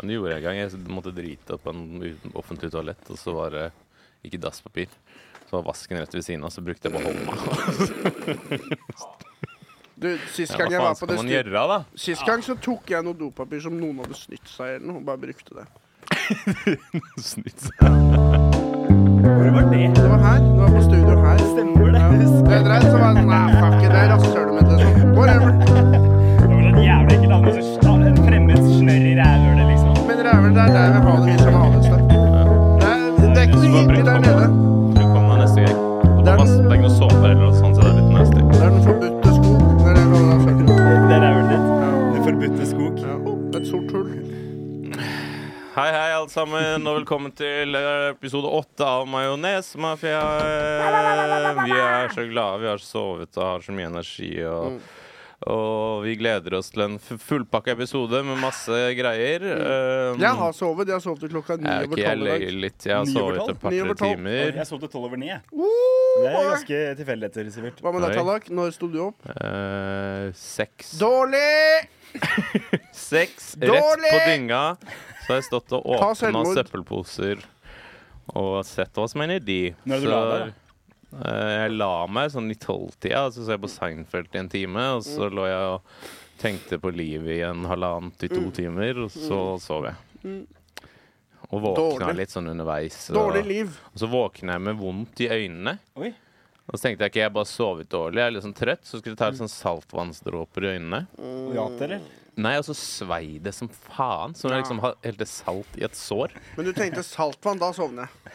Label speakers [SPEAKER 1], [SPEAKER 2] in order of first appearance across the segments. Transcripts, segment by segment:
[SPEAKER 1] Det gjorde jeg en gang. Jeg måtte drite på en u- offentlig toalett, og så var det ikke dasspapir. Så var vasken rett ved siden av, så brukte jeg bare hånda.
[SPEAKER 2] Du, sist
[SPEAKER 1] Ja,
[SPEAKER 2] gang jeg
[SPEAKER 1] hva
[SPEAKER 2] var
[SPEAKER 1] faen
[SPEAKER 2] på
[SPEAKER 1] skal
[SPEAKER 2] det
[SPEAKER 1] man
[SPEAKER 2] stu-
[SPEAKER 1] gjøre, da?
[SPEAKER 2] Sist gang så tok jeg noe dopapir som noen hadde snytt seg eller noe, og bare brukte det.
[SPEAKER 1] Snytt seg.
[SPEAKER 3] Hvor var det?
[SPEAKER 2] Det var her. Det var på studio her.
[SPEAKER 3] Stemmer det?
[SPEAKER 2] Ja. Det dreide seg bare sånn Nei, fuck it, det er rasshølet mitt, liksom. Whatever.
[SPEAKER 3] Det var en jævla ekkel dame som sta- en fremmed snørr i rævhølet, liksom.
[SPEAKER 2] Men ræven, det er der vi har det, vi som har det sterkt. Det er- Det er ikke noe hyggelig der nede.
[SPEAKER 1] Bruk hånda neste gang. Det
[SPEAKER 2] Den-
[SPEAKER 1] er vas- det er ikke noe såpe eller noe sånt, så det er litt nasty.
[SPEAKER 2] Det er den forbudte skog. Det er det jeg kaller det rasshølet.
[SPEAKER 3] Det er rævhølet ditt. Det forbudte skog.
[SPEAKER 2] Ja. Et sort hull.
[SPEAKER 1] Hei, hei, alle sammen, og velkommen til eh, episode åtte av Majonesmafia. Vi er så glade, vi har sovet og har så mye energi.
[SPEAKER 2] Mm.
[SPEAKER 1] Og, og vi gleder oss til en f- fullpakka episode med masse greier. Um,
[SPEAKER 2] Jeg har sovet. Jeg har sovet til klokka ni
[SPEAKER 1] jeg er
[SPEAKER 2] over
[SPEAKER 1] ikke Eh, jeg
[SPEAKER 2] tolv i dag.
[SPEAKER 1] legger litt. Jeg har
[SPEAKER 3] Ni over
[SPEAKER 1] sovet
[SPEAKER 3] tolv?
[SPEAKER 1] et par
[SPEAKER 2] Ni over
[SPEAKER 1] tre
[SPEAKER 2] tolv.
[SPEAKER 1] timer.
[SPEAKER 3] Jeg sov til tolv over ni, jeg. Det er
[SPEAKER 2] Oh, boy.
[SPEAKER 3] ganske tilfeldigheter, Sivert.
[SPEAKER 2] Hva med deg,
[SPEAKER 1] Nei.
[SPEAKER 2] Tallak? Når sto du opp?
[SPEAKER 1] Eh, seks.
[SPEAKER 2] Dårlig!
[SPEAKER 1] Seks rett
[SPEAKER 2] Dårlig!
[SPEAKER 1] på dynga. Så har jeg stått og
[SPEAKER 2] Ta
[SPEAKER 1] åpna
[SPEAKER 2] selvmord.
[SPEAKER 1] søppelposer og sett hva som er nedi.
[SPEAKER 3] Når er du
[SPEAKER 1] Så,
[SPEAKER 3] la deg,
[SPEAKER 1] eh, jeg la meg sånn i tolvtida, og så så jeg på Seinfeld i en time. Og
[SPEAKER 2] Mm.
[SPEAKER 1] så lå jeg og tenkte på livet i en halvannen til
[SPEAKER 2] Mm.
[SPEAKER 1] to timer, og så sov jeg. Og våkna
[SPEAKER 2] Dårlig.
[SPEAKER 1] litt sånn underveis.
[SPEAKER 2] Dårlig
[SPEAKER 1] Og,
[SPEAKER 2] liv.
[SPEAKER 1] og så våkna jeg med vondt i øynene.
[SPEAKER 3] Oi.
[SPEAKER 1] Og så tenkte jeg ikke, jeg bare sovet dårlig, jeg er litt sånn trøtt, så skulle jeg ta litt
[SPEAKER 3] Mm.
[SPEAKER 1] sånn saltvannsdråper i øynene.
[SPEAKER 3] Opiat, eller?
[SPEAKER 1] Nei, og så svei det som faen, som jeg liksom har- helte salt i et sår.
[SPEAKER 2] Men du tenkte saltvann, da sovner jeg.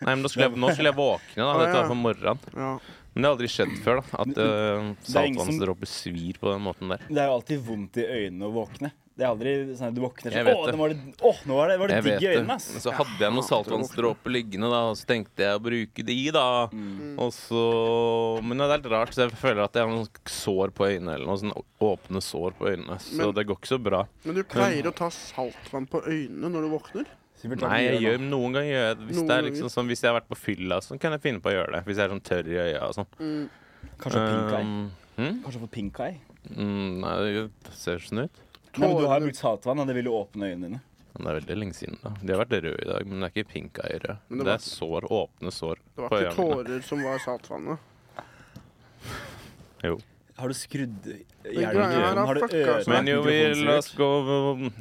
[SPEAKER 1] Nei, men nå skulle jeg, nå skulle jeg våkne, da. Dette var på morgenen.
[SPEAKER 2] Ja.
[SPEAKER 1] Men det har aldri skjedd før, da. At eh,
[SPEAKER 3] er ingen som-
[SPEAKER 1] saltvannsdråper svir på den måten der.
[SPEAKER 3] Det er jo alltid vondt i øynene å våkne. Det er aldri sånn at du
[SPEAKER 1] Jeg
[SPEAKER 3] våkner sånn
[SPEAKER 1] vet
[SPEAKER 3] Å,
[SPEAKER 1] det.
[SPEAKER 3] nå var det, å, nå var det, var det
[SPEAKER 1] Jeg vet
[SPEAKER 3] digg i
[SPEAKER 1] det.
[SPEAKER 3] øynene,
[SPEAKER 1] Men
[SPEAKER 3] ass.
[SPEAKER 1] så hadde jeg noen saltvannsdråper liggende, da, og så tenkte jeg å bruke de, da.
[SPEAKER 3] Mm.
[SPEAKER 1] Og så Men det er helt rart, så jeg føler at jeg har noen sår på øynene, eller noe sånn åpne sår på øynene. Så
[SPEAKER 2] Men-
[SPEAKER 1] det går ikke så bra.
[SPEAKER 2] Men du pleier å ta saltvann på øynene når du våkner?
[SPEAKER 3] Sivert, hva
[SPEAKER 1] Nei,
[SPEAKER 3] du
[SPEAKER 1] jeg
[SPEAKER 3] gjør
[SPEAKER 1] gjør, noen ganger gjør jeg det. Hvis,
[SPEAKER 2] Noen
[SPEAKER 1] det er
[SPEAKER 2] ganger.
[SPEAKER 1] liksom sånn, hvis jeg har vært på fylla, og sånn, kan jeg finne på å gjøre det. Hvis jeg er sånn tørr i øya og sånn.
[SPEAKER 3] nå?
[SPEAKER 2] sånn
[SPEAKER 3] Kanskje pink eye?
[SPEAKER 1] Um, hm?
[SPEAKER 3] Kanskje få pink eye? Nei,
[SPEAKER 1] mm, nei, det ser sånn ut.
[SPEAKER 3] men du har
[SPEAKER 2] Tårene-
[SPEAKER 3] brukt saltvann, og det vil jo åpne øynene dine.
[SPEAKER 1] Men det er veldig lenge siden. da. De har vært røde i dag, men det er ikke pink eye rød. Det,
[SPEAKER 2] Men det var-
[SPEAKER 1] er sår, åpne sår
[SPEAKER 2] Det
[SPEAKER 1] på
[SPEAKER 2] var ikke
[SPEAKER 1] øynene. mine.
[SPEAKER 2] tårer som var saltvannet.
[SPEAKER 1] Jo.
[SPEAKER 3] Har du skrudd
[SPEAKER 2] greia
[SPEAKER 1] her
[SPEAKER 3] hjernen i øynene?
[SPEAKER 2] har
[SPEAKER 3] Har du
[SPEAKER 2] fucka seg.
[SPEAKER 3] ører?
[SPEAKER 1] Men jo, vi la oss gå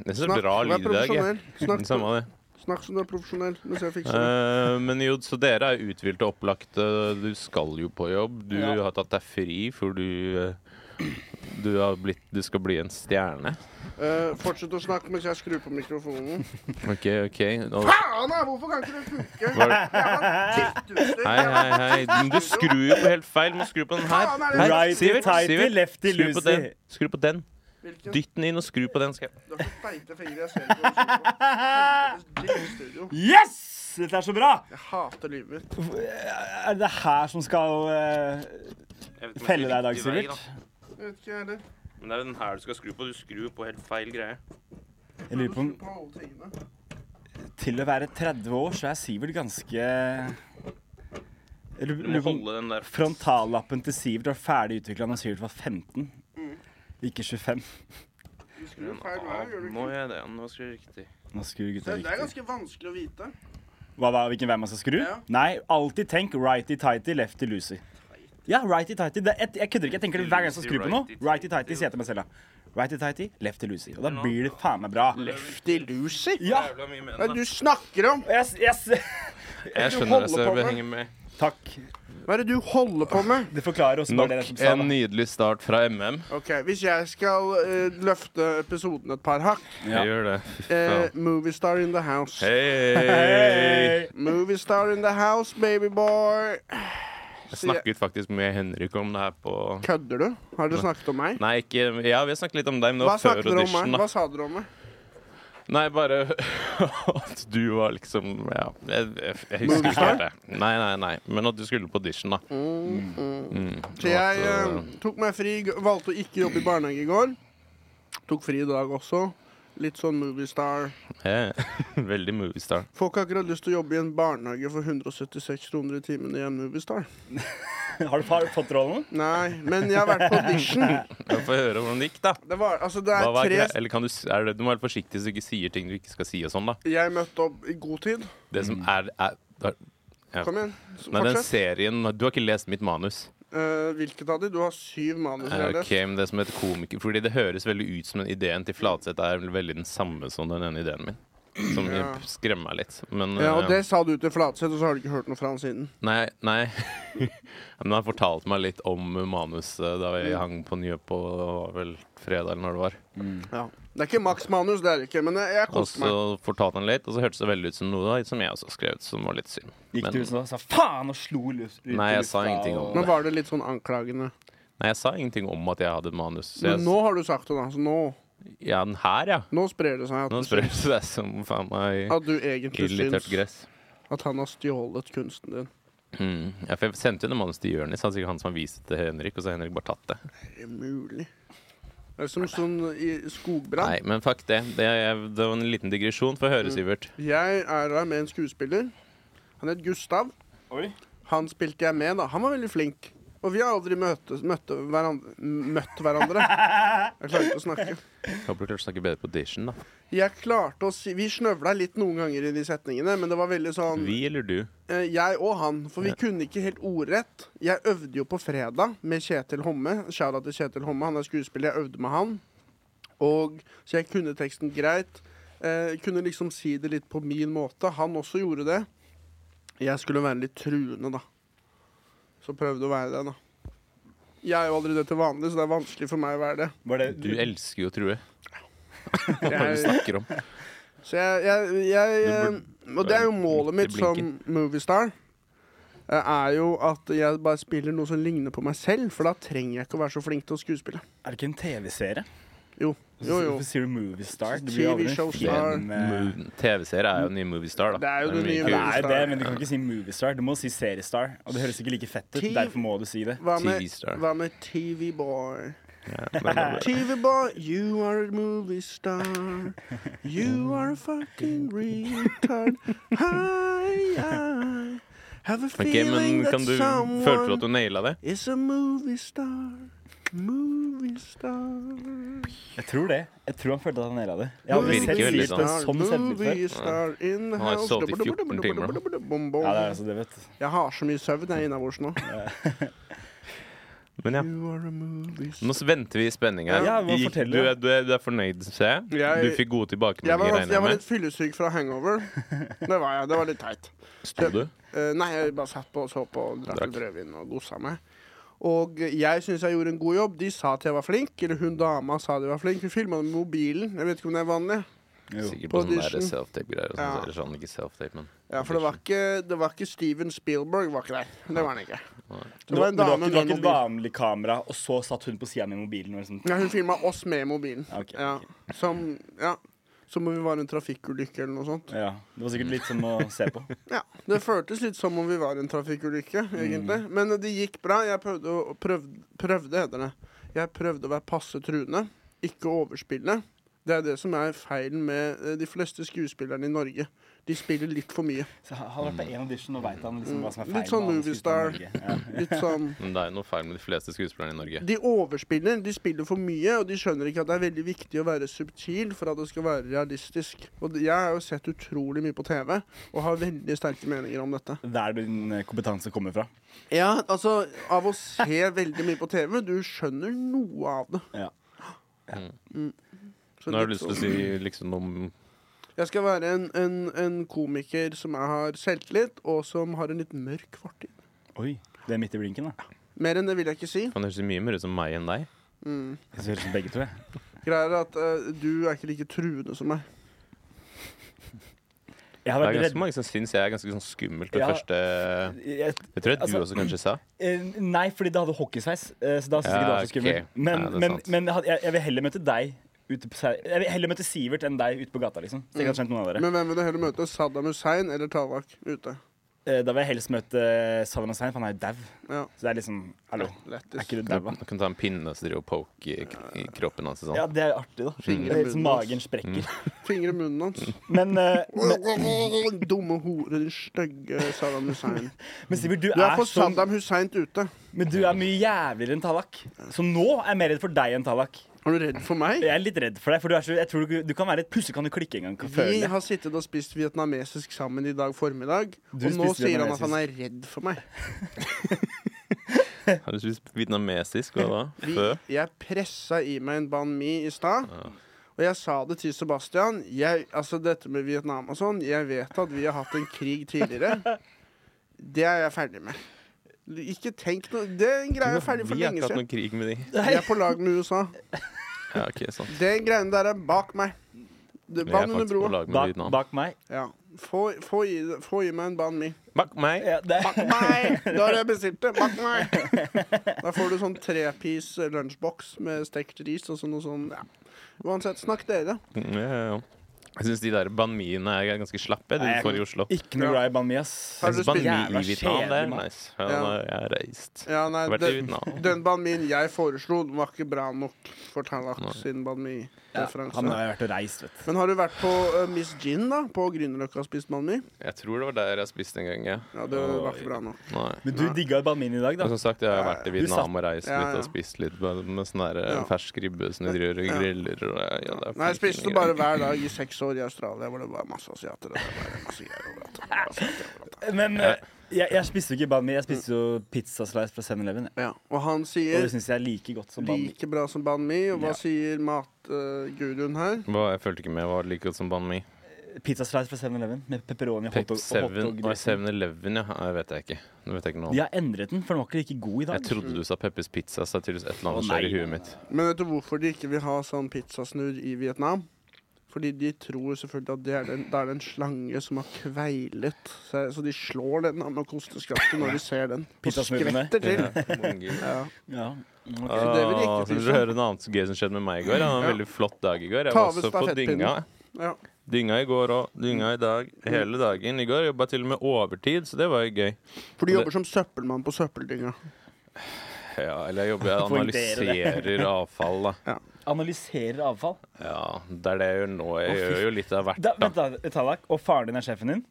[SPEAKER 1] Det er så bra
[SPEAKER 2] vær
[SPEAKER 1] lyd i dag. jeg.
[SPEAKER 2] profesjonell. Snakk,
[SPEAKER 1] Samme det.
[SPEAKER 2] snakk som du er profesjonell. Mens jeg fikser det.
[SPEAKER 1] Eh, men jo, så dere er uthvilte og opplagte. Du skal jo på jobb. Du
[SPEAKER 3] Ja.
[SPEAKER 1] har tatt deg fri, for du eh, du, har blitt, du skal bli en stjerne.
[SPEAKER 2] Eh, fortsett å snakke mens jeg skrur på mikrofonen.
[SPEAKER 1] OK, OK. Nå-
[SPEAKER 2] Faen, da! Hvorfor kan ikke det funke?
[SPEAKER 1] Var-
[SPEAKER 2] Jævla tittutstyr.
[SPEAKER 1] Hei, hei, hei. Men du skrur jo på helt feil. Du må skru på den her.
[SPEAKER 2] Faen, er det-
[SPEAKER 1] Hei,
[SPEAKER 3] Righty, tighty, lefty,
[SPEAKER 1] skru på
[SPEAKER 3] loosey.
[SPEAKER 1] den. Skru på den.
[SPEAKER 2] Hvilken?
[SPEAKER 1] Dytt den inn og skru på den. Skal jeg.
[SPEAKER 2] Det er så feite fingre jeg ser på. Helvetes drittstudio.
[SPEAKER 3] Yes! Dette er så bra!
[SPEAKER 2] Jeg hater livet mitt.
[SPEAKER 3] Er det her som skal eh, felle deg i dag, Sivert?
[SPEAKER 2] Jeg vet ikke, jeg heller.
[SPEAKER 1] Men det er den her du skal skru på. Du skrur på helt feil greie.
[SPEAKER 3] Jeg lurer på om
[SPEAKER 2] På alle tingene.
[SPEAKER 3] til å være 30 år, så er Sivert ganske Jeg lurer- lurer på om
[SPEAKER 1] den der
[SPEAKER 3] frontallappen til Sivert var ferdig utvikla da Sivert var 15.
[SPEAKER 2] Mm.
[SPEAKER 3] Ikke 25.
[SPEAKER 2] Du skrur feil vei, gjør du
[SPEAKER 1] Nå
[SPEAKER 2] ikke?
[SPEAKER 1] gjør jeg det. Nå skal jeg riktig.
[SPEAKER 3] Nå skrur gutta
[SPEAKER 2] Det det er
[SPEAKER 3] riktig.
[SPEAKER 2] ganske vanskelig å vite.
[SPEAKER 3] Hva, hva, hvilken vei man skal skru?
[SPEAKER 2] Ja.
[SPEAKER 3] Nei, alltid tenk righty-tighty, lefty-loosey. Ja, righty-tighty. Det- Jeg, jeg kødder ikke. Jeg tenker det hver gang jeg skal skru på noe. Righty-tighty, sier jeg til meg selv. da. Righty-tighty, lefty-loosey. Og da blir det faen meg bra.
[SPEAKER 2] Lefty Lucy?
[SPEAKER 3] Ja!
[SPEAKER 1] Jævla mye med
[SPEAKER 2] Hva er
[SPEAKER 1] den,
[SPEAKER 2] det du snakker om?
[SPEAKER 3] Jeg, s- jeg, s-
[SPEAKER 1] da. Jeg
[SPEAKER 2] du
[SPEAKER 1] skjønner det,
[SPEAKER 2] holder
[SPEAKER 1] så jeg
[SPEAKER 2] på med?
[SPEAKER 1] henger med.
[SPEAKER 3] Takk.
[SPEAKER 2] Hva er det du holder på med?
[SPEAKER 3] Det forklarer også bare det som
[SPEAKER 1] Nok
[SPEAKER 3] sa
[SPEAKER 1] en
[SPEAKER 3] det.
[SPEAKER 1] nydelig start fra MM.
[SPEAKER 2] Ok, Hvis jeg skal eh, løfte episoden et par hakk
[SPEAKER 3] Ja.
[SPEAKER 1] Jeg gjør det.
[SPEAKER 2] eh, Moviestar in the house.
[SPEAKER 1] Hei!
[SPEAKER 2] Moviestar in the house, babyboy.
[SPEAKER 1] Jeg snakket faktisk med Henrik om det her på
[SPEAKER 2] Kødder du? Har dere snakket om meg?
[SPEAKER 1] Nei, ikke Ja, vi har snakket litt om deg, men det
[SPEAKER 2] Hva
[SPEAKER 1] var før
[SPEAKER 2] snakket dere om
[SPEAKER 1] audition.
[SPEAKER 2] meg?
[SPEAKER 1] da.
[SPEAKER 2] Hva sa dere om meg?
[SPEAKER 1] Nei, bare at du var liksom Ja, jeg, jeg, jeg husker ikke
[SPEAKER 2] Movistar?
[SPEAKER 1] helt det. Nei, nei, nei. Men at du skulle på audition, da. Mm.
[SPEAKER 2] Så jeg eh, tok meg fri, g- valgte å ikke jobbe i barnehage i går. Tok fri i dag også. Litt sånn Moviestar.
[SPEAKER 1] Eh, Veldig moviestar.
[SPEAKER 2] Folk har akkurat lyst til å jobbe i en barnehage for 176 kroner i timen i en Moviestar.
[SPEAKER 3] Har du har du fått rollen?
[SPEAKER 2] Nei, men jeg har vært på audition.
[SPEAKER 1] Jeg får høre hvordan det gikk, da.
[SPEAKER 2] Det var, altså, det
[SPEAKER 1] Hva
[SPEAKER 2] er
[SPEAKER 1] var
[SPEAKER 2] tre
[SPEAKER 1] grei- eller kan du, s- er det, du må være forsiktig så du ikke sier ting du ikke skal si. og sånn da
[SPEAKER 2] Jeg møtte opp i god tid.
[SPEAKER 1] Det som er, er, er ja.
[SPEAKER 2] Kom igjen.
[SPEAKER 1] Nei, den
[SPEAKER 2] Mm. Fortsett.
[SPEAKER 1] serien Du har ikke lest mitt manus. Eh,
[SPEAKER 2] Eh, hvilket av de? Du har syv manus. jeg har lest.
[SPEAKER 1] Ok, men det som heter komiker Fordi det høres veldig ut som den ideen til Flatseth er vel veldig den samme som den ene ideen min. Som
[SPEAKER 2] Ja.
[SPEAKER 1] skremmer meg litt. Men
[SPEAKER 2] Ja, og
[SPEAKER 1] eh,
[SPEAKER 2] det sa du til Flatseth, og så har du ikke hørt noe fra han siden.
[SPEAKER 1] Nei, nei. Men han fortalte meg litt om manuset da
[SPEAKER 2] Mm.
[SPEAKER 1] jeg hang på nye på det var vel fredag eller når det var.
[SPEAKER 2] Ja. Det er ikke maks manus, det er det ikke, men jeg, jeg
[SPEAKER 1] Og
[SPEAKER 2] koste
[SPEAKER 1] så
[SPEAKER 2] meg.
[SPEAKER 1] fortalte han litt, og så hørtes det veldig ut som noe da, som jeg også har skrevet, som var litt synd.
[SPEAKER 3] Gikk
[SPEAKER 1] Men-
[SPEAKER 3] du ut og sa faen og slo løs ut i
[SPEAKER 1] Nei, jeg
[SPEAKER 3] lufta,
[SPEAKER 1] sa ingenting om
[SPEAKER 3] og-
[SPEAKER 1] det.
[SPEAKER 2] Men var det litt sånn anklagende?
[SPEAKER 1] Nei, jeg sa ingenting om at jeg hadde manus. Så jeg,
[SPEAKER 2] Men nå har du sagt det, da. Så nå,
[SPEAKER 1] Ja, den her, ja.
[SPEAKER 2] nå sprer det seg at,
[SPEAKER 1] Nå
[SPEAKER 2] du
[SPEAKER 1] spør
[SPEAKER 2] syns-
[SPEAKER 1] du deg som faen meg
[SPEAKER 2] at du egentlig
[SPEAKER 1] irritert
[SPEAKER 2] syns
[SPEAKER 1] gress.
[SPEAKER 2] at han har stjålet kunsten din.
[SPEAKER 1] Mm. Ja, for jeg sendte jo det manus til Jonis, han sikkert han som har vist det til Henrik, og så har Henrik bare tatt det.
[SPEAKER 2] Er det mulig? Det er som sånn i skogbrann.
[SPEAKER 1] Nei, men fuck det. Det, er- det var en liten digresjon. Få
[SPEAKER 2] Mm.
[SPEAKER 1] høre, Sivert.
[SPEAKER 2] Jeg er her med en skuespiller. Han het Gustav.
[SPEAKER 3] Oi.
[SPEAKER 2] Han spilte jeg med, da. Han var veldig flink. Og vi har aldri møtes, møtte hverandre, møtt hverandre. Jeg klarer ikke å snakke.
[SPEAKER 1] Håper du klarte å snakke bedre på audition, da.
[SPEAKER 2] Jeg klarte å si Vi snøvla litt noen ganger i de setningene, men det var veldig sånn
[SPEAKER 1] Vi eller du?
[SPEAKER 2] eh, Jeg og han, for vi kunne ikke helt ordrett. Jeg øvde jo på fredag med Kjetil Homme. Shoutout til Kjetil Homme, han er skuespiller. Jeg øvde med han. Og Så jeg kunne teksten greit. Eh, kunne liksom si det litt på min måte. Han også gjorde det. Jeg skulle være litt truende, da. Så prøvde å være det, da. Jeg er jo aldri det til vanlig, så det er vanskelig for meg å være det.
[SPEAKER 3] Var det
[SPEAKER 1] Du elsker jo å true. Hva er det du
[SPEAKER 2] Jeg,
[SPEAKER 1] snakker om?
[SPEAKER 2] Så jeg, jeg, jeg eh, Og det er jo målet mitt
[SPEAKER 1] midt i
[SPEAKER 2] som
[SPEAKER 1] blinken.
[SPEAKER 2] moviestar. eh, Er jo at jeg bare spiller noe som ligner på meg selv, for da trenger jeg ikke å være så flink til å skuespille.
[SPEAKER 3] Er det ikke en TV-serie?
[SPEAKER 2] Jo, jo, jo.
[SPEAKER 3] Hvorfor sier du Movie Star? Det
[SPEAKER 2] TV
[SPEAKER 3] blir aldri
[SPEAKER 2] show
[SPEAKER 3] en
[SPEAKER 2] star.
[SPEAKER 3] film. eh,
[SPEAKER 1] TV-seer er jo den nye Moviestar, da.
[SPEAKER 2] Det er jo det nye
[SPEAKER 1] mye
[SPEAKER 3] Det
[SPEAKER 1] kulere.
[SPEAKER 3] er jo
[SPEAKER 2] Moviestar.
[SPEAKER 3] det, men du kan ikke si Movie Star. Du må si Seriestar. Og det høres ikke like fett ut,
[SPEAKER 2] Ti-
[SPEAKER 3] derfor må du si det.
[SPEAKER 2] Hva med,
[SPEAKER 1] TV-star.
[SPEAKER 2] hva med TV Boy?
[SPEAKER 1] Ja, men det er-
[SPEAKER 2] TV Boy, you are a movie star. You are a fucking retard. Hi, I have a
[SPEAKER 1] Ok,
[SPEAKER 2] feeling
[SPEAKER 1] men
[SPEAKER 2] that
[SPEAKER 1] kan du,
[SPEAKER 2] someone
[SPEAKER 1] Følte du at du naila det?
[SPEAKER 2] is a movie star. Movie star.
[SPEAKER 3] Jeg tror det. Jeg tror han følte at han naila det. Jeg
[SPEAKER 1] Det
[SPEAKER 3] har aldri
[SPEAKER 1] virker
[SPEAKER 3] sett
[SPEAKER 1] veldig
[SPEAKER 3] Sivert på en sånn selvtillit før.
[SPEAKER 2] Moviestar in the
[SPEAKER 1] Han har
[SPEAKER 2] house.
[SPEAKER 1] sovet i 14 timer,
[SPEAKER 2] Bom, bom.
[SPEAKER 3] Ja, det er altså det, vet du.
[SPEAKER 2] Jeg har så mye søvn jeg er innabords nå.
[SPEAKER 1] Men ja.
[SPEAKER 2] You are a movie star.
[SPEAKER 1] Nå s- venter vi i spenning her.
[SPEAKER 3] Ja, hva
[SPEAKER 1] Gikk-
[SPEAKER 3] forteller
[SPEAKER 1] du,
[SPEAKER 3] du?
[SPEAKER 1] er, du, er, du er fornøyd, ser jeg?
[SPEAKER 2] Jeg-
[SPEAKER 1] Du fikk gode
[SPEAKER 2] Jeg var,
[SPEAKER 1] tilbakemeldinger, regner jeg
[SPEAKER 2] jeg var
[SPEAKER 1] med?
[SPEAKER 2] litt fyllesyk fra hangover. Det var jeg. Det var litt teit.
[SPEAKER 1] Sto du?
[SPEAKER 2] Eh, nei, jeg bare satt på og så på og drakk
[SPEAKER 1] Drakk.
[SPEAKER 2] litt rødvin og gosa meg. Og jeg syns jeg gjorde en god jobb. De sa at jeg var flink. Eller hun dama sa at jeg var flink. Hun filma med mobilen. Jeg vet ikke om det er vanlig.
[SPEAKER 3] Jo.
[SPEAKER 1] Sikkert
[SPEAKER 2] På
[SPEAKER 1] på sånne der
[SPEAKER 2] audition.
[SPEAKER 1] self-tape-greier. og sånn,
[SPEAKER 2] Ja.
[SPEAKER 1] så- Eller sånn, ikke self-tape, men
[SPEAKER 2] Ja, For det var ikke, det var ikke Steven Spielberg var ikke der. Det var han ikke.
[SPEAKER 3] Du,
[SPEAKER 2] Det
[SPEAKER 3] du
[SPEAKER 2] var
[SPEAKER 3] har
[SPEAKER 2] en dame
[SPEAKER 3] ikke, du har
[SPEAKER 2] med
[SPEAKER 3] ikke et
[SPEAKER 2] mobil.
[SPEAKER 3] vanlig kamera, og så satt hun på sida med mobilen. Og sånn.
[SPEAKER 2] Ja, hun filma oss med mobilen.
[SPEAKER 3] Ja, ok,
[SPEAKER 2] Ja.
[SPEAKER 3] ok.
[SPEAKER 2] Som Ja. Som om vi var i en trafikkulykke eller noe sånt.
[SPEAKER 3] Ja, Det var sikkert litt som å se på.
[SPEAKER 2] Ja, Det føltes litt som om vi var i en trafikkulykke,
[SPEAKER 3] Mm.
[SPEAKER 2] egentlig. Men det gikk bra. Jeg prøvde å prøvde, prøvde, heter det. Jeg prøvde å være passe truende, ikke overspille. Det er det som er feilen med eh, de fleste skuespillerne i Norge. De spiller litt for mye.
[SPEAKER 3] Så han har vært på én audition, og vet han liksom hva som er feil.
[SPEAKER 2] Litt sånn
[SPEAKER 3] med alle
[SPEAKER 2] movie
[SPEAKER 3] skuespillerne i Norge.
[SPEAKER 2] Litt sånn
[SPEAKER 1] Men det er jo noe feil med de fleste skuespillerne i Norge.
[SPEAKER 2] De overspiller, de spiller for mye, og de skjønner ikke at det er veldig viktig å være subtil for at det skal være realistisk. Og det- jeg har jo sett utrolig mye på TV, og har veldig sterke meninger om dette.
[SPEAKER 3] Ja. Der din eh, kompetanse kommer fra.
[SPEAKER 2] Ja, altså, av å se veldig mye på TV, du skjønner noe av det.
[SPEAKER 3] Ja.
[SPEAKER 2] Så
[SPEAKER 1] Nå har du
[SPEAKER 2] litt
[SPEAKER 1] lyst til å
[SPEAKER 2] sånn-
[SPEAKER 1] si liksom om
[SPEAKER 2] Jeg skal være en, en, en komiker som jeg har selvtillit, og som har en litt mørk fortid.
[SPEAKER 3] Oi, det er midt i blinken, da.
[SPEAKER 2] Mer enn det vil jeg ikke si.
[SPEAKER 1] Han høres jo mye mer ut som meg enn deg.
[SPEAKER 3] Jeg ser ut som begge to, jeg.
[SPEAKER 2] Greia er at eh, du er ikke like truende som meg.
[SPEAKER 3] Jeg har
[SPEAKER 1] Det er
[SPEAKER 3] vært
[SPEAKER 1] ganske
[SPEAKER 3] redd.
[SPEAKER 1] mange som syns jeg er ganske sånn skummel til
[SPEAKER 3] Ja.
[SPEAKER 1] første
[SPEAKER 3] Jeg,
[SPEAKER 1] Jeg tror jeg du
[SPEAKER 3] Altså-
[SPEAKER 1] også kanskje sa.
[SPEAKER 3] eh, nei, fordi det hadde hockeysveis, eh, så da syns jeg ikke det var så
[SPEAKER 1] Ja,
[SPEAKER 3] skummelt.
[SPEAKER 1] ok.
[SPEAKER 3] Men,
[SPEAKER 1] Ja, det er
[SPEAKER 3] men,
[SPEAKER 1] sant.
[SPEAKER 3] men jeg, had- jeg- jeg vil heller møte deg ute på se- Jeg vil heller møte
[SPEAKER 2] Mm.
[SPEAKER 3] Sivert enn deg ute på gata, liksom. Så jeg kan skjønt noen av dere.
[SPEAKER 2] Men hvem vil du heller møte? Saddam Hussein eller Tallak ute?
[SPEAKER 3] eh, Da vil jeg helst møte eh, Saddam Hussein, for han er jo dau.
[SPEAKER 2] Ja.
[SPEAKER 3] Så det er liksom Hallo, er
[SPEAKER 2] Lættis.
[SPEAKER 3] ikke
[SPEAKER 1] Du
[SPEAKER 3] du dau? da?
[SPEAKER 1] kan ta en pinne og så drive og poke i, kro- i kroppen hans. og
[SPEAKER 3] Ja,
[SPEAKER 1] Sånn.
[SPEAKER 3] det er jo artig, da. Det
[SPEAKER 2] Fingre
[SPEAKER 3] er
[SPEAKER 2] i
[SPEAKER 3] Helt som
[SPEAKER 2] munnen hans.
[SPEAKER 3] magen
[SPEAKER 1] Mm.
[SPEAKER 3] sprekker.
[SPEAKER 2] Fingre i munnen hans.
[SPEAKER 3] Men, eh, men,
[SPEAKER 2] Dumme hore, din stygge Saddam Hussein.
[SPEAKER 3] men Sivert, du
[SPEAKER 2] Du er
[SPEAKER 3] er
[SPEAKER 2] for
[SPEAKER 3] sånn
[SPEAKER 2] Saddam Hussein ute.
[SPEAKER 3] Men du er mye jævligere enn Tallak. Så nå er jeg mer redd for deg enn Tallak.
[SPEAKER 2] Er du redd for meg?
[SPEAKER 3] Jeg er litt redd for deg, for du, er så, jeg tror du, du kan være et pusse, kan du klikke en gang. føler
[SPEAKER 2] Vi
[SPEAKER 3] jeg.
[SPEAKER 2] har sittet og spist vietnamesisk sammen i dag formiddag,
[SPEAKER 3] Du
[SPEAKER 2] og nå
[SPEAKER 3] spiste
[SPEAKER 2] sier han at han er redd for meg.
[SPEAKER 1] Har du spist vietnamesisk? Hva da?
[SPEAKER 2] Vi,
[SPEAKER 1] Fø?
[SPEAKER 2] jeg pressa i meg en banh mi i stad. Og jeg sa det til Sebastian. Jeg, altså dette med Vietnam og sånn, jeg vet at vi har hatt en krig tidligere. Det er jeg ferdig med. Ikke tenk noe Det er en greie jeg er ferdig for
[SPEAKER 1] Vi har
[SPEAKER 2] lenge
[SPEAKER 1] ikke hatt
[SPEAKER 2] siden.
[SPEAKER 1] noen krig med de.
[SPEAKER 2] Jeg er på lag med USA.
[SPEAKER 1] Ja, ok, sant.
[SPEAKER 2] Den greien der er bak meg. Det-
[SPEAKER 1] Vi er
[SPEAKER 2] Vann under
[SPEAKER 1] faktisk på
[SPEAKER 2] broa.
[SPEAKER 1] lag med
[SPEAKER 3] Bak,
[SPEAKER 1] Vietnam.
[SPEAKER 3] bak meg.
[SPEAKER 2] Ja. Få, få, i, få i meg en banh mi.
[SPEAKER 1] Bak meg!
[SPEAKER 3] Ja, det,
[SPEAKER 2] Bak meg! Da har jeg bestilt det. Bak meg! Da får du sånn trepiece lunsjboks med stekt ris og sånn og sånn. Ja. Uansett, snakk dere.
[SPEAKER 1] Mm, Ja, ja, ja. Jeg syns de der banmiene er ganske slappe, de
[SPEAKER 3] Nei,
[SPEAKER 1] du får i Oslo.
[SPEAKER 3] ikke noe glad i Bami, ass.
[SPEAKER 2] Har du
[SPEAKER 1] Banmi
[SPEAKER 2] spist
[SPEAKER 3] Jævla
[SPEAKER 1] i Vietnam, det er
[SPEAKER 3] kjedelig, mann.
[SPEAKER 1] nice. Ja,
[SPEAKER 2] Ja.
[SPEAKER 1] nå er Jeg har reist.
[SPEAKER 2] Ja, nei,
[SPEAKER 1] Vært i
[SPEAKER 2] den,
[SPEAKER 1] Vietnam.
[SPEAKER 2] den banh min jeg foreslo, den var ikke bra nok for Tallak sin banh mi-referanse.
[SPEAKER 3] Han har jo vært og reist, vet du.
[SPEAKER 2] Men har du vært på eh, Miss Gin, da? På Grünerløkka og spist banh mi?
[SPEAKER 1] Jeg tror det var der jeg spiste en gang, ja.
[SPEAKER 2] Ja, det var ikke bra nok.
[SPEAKER 1] Nei.
[SPEAKER 3] Men du digga Bamin i dag,
[SPEAKER 1] Men
[SPEAKER 3] da.
[SPEAKER 1] som sagt, jeg har vært i
[SPEAKER 3] Du satt-
[SPEAKER 1] Vietnam og reist
[SPEAKER 2] Ja,
[SPEAKER 1] litt
[SPEAKER 2] ja.
[SPEAKER 1] og spist litt med, med sånn der eh,
[SPEAKER 2] Ja.
[SPEAKER 1] fersk ribbe som de driver og
[SPEAKER 2] Ja.
[SPEAKER 1] griller og eh, ja, det er
[SPEAKER 2] Nei,
[SPEAKER 1] fine
[SPEAKER 2] jeg spiste
[SPEAKER 1] greier.
[SPEAKER 2] bare hver dag i seks år i Australia, hvor det var masse asiater. Og det var masse greier overalt. Masse greier overalt.
[SPEAKER 3] Men eh, jeg, jeg spiste jo ikke Bami, jeg spiste jo pizzaslice fra 7-Eleven. jeg.
[SPEAKER 2] Ja. Og han
[SPEAKER 3] Og
[SPEAKER 2] sier
[SPEAKER 3] det syns jeg er like godt som Bami.
[SPEAKER 2] like bra som banh mi, og hva
[SPEAKER 3] Ja.
[SPEAKER 2] sier matguruen her?
[SPEAKER 1] Hva, jeg følte ikke med. Var det like godt som Ban Mi?
[SPEAKER 3] Pizzaslice fra 7-Eleven med pepperoni og
[SPEAKER 1] Pep
[SPEAKER 3] hotdog. og
[SPEAKER 1] 7
[SPEAKER 3] hotdog
[SPEAKER 1] og 7-Eleven, ja. Nei, Det vet jeg ikke. Det vet jeg ikke noe om.
[SPEAKER 3] De har endret den, for den var ikke like god i
[SPEAKER 1] Jeg
[SPEAKER 3] dag.
[SPEAKER 1] trodde du sa Peppers Pizza, så det er tydeligvis et eller annet
[SPEAKER 3] Å,
[SPEAKER 1] som skjer i
[SPEAKER 3] nei.
[SPEAKER 1] huet mitt.
[SPEAKER 2] Men vet du hvorfor de ikke vil ha sånn pizzasnurr i Vietnam? Fordi de tror selvfølgelig at det er den, det er den slange som har kveilet. Så, så de slår den med kosteskaftet når de ser den. Og
[SPEAKER 3] Pizzasnurrene.
[SPEAKER 2] skvetter
[SPEAKER 1] Ja.
[SPEAKER 2] til. Ja.
[SPEAKER 3] Ja. ok.
[SPEAKER 2] Så det vil jeg ikke
[SPEAKER 1] Åh, Ah, så vil
[SPEAKER 2] si
[SPEAKER 1] du
[SPEAKER 2] sånn.
[SPEAKER 1] høre noe annet så gøy som skjedde med meg i går? Jeg hadde en
[SPEAKER 2] Ja.
[SPEAKER 1] veldig flott dag i går. Jeg
[SPEAKER 2] Ta
[SPEAKER 1] var
[SPEAKER 2] over
[SPEAKER 1] også på
[SPEAKER 2] stafettpinnen.
[SPEAKER 1] dynga.
[SPEAKER 2] Ja.
[SPEAKER 1] Dynga i går òg. Dynga i dag. Hele dagen. I går jobba til og med overtid, så det var jo gøy.
[SPEAKER 2] For de jobber som søppelmann på søppeldynga.
[SPEAKER 1] Ja, eller jeg jobber Jeg
[SPEAKER 3] Poengtere
[SPEAKER 1] analyserer avfall, da.
[SPEAKER 3] Analyserer avfall.
[SPEAKER 1] Ja, det er det jeg gjør nå. Jeg
[SPEAKER 3] Å, fy-
[SPEAKER 1] gjør jo litt av hvert,
[SPEAKER 3] Da,
[SPEAKER 1] da.
[SPEAKER 3] vent da, Tallak. Og faren din er sjefen din?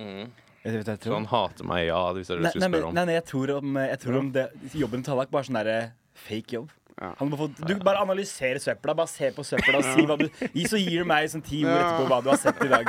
[SPEAKER 1] Mm.
[SPEAKER 3] Vet du hva jeg
[SPEAKER 1] Så
[SPEAKER 3] tror?
[SPEAKER 1] han hater meg, ja, hvis det er det du
[SPEAKER 3] Nei, nei,
[SPEAKER 1] skulle
[SPEAKER 3] men-
[SPEAKER 1] spørre om.
[SPEAKER 3] nei, nei, jeg tror om, jeg tror om det, jobben til Tallak bare er sånn derre fake jobb.
[SPEAKER 2] Ja.
[SPEAKER 3] Han må få, du bare analyserer søpla, bare se på søpla og si hva du gi, Så gir du meg sånn ti ord
[SPEAKER 2] Ja.
[SPEAKER 3] etterpå hva du har sett i dag.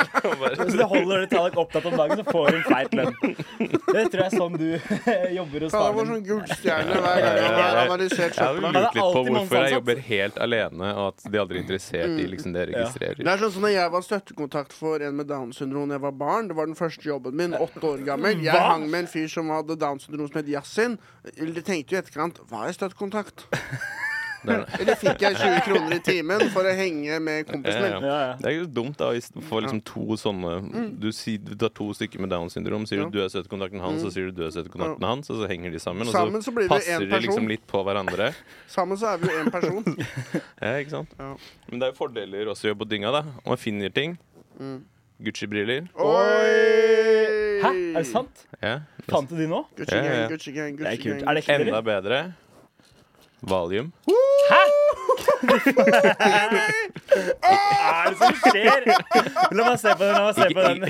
[SPEAKER 3] Så det holder det Tallak opptatt om dagen, så får hun feit lønn. Det tror jeg er sånn du jobber hos
[SPEAKER 2] Ta det var
[SPEAKER 3] faren din.
[SPEAKER 2] sånn gullstjerne hver gang han har analysert
[SPEAKER 1] Jeg har
[SPEAKER 2] søpla.
[SPEAKER 1] lurt
[SPEAKER 3] Det er
[SPEAKER 1] litt på
[SPEAKER 3] alltid mange
[SPEAKER 1] hvorfor jeg
[SPEAKER 3] ansatte.
[SPEAKER 1] jobber helt alene, og at de aldri er interessert i liksom, det jeg
[SPEAKER 2] Det
[SPEAKER 1] registrerer.
[SPEAKER 2] er sånn som når jeg var støttekontakt for en med Downs syndrom da jeg var barn. Det var den første jobben min, åtte år gammel. Jeg
[SPEAKER 3] Hva?
[SPEAKER 2] hang med en fyr som hadde Downs syndrom som het Yasin. Jeg tenkte jo i etterkant Var jeg støttekontakt?
[SPEAKER 1] Det er,
[SPEAKER 2] Eller fikk jeg 20 kroner i timen for å henge med kompisen
[SPEAKER 1] Ja,
[SPEAKER 2] min?
[SPEAKER 3] Ja, ja.
[SPEAKER 1] det er jo dumt, da. Hvis du får liksom to sånne Du, sier, du tar to stykker med Downs syndrom, sier
[SPEAKER 2] Ja.
[SPEAKER 1] du du er støttekontakten hans, og sier du du er støttekontakten hans, og så henger de sammen. Og
[SPEAKER 2] Sammen
[SPEAKER 1] så
[SPEAKER 2] så blir vi
[SPEAKER 1] passer
[SPEAKER 2] en
[SPEAKER 1] de liksom
[SPEAKER 2] person.
[SPEAKER 1] litt på hverandre.
[SPEAKER 2] Sammen så er vi jo én person.
[SPEAKER 1] Ja, ikke sant?
[SPEAKER 2] Ja.
[SPEAKER 1] Men det er jo fordeler også å jobbe på dynga, da. Og man finner ting. Gucci-briller.
[SPEAKER 2] Oi!
[SPEAKER 3] Hæ, er det sant?
[SPEAKER 1] Ja.
[SPEAKER 3] Fant du de nå?
[SPEAKER 2] Gucci
[SPEAKER 1] Ja, ja, ja.
[SPEAKER 2] gang, Gucci gang,
[SPEAKER 3] Det
[SPEAKER 2] Gucci
[SPEAKER 3] er kult.
[SPEAKER 2] gang.
[SPEAKER 3] Er det ekte?
[SPEAKER 1] Enda
[SPEAKER 3] eller?
[SPEAKER 1] bedre valium.
[SPEAKER 3] Hæ? Hva er det som skjer? La meg se på den. La meg se på den.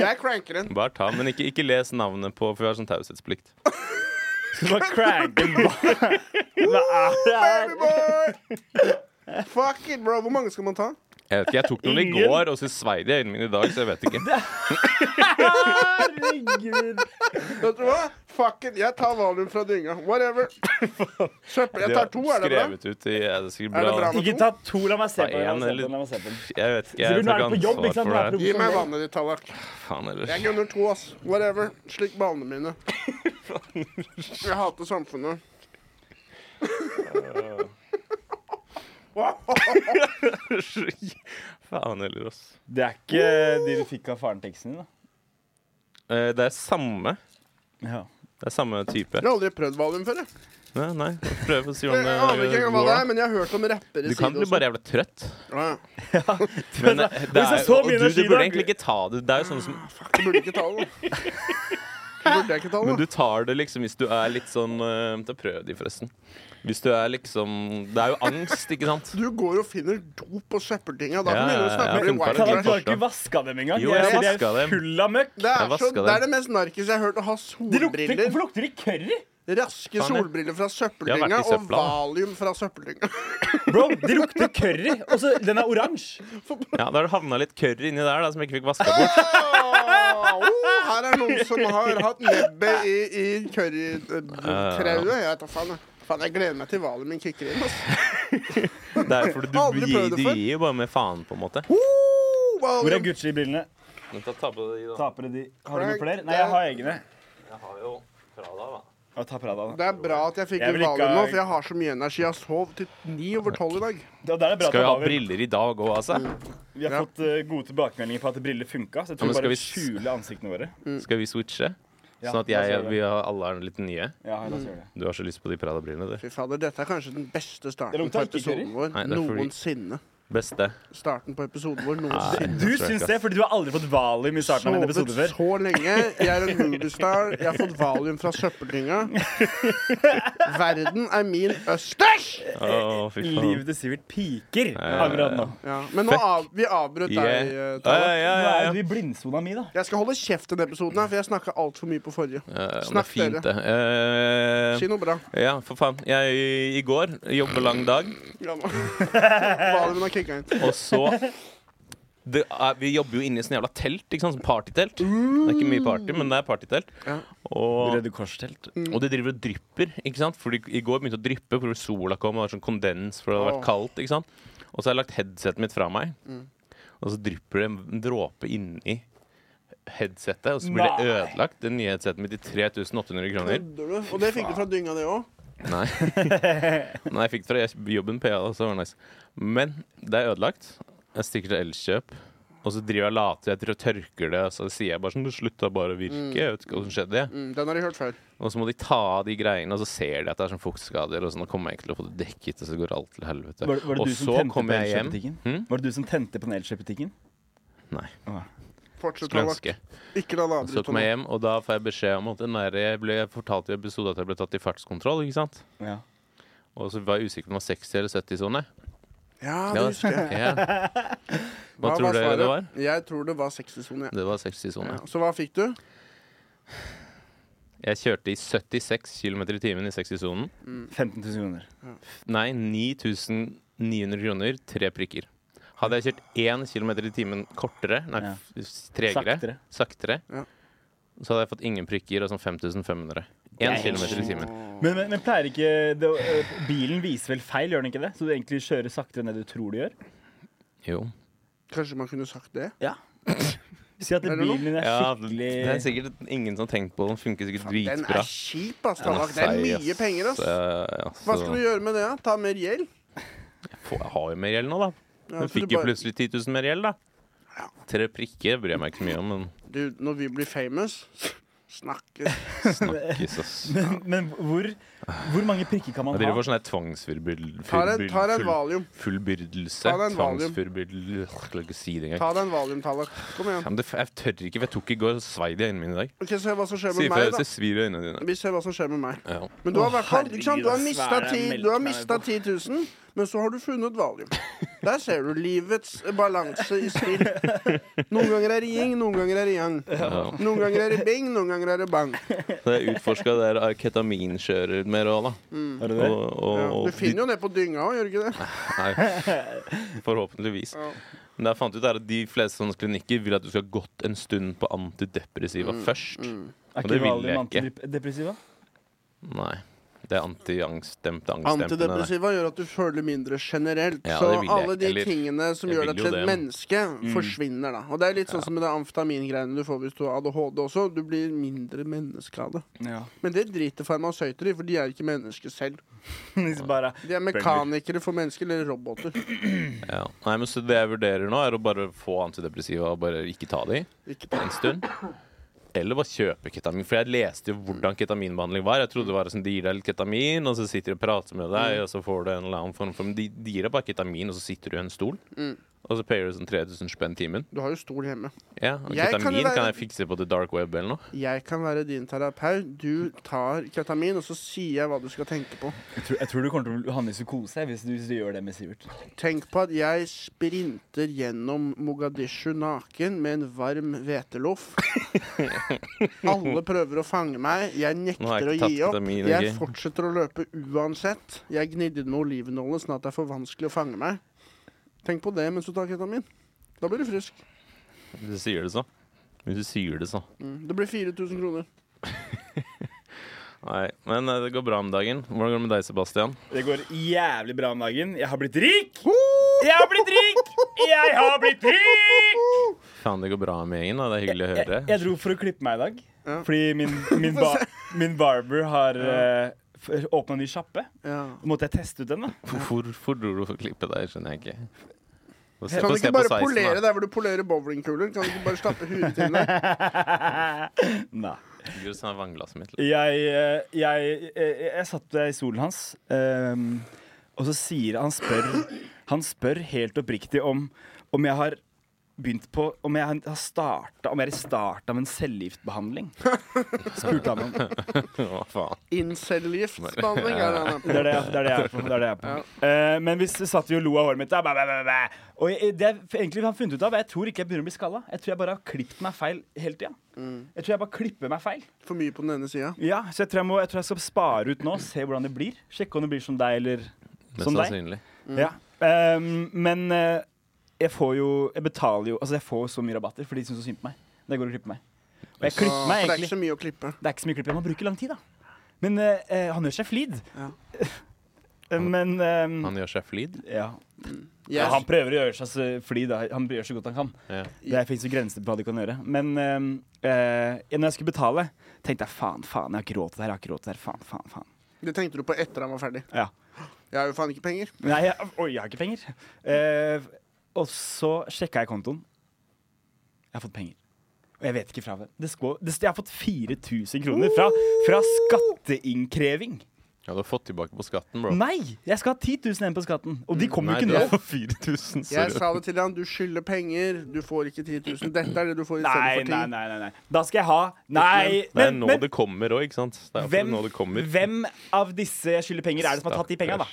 [SPEAKER 2] Jeg cranker den.
[SPEAKER 1] Bare ta, men ikke, ikke les navnet på, for vi har sånn taushetsplikt.
[SPEAKER 3] Du må cranke den. Hva er det her?
[SPEAKER 2] Babyboy! Fuck it, bro. Hvor mange skal man ta?
[SPEAKER 1] Jeg vet ikke, jeg tok noen i
[SPEAKER 3] Ingen.
[SPEAKER 1] går, og så svei de i øynene mine i dag, så jeg vet ikke.
[SPEAKER 3] Herregud.
[SPEAKER 2] Vet du hva? Fuck it. Jeg tar valium fra dynga. Whatever. Søppel. Jeg
[SPEAKER 1] De
[SPEAKER 2] tar
[SPEAKER 1] har
[SPEAKER 2] to, er det bra?
[SPEAKER 1] skrevet ut i ja, det er sikkert
[SPEAKER 2] Er det
[SPEAKER 1] bra.
[SPEAKER 2] bra
[SPEAKER 1] da.
[SPEAKER 2] med-
[SPEAKER 3] Ikke ta to. La meg se
[SPEAKER 1] Ta
[SPEAKER 3] på den.
[SPEAKER 1] en,
[SPEAKER 3] La meg se på
[SPEAKER 1] eller-
[SPEAKER 3] den, la meg se på den.
[SPEAKER 1] Jeg vet ikke,
[SPEAKER 3] Sier
[SPEAKER 1] jeg
[SPEAKER 3] du, nå
[SPEAKER 1] tar
[SPEAKER 3] er du på
[SPEAKER 1] ikke
[SPEAKER 3] jobb, ikke
[SPEAKER 1] ansvar
[SPEAKER 3] sant?
[SPEAKER 1] for det her.
[SPEAKER 3] Nå er
[SPEAKER 2] Gi meg vannet ditt, Tallak.
[SPEAKER 1] Faen
[SPEAKER 2] Jeg
[SPEAKER 1] ellers.
[SPEAKER 2] gunner to, ass. Whatever. Slikk ballene mine. Jeg hater samfunnet.
[SPEAKER 1] Faen heller, ass.
[SPEAKER 3] Det er ikke de du fikk av faren teksten din, da.
[SPEAKER 1] Eh, Det er samme. Det er samme type.
[SPEAKER 2] Jeg har aldri prøvd valium før. Jeg
[SPEAKER 1] Nei, nei. Prøv å si om
[SPEAKER 2] Jeg
[SPEAKER 1] det
[SPEAKER 2] aner ikke engang hva det
[SPEAKER 1] går.
[SPEAKER 2] er, men jeg har hørt om rappere
[SPEAKER 1] Du kan bli bare jævla trøtt.
[SPEAKER 2] Ja, ja.
[SPEAKER 1] Men det, det
[SPEAKER 3] Hvis jeg
[SPEAKER 1] er,
[SPEAKER 3] så
[SPEAKER 1] og
[SPEAKER 3] mye
[SPEAKER 1] du, du
[SPEAKER 3] energi i
[SPEAKER 1] burde
[SPEAKER 3] dag-
[SPEAKER 1] egentlig ikke ta det. Det er jo sånn som
[SPEAKER 2] Fuck, jeg burde ikke ta det. da. Burde jeg ikke ta
[SPEAKER 1] Men
[SPEAKER 2] den,
[SPEAKER 1] du
[SPEAKER 2] da?
[SPEAKER 1] tar det liksom hvis du er litt sånn eh, Da prøv de, forresten. Hvis du er liksom Det er jo angst, ikke sant?
[SPEAKER 2] Du går og finner dop og skjeppertinga. Da
[SPEAKER 1] Ja,
[SPEAKER 2] kan du
[SPEAKER 1] ja,
[SPEAKER 2] begynne å snakke
[SPEAKER 1] ja,
[SPEAKER 2] om
[SPEAKER 1] jeg har funnet på
[SPEAKER 3] Kan
[SPEAKER 1] det.
[SPEAKER 2] white
[SPEAKER 3] jeg- Du
[SPEAKER 1] Kanskje.
[SPEAKER 2] trash.
[SPEAKER 3] har ikke vaska dem engang?
[SPEAKER 1] Jo,
[SPEAKER 3] De er-
[SPEAKER 1] jeg
[SPEAKER 3] de er
[SPEAKER 1] vasket dem.
[SPEAKER 3] Full av møkk.
[SPEAKER 2] Det
[SPEAKER 1] Jeg
[SPEAKER 2] er, så,
[SPEAKER 1] vasket
[SPEAKER 2] det
[SPEAKER 1] den.
[SPEAKER 2] er det mest narkis jeg har hørt. Å ha
[SPEAKER 3] Det lukter,
[SPEAKER 2] solbriller.
[SPEAKER 3] hvorfor lukter det curry?
[SPEAKER 2] Raske
[SPEAKER 1] Faen, jeg-
[SPEAKER 2] solbriller fra
[SPEAKER 1] Jeg har
[SPEAKER 2] søppeldynga
[SPEAKER 1] vært i
[SPEAKER 2] og
[SPEAKER 1] søpla, da.
[SPEAKER 2] valium fra søppeldynga.
[SPEAKER 3] Bro, det lukter curry. Og så den er oransje.
[SPEAKER 1] Ja, Da har det havna litt curry inni der da, som jeg ikke fikk vaska bort.
[SPEAKER 2] Åh, oh, her er noen som har hatt nebbet i, i currykrauet. Jeg vet da faen. jeg. Faen, jeg gleder meg til valiumen kicker inn. ass.
[SPEAKER 1] Det er fordi
[SPEAKER 2] Aldri
[SPEAKER 1] du,
[SPEAKER 2] prøvd
[SPEAKER 1] gir-
[SPEAKER 2] det
[SPEAKER 1] du
[SPEAKER 2] før.
[SPEAKER 1] gir jo bare med faen, på en måte.
[SPEAKER 2] Oh,
[SPEAKER 3] Hvor er
[SPEAKER 2] valium.
[SPEAKER 3] Gucci-brillene?
[SPEAKER 1] Men ta- ta på det i, da.
[SPEAKER 3] Tapere de. Har du noen flere? Nei, jeg har egne.
[SPEAKER 1] Jeg har jo fra deg, da.
[SPEAKER 3] Å, ta Prada, da.
[SPEAKER 2] Det er bra at jeg fikk
[SPEAKER 3] Jeg vil
[SPEAKER 2] litt
[SPEAKER 3] ikke
[SPEAKER 2] valium nå,
[SPEAKER 3] ha-
[SPEAKER 2] for jeg har så mye energi. Jeg sov til ni over tolv i dag.
[SPEAKER 3] Da- der er det bra at
[SPEAKER 1] Skal vi
[SPEAKER 3] du
[SPEAKER 1] ha
[SPEAKER 3] har vel-
[SPEAKER 1] briller i dag òg, altså?
[SPEAKER 3] Vi har
[SPEAKER 2] Ja.
[SPEAKER 3] fått eh, gode tilbakemeldinger på at briller funka. Så jeg tror
[SPEAKER 1] men
[SPEAKER 3] bare
[SPEAKER 1] skal vi
[SPEAKER 3] vi
[SPEAKER 1] s-
[SPEAKER 3] skjule ansiktene våre.
[SPEAKER 1] Skal vi switche?
[SPEAKER 3] Ja,
[SPEAKER 1] Sånn at
[SPEAKER 3] la
[SPEAKER 1] jeg,
[SPEAKER 3] oss gjøre det.
[SPEAKER 1] vi har, alle har litt nye.
[SPEAKER 3] Ja, la oss gjøre det.
[SPEAKER 1] Du har så lyst på de Prada-brillene, du.
[SPEAKER 2] Fy fader, dette er kanskje den beste
[SPEAKER 3] Det
[SPEAKER 2] starten
[SPEAKER 3] lukter
[SPEAKER 2] på
[SPEAKER 3] ikke
[SPEAKER 2] episoden vår
[SPEAKER 1] Nei, det er fordi-
[SPEAKER 2] noensinne.
[SPEAKER 1] Beste.
[SPEAKER 2] Starten på episoden vår noensinne.
[SPEAKER 3] Du syns det, fordi du har aldri fått valium i starten av en
[SPEAKER 2] Sovet
[SPEAKER 3] episode før.
[SPEAKER 2] så lenge. Jeg er en moviestar. Jeg har fått valium fra søppeldynga. Verden er min østers!
[SPEAKER 1] Å, fy faen.
[SPEAKER 3] Livet til Sivert piker akkurat nå.
[SPEAKER 2] Ja, men nå av, vi avbrøt deg,
[SPEAKER 1] Yeah.
[SPEAKER 2] eh,
[SPEAKER 1] Ja,
[SPEAKER 2] Tale.
[SPEAKER 1] ja,
[SPEAKER 3] Nå
[SPEAKER 1] ja,
[SPEAKER 3] er
[SPEAKER 1] ja.
[SPEAKER 3] du i blindsona mi, da.
[SPEAKER 2] Jeg skal holde kjeft i denne episoden, her, for jeg snakka altfor mye på forrige.
[SPEAKER 1] Ja, ja, det er
[SPEAKER 2] Snakk
[SPEAKER 1] fint,
[SPEAKER 2] dere.
[SPEAKER 1] det. Eh,
[SPEAKER 2] Si noe bra.
[SPEAKER 1] ja, for faen. Jeg i går jobber lang dag,
[SPEAKER 2] Ja, nå. Valiumen har kicka inn.
[SPEAKER 1] og så det er, Vi jobber jo inne i sånn jævla telt, ikke sant? Sånn partytelt. Det er ikke mye party, men det er partytelt.
[SPEAKER 2] Ja.
[SPEAKER 1] Og, Mm.
[SPEAKER 3] Røde Kors-telt.
[SPEAKER 1] og det driver og drypper, ikke sant? Fordi i går begynte å dryppe fordi sola kom, og det var sånn kondens fordi det hadde
[SPEAKER 2] Åh.
[SPEAKER 1] vært kaldt, ikke sant? Og så har jeg lagt headsetet mitt fra meg,
[SPEAKER 3] Mm.
[SPEAKER 1] og så drypper det en dråpe inni headsetet, og så blir det
[SPEAKER 3] Nei.
[SPEAKER 1] ødelagt, det nye headsetet mitt, i 3800 kroner.
[SPEAKER 2] Kødder du? Og det fikk du fra dynga, det òg?
[SPEAKER 1] Nei. Nei, jeg fikk det fra jobben på Jala, så det var nice. Men det er ødelagt. Jeg stikker til Elkjøp, og så driver jeg og later. Jeg driver og tørker det, og så sier jeg bare sånn Det slutta bare å
[SPEAKER 3] Mm.
[SPEAKER 1] virke. Jeg vet ikke hva som skjedde. jeg».
[SPEAKER 2] Mm, den har jeg hørt før.
[SPEAKER 1] Og så må de ta av de greiene, og så ser de at det er sånn fuktskader, og sånn, og kommer jeg ikke til å få det dekket, og så går alt til helvete.
[SPEAKER 3] Var, var det
[SPEAKER 1] og
[SPEAKER 3] du som
[SPEAKER 1] så
[SPEAKER 3] tente på
[SPEAKER 1] kommer jeg hjem
[SPEAKER 3] Elkjøp-butikken?
[SPEAKER 1] Hm?
[SPEAKER 3] Var det du som tente på den Elkjøp-butikken?
[SPEAKER 1] Nei,
[SPEAKER 3] Åh.
[SPEAKER 2] Fortsett
[SPEAKER 1] skulle
[SPEAKER 2] å
[SPEAKER 1] ønske.
[SPEAKER 2] Ikke la det
[SPEAKER 1] Så
[SPEAKER 2] avbryte
[SPEAKER 1] kommer jeg
[SPEAKER 2] nå.
[SPEAKER 1] hjem, og da får jeg beskjed om at den der, jeg ble fortalt i episoden at jeg ble tatt i fartskontroll, ikke sant?
[SPEAKER 3] Ja.
[SPEAKER 1] Og så var jeg usikker på om det var 60 eller 70 sone. Ja,
[SPEAKER 2] Ja, det husker jeg.
[SPEAKER 1] ja. Hva
[SPEAKER 2] var
[SPEAKER 1] tror du det var?
[SPEAKER 2] svaret? Jeg tror det var 60-sone. Ja.
[SPEAKER 1] Det var 60 sone.
[SPEAKER 2] Ja. Så hva fikk du?
[SPEAKER 1] Jeg kjørte i 76 km i timen i 60-sonen.
[SPEAKER 3] 15 000 kroner.
[SPEAKER 1] Nei, 9900 kroner, tre prikker. Hadde jeg kjørt 1 km i timen kortere, nei,
[SPEAKER 3] Ja.
[SPEAKER 1] f- s- tregere, saktere,
[SPEAKER 3] Saktere.
[SPEAKER 2] Ja.
[SPEAKER 1] så hadde jeg fått ingen prikker og sånn 5500. 1
[SPEAKER 3] Nei.
[SPEAKER 1] km i timen.
[SPEAKER 3] Men, men, men pleier ikke det, å- eh, Bilen viser vel feil, gjør den ikke det? Så du egentlig kjører saktere enn det du tror du gjør?
[SPEAKER 1] Jo.
[SPEAKER 2] Kanskje man kunne sagt det?
[SPEAKER 3] Si at
[SPEAKER 2] Er det
[SPEAKER 3] bilen din er
[SPEAKER 1] Ja,
[SPEAKER 3] skikkelig
[SPEAKER 1] det er sikkert ingen som har tenkt på den. Funker sikkert
[SPEAKER 2] Den er
[SPEAKER 1] dritbra.
[SPEAKER 2] kjip, ass.
[SPEAKER 1] Den er
[SPEAKER 2] Tallak. Det er
[SPEAKER 1] feig,
[SPEAKER 2] mye
[SPEAKER 1] ass.
[SPEAKER 2] penger, ass.
[SPEAKER 1] Så, eh, ja, så-
[SPEAKER 2] Hva skal du gjøre med det? da? Ta mer gjeld?
[SPEAKER 1] Få- Jeg har jo mer gjeld nå, da.
[SPEAKER 2] Ja,
[SPEAKER 1] Hun
[SPEAKER 2] så du
[SPEAKER 1] fikk jo
[SPEAKER 2] bare-
[SPEAKER 1] plutselig 10 000 mer gjeld, da. Tre prikker bryr jeg meg ikke så mye om, men
[SPEAKER 2] Du, når vi blir famous Snakkes.
[SPEAKER 1] snakkes, ass.
[SPEAKER 3] Men, men hvor, hvor mange prikker kan man
[SPEAKER 1] Jeg driver
[SPEAKER 3] ha?
[SPEAKER 1] for sånn tvangsfullbyrdelse.
[SPEAKER 2] Ta deg ta deg en valium.
[SPEAKER 1] Fullbyrdelse.
[SPEAKER 2] Ta deg en valium.
[SPEAKER 1] Tvangsfullbyrdelse. Jeg klarer ikke å si det engang.
[SPEAKER 2] Ta deg en valium, Tallak. Kom igjen.
[SPEAKER 1] Ja, men det, jeg tør ikke, for jeg tok i går og svei det i øynene mine i dag.
[SPEAKER 2] Ok, Se hva som skjer
[SPEAKER 1] Si
[SPEAKER 2] med
[SPEAKER 1] ifra
[SPEAKER 2] meg,
[SPEAKER 1] hvis
[SPEAKER 2] da.
[SPEAKER 1] det svir i øynene dine.
[SPEAKER 2] Vi ser hva som skjer med meg.
[SPEAKER 1] Ja.
[SPEAKER 2] Men du har,
[SPEAKER 3] Å,
[SPEAKER 2] hvert fall- ikke sant? du har
[SPEAKER 3] herregud,
[SPEAKER 2] mista
[SPEAKER 3] svære
[SPEAKER 2] 10, du har
[SPEAKER 3] melk altså. meg
[SPEAKER 2] mista
[SPEAKER 3] på.
[SPEAKER 2] 10 000, men så har du funnet valium. Der ser du livets balanse i spill. Noen ganger er det yin, noen ganger er det yang.
[SPEAKER 1] Ja.
[SPEAKER 2] Noen ganger er det bing, noen ganger er det bang.
[SPEAKER 1] Så jeg utforska det der ketaminkjører mer òg, da.
[SPEAKER 3] Er
[SPEAKER 1] Og,
[SPEAKER 3] det det?
[SPEAKER 1] og,
[SPEAKER 2] Ja.
[SPEAKER 1] og
[SPEAKER 2] Du finner jo det på dynga òg, gjør du ikke det?
[SPEAKER 1] Nei, forhåpentligvis.
[SPEAKER 2] Ja.
[SPEAKER 1] Men det jeg fant ut er at de fleste sånne klinikker vil at du skal ha gått en stund på antidepressiva
[SPEAKER 2] Mm,
[SPEAKER 1] først.
[SPEAKER 3] Er
[SPEAKER 1] Og det
[SPEAKER 3] ikke
[SPEAKER 1] vil jeg
[SPEAKER 3] valium
[SPEAKER 1] ikke.
[SPEAKER 3] antidepressiva?
[SPEAKER 1] Nei. Det er antiangstdempende angstdempende. det.
[SPEAKER 2] Antidepressiva gjør at du føler mindre generelt.
[SPEAKER 1] Ja,
[SPEAKER 2] så
[SPEAKER 1] det vil jeg
[SPEAKER 2] alle
[SPEAKER 1] ikke,
[SPEAKER 2] de
[SPEAKER 1] eller-
[SPEAKER 2] tingene som
[SPEAKER 1] jeg
[SPEAKER 2] gjør
[SPEAKER 1] vil
[SPEAKER 2] deg
[SPEAKER 1] jo
[SPEAKER 2] til et
[SPEAKER 1] det, Mm. men-
[SPEAKER 2] menneske, forsvinner da. Og det er litt sånn som med det amfetamingreiene du får hvis du har ADHD også. Du blir mindre menneske av det.
[SPEAKER 3] Ja.
[SPEAKER 2] Men det driter farmasøyter i, for de er ikke mennesker selv.
[SPEAKER 3] Hvis bare
[SPEAKER 2] De er mekanikere for mennesker, eller roboter.
[SPEAKER 1] Ja. Nei, men så det jeg vurderer nå, er å bare få antidepressiva og bare ikke ta de
[SPEAKER 2] Ikke
[SPEAKER 1] en stund. Eller bare kjøpe ketamin. For jeg leste jo hvordan ketaminbehandling var. Jeg trodde det var sånn, De gir deg litt ketamin, og så
[SPEAKER 2] Mm. Mm.
[SPEAKER 1] sitter de og prater med deg, og så får du en eller annen form for Men de, de gir deg bare ketamin, og så sitter du i en stol. Og så payer du sånn 3000 spenn timen.
[SPEAKER 2] Du har jo stol hjemme.
[SPEAKER 1] Ja, og
[SPEAKER 2] Jeg kan
[SPEAKER 1] ketamin
[SPEAKER 2] være-
[SPEAKER 1] kan jeg fikse på the dark web eller noe.
[SPEAKER 2] Jeg kan være din terapeut. Du tar ketamin, og så sier jeg hva du skal tenke på.
[SPEAKER 3] Jeg tror, jeg tror du kommer til å havne i psykose hvis du, hvis du gjør det med Sivert.
[SPEAKER 2] Tenk på at jeg sprinter gjennom Mogadishu naken med en varm hveteloff. Alle prøver å fange meg. Jeg
[SPEAKER 1] Nå har
[SPEAKER 2] nekter å
[SPEAKER 1] jeg ikke
[SPEAKER 2] gi
[SPEAKER 1] tatt
[SPEAKER 2] opp.
[SPEAKER 1] ketamin,
[SPEAKER 2] Jeg
[SPEAKER 1] ok?
[SPEAKER 2] fortsetter å løpe uansett. Jeg gnidde med olivennålene sånn at det er for vanskelig å fange meg. Tenk på det mens du tar ketamin. Da blir du frisk.
[SPEAKER 1] Hvis du sier det så. Hvis du sier det sånn. så.
[SPEAKER 2] Mm. Det blir 4000 kroner.
[SPEAKER 1] Nei, men eh, det går bra om dagen. Hvordan går det med deg, Sebastian?
[SPEAKER 3] Det går jævlig bra om dagen. Jeg har blitt rik! Jeg har blitt rik! Jeg har blitt rik!
[SPEAKER 1] Faen, det går bra med gjengen. da. Det er hyggelig å
[SPEAKER 3] Jeg,
[SPEAKER 1] høre.
[SPEAKER 3] jeg dro for å klippe meg i dag.
[SPEAKER 2] Ja.
[SPEAKER 3] Fordi min, min, ba min barber har uh, åpna ny sjappe.
[SPEAKER 2] Ja.
[SPEAKER 3] Så måtte jeg teste ut den. da
[SPEAKER 1] Hvorfor, hvorfor dro du og klippet deg? Skjønner jeg ikke. Få se-
[SPEAKER 2] Kan
[SPEAKER 1] få
[SPEAKER 2] du
[SPEAKER 1] se
[SPEAKER 2] ikke
[SPEAKER 1] på
[SPEAKER 2] bare
[SPEAKER 1] sveisen,
[SPEAKER 2] polere
[SPEAKER 1] da.
[SPEAKER 2] der hvor du polerer bowlingkuler? Kan du ikke bare slappe huet til deg?
[SPEAKER 3] Nei.
[SPEAKER 1] Gud, sånn er vannglasset mitt.
[SPEAKER 3] Jeg, eh, jeg, jeg, jeg satt i stolen hans, ehm, og så sier han spør, han spør helt oppriktig om, om jeg har begynt på Om jeg har starta Om jeg er i starten av en cellegiftbehandling. Spurte han om.
[SPEAKER 1] liksom. Hva faen?
[SPEAKER 2] Incellgiftbehandling er det han er på.
[SPEAKER 3] Det er det, jeg- det, er det jeg er på. Det er det jeg er på. Eh, men hvis det satt vi og lo av håret mitt da, bæ, bæ, bæ, bæ. Og jeg, det jeg egentlig har funnet ut av, jeg tror ikke jeg begynner å bli skalla. Jeg tror jeg bare har klippet meg feil hele tida. Jeg tror jeg bare klipper meg feil.
[SPEAKER 2] For mye på den ene sida.
[SPEAKER 3] Ja, så jeg tror jeg, må, jeg tror jeg skal spare ut nå, se hvordan det blir. Sjekke om det blir som deg, eller
[SPEAKER 1] Mest
[SPEAKER 3] som deg.
[SPEAKER 1] sannsynlig.
[SPEAKER 2] Mm.
[SPEAKER 3] Ja. Ehm, men eh, jeg får jo Jeg betaler jo Altså, jeg får så mye rabatter, for de syns så synd på meg. Det går og klipper meg. Og jeg
[SPEAKER 2] Så,
[SPEAKER 3] klipper
[SPEAKER 2] for
[SPEAKER 3] meg
[SPEAKER 2] det er ikke
[SPEAKER 3] egentlig
[SPEAKER 2] så mye å klippe.
[SPEAKER 3] Det er ikke så mye klipp, jeg må bruke lang tid, da. Men eh, eh, han gjør seg flid.
[SPEAKER 2] Ja.
[SPEAKER 3] Eh, men ehm,
[SPEAKER 1] Han gjør seg flid.
[SPEAKER 3] ja. ja. Han
[SPEAKER 2] Jeg,
[SPEAKER 3] prøver å gjøre seg så flid, da. Han gjør så godt han kan.
[SPEAKER 1] Ja.
[SPEAKER 3] Det fins jo grenser på hva du kan gjøre. Men eh, eh, når jeg skulle betale, tenkte jeg faen, faen, jeg har ikke råd til det her. Jeg har ikke råd til det her. Faen, faen, faen.
[SPEAKER 2] det tenkte du på etter han var ferdig.
[SPEAKER 3] Ja.
[SPEAKER 2] Jeg har jo faen ikke penger.
[SPEAKER 3] Nei, jeg, oi, jeg har ikke penger. Eh, og så sjekka jeg kontoen. Jeg har fått penger. Og jeg vet ikke fra hvem. Det skå- det, jeg har fått 4000 kroner fra, fra skatteinnkreving.
[SPEAKER 1] Ja, du har fått tilbake på skatten, bro.
[SPEAKER 3] Nei! Jeg skal ha 10 000 igjen på skatten. Og de kommer
[SPEAKER 1] Nei,
[SPEAKER 3] jo ikke
[SPEAKER 1] det
[SPEAKER 3] nå.
[SPEAKER 1] er for 4000,
[SPEAKER 2] Jeg
[SPEAKER 1] sorry.
[SPEAKER 2] sa det til han, du skylder penger, du får ikke 10 000. Dette er det du får
[SPEAKER 3] Nei,
[SPEAKER 2] istedenfor
[SPEAKER 3] nei,
[SPEAKER 2] 10.
[SPEAKER 3] nei, nei, nei. Da skal jeg ha Nei!
[SPEAKER 1] Det er nå det kommer òg, ikke sant? Det er hvem,
[SPEAKER 3] hvem,
[SPEAKER 1] nå det kommer.
[SPEAKER 3] hvem av disse jeg skylder penger, er det som har tatt de penga, da?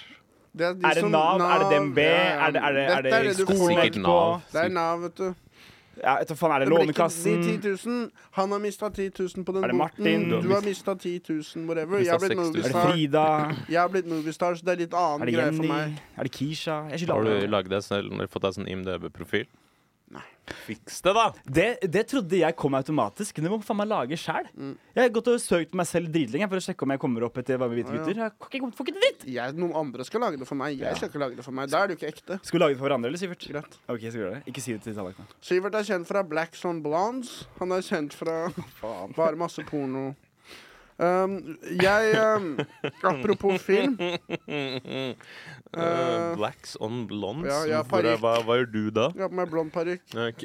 [SPEAKER 2] Det de
[SPEAKER 3] Er det
[SPEAKER 2] som-
[SPEAKER 3] Nav? Er det DMB?
[SPEAKER 2] ja,
[SPEAKER 3] Er det, er det, er det,
[SPEAKER 2] Dette er det du
[SPEAKER 1] skolen?
[SPEAKER 2] får.
[SPEAKER 1] Sikkert
[SPEAKER 3] Skolverket på
[SPEAKER 1] Nav.
[SPEAKER 2] Det er Nav, vet du.
[SPEAKER 3] ja, vet du faen, Er det
[SPEAKER 2] Det blir ikke de 10
[SPEAKER 3] Lånekassen?
[SPEAKER 2] 000. Han har mista 10 000 på den
[SPEAKER 3] Er det
[SPEAKER 2] boten.
[SPEAKER 3] Martin?
[SPEAKER 2] Du har mista 10 000, whatever. Jeg
[SPEAKER 1] Mistet
[SPEAKER 2] har blitt
[SPEAKER 1] 6 000.
[SPEAKER 3] Er det
[SPEAKER 2] moviestar.
[SPEAKER 3] Frida?
[SPEAKER 2] Jeg har blitt moviestar, så det er litt annen
[SPEAKER 3] Er det
[SPEAKER 2] greie for
[SPEAKER 3] Jenny?
[SPEAKER 2] meg.
[SPEAKER 3] Er det Kisha? Jeg skylder
[SPEAKER 1] Har
[SPEAKER 3] alle.
[SPEAKER 1] du laget deg selv, eller fått deg sånn IMDb-profil?
[SPEAKER 2] Nei.
[SPEAKER 1] Fiks det, da!
[SPEAKER 3] Det, det trodde jeg kom automatisk. Det må faen meg lage sjæl. Jeg har gått og søkt på meg selv dritlenge for å sjekke om jeg kommer opp etter Varme hvite
[SPEAKER 2] Ja.
[SPEAKER 3] gutter. Jeg får ikke, får ikke dritt.
[SPEAKER 2] Jeg, noen andre skal lage det for meg. Jeg skal ikke lage det for meg. Da er det jo ikke ekte.
[SPEAKER 3] Skal vi lage det for hverandre, eller, Sivert?
[SPEAKER 2] Greit.
[SPEAKER 3] Ok, jeg skal gjøre det. Ikke si det til Tallak. da.
[SPEAKER 2] Sivert er kjent fra Black Son Blondes. Han er kjent fra bare masse porno. Um, jeg um, Apropos film.
[SPEAKER 1] Eh, blacks on blondes?
[SPEAKER 2] ja, ja,
[SPEAKER 1] Hvor er-
[SPEAKER 2] parykk.
[SPEAKER 1] hva, hva gjør du da?
[SPEAKER 2] Jeg har på meg blond parykk.
[SPEAKER 1] Ok.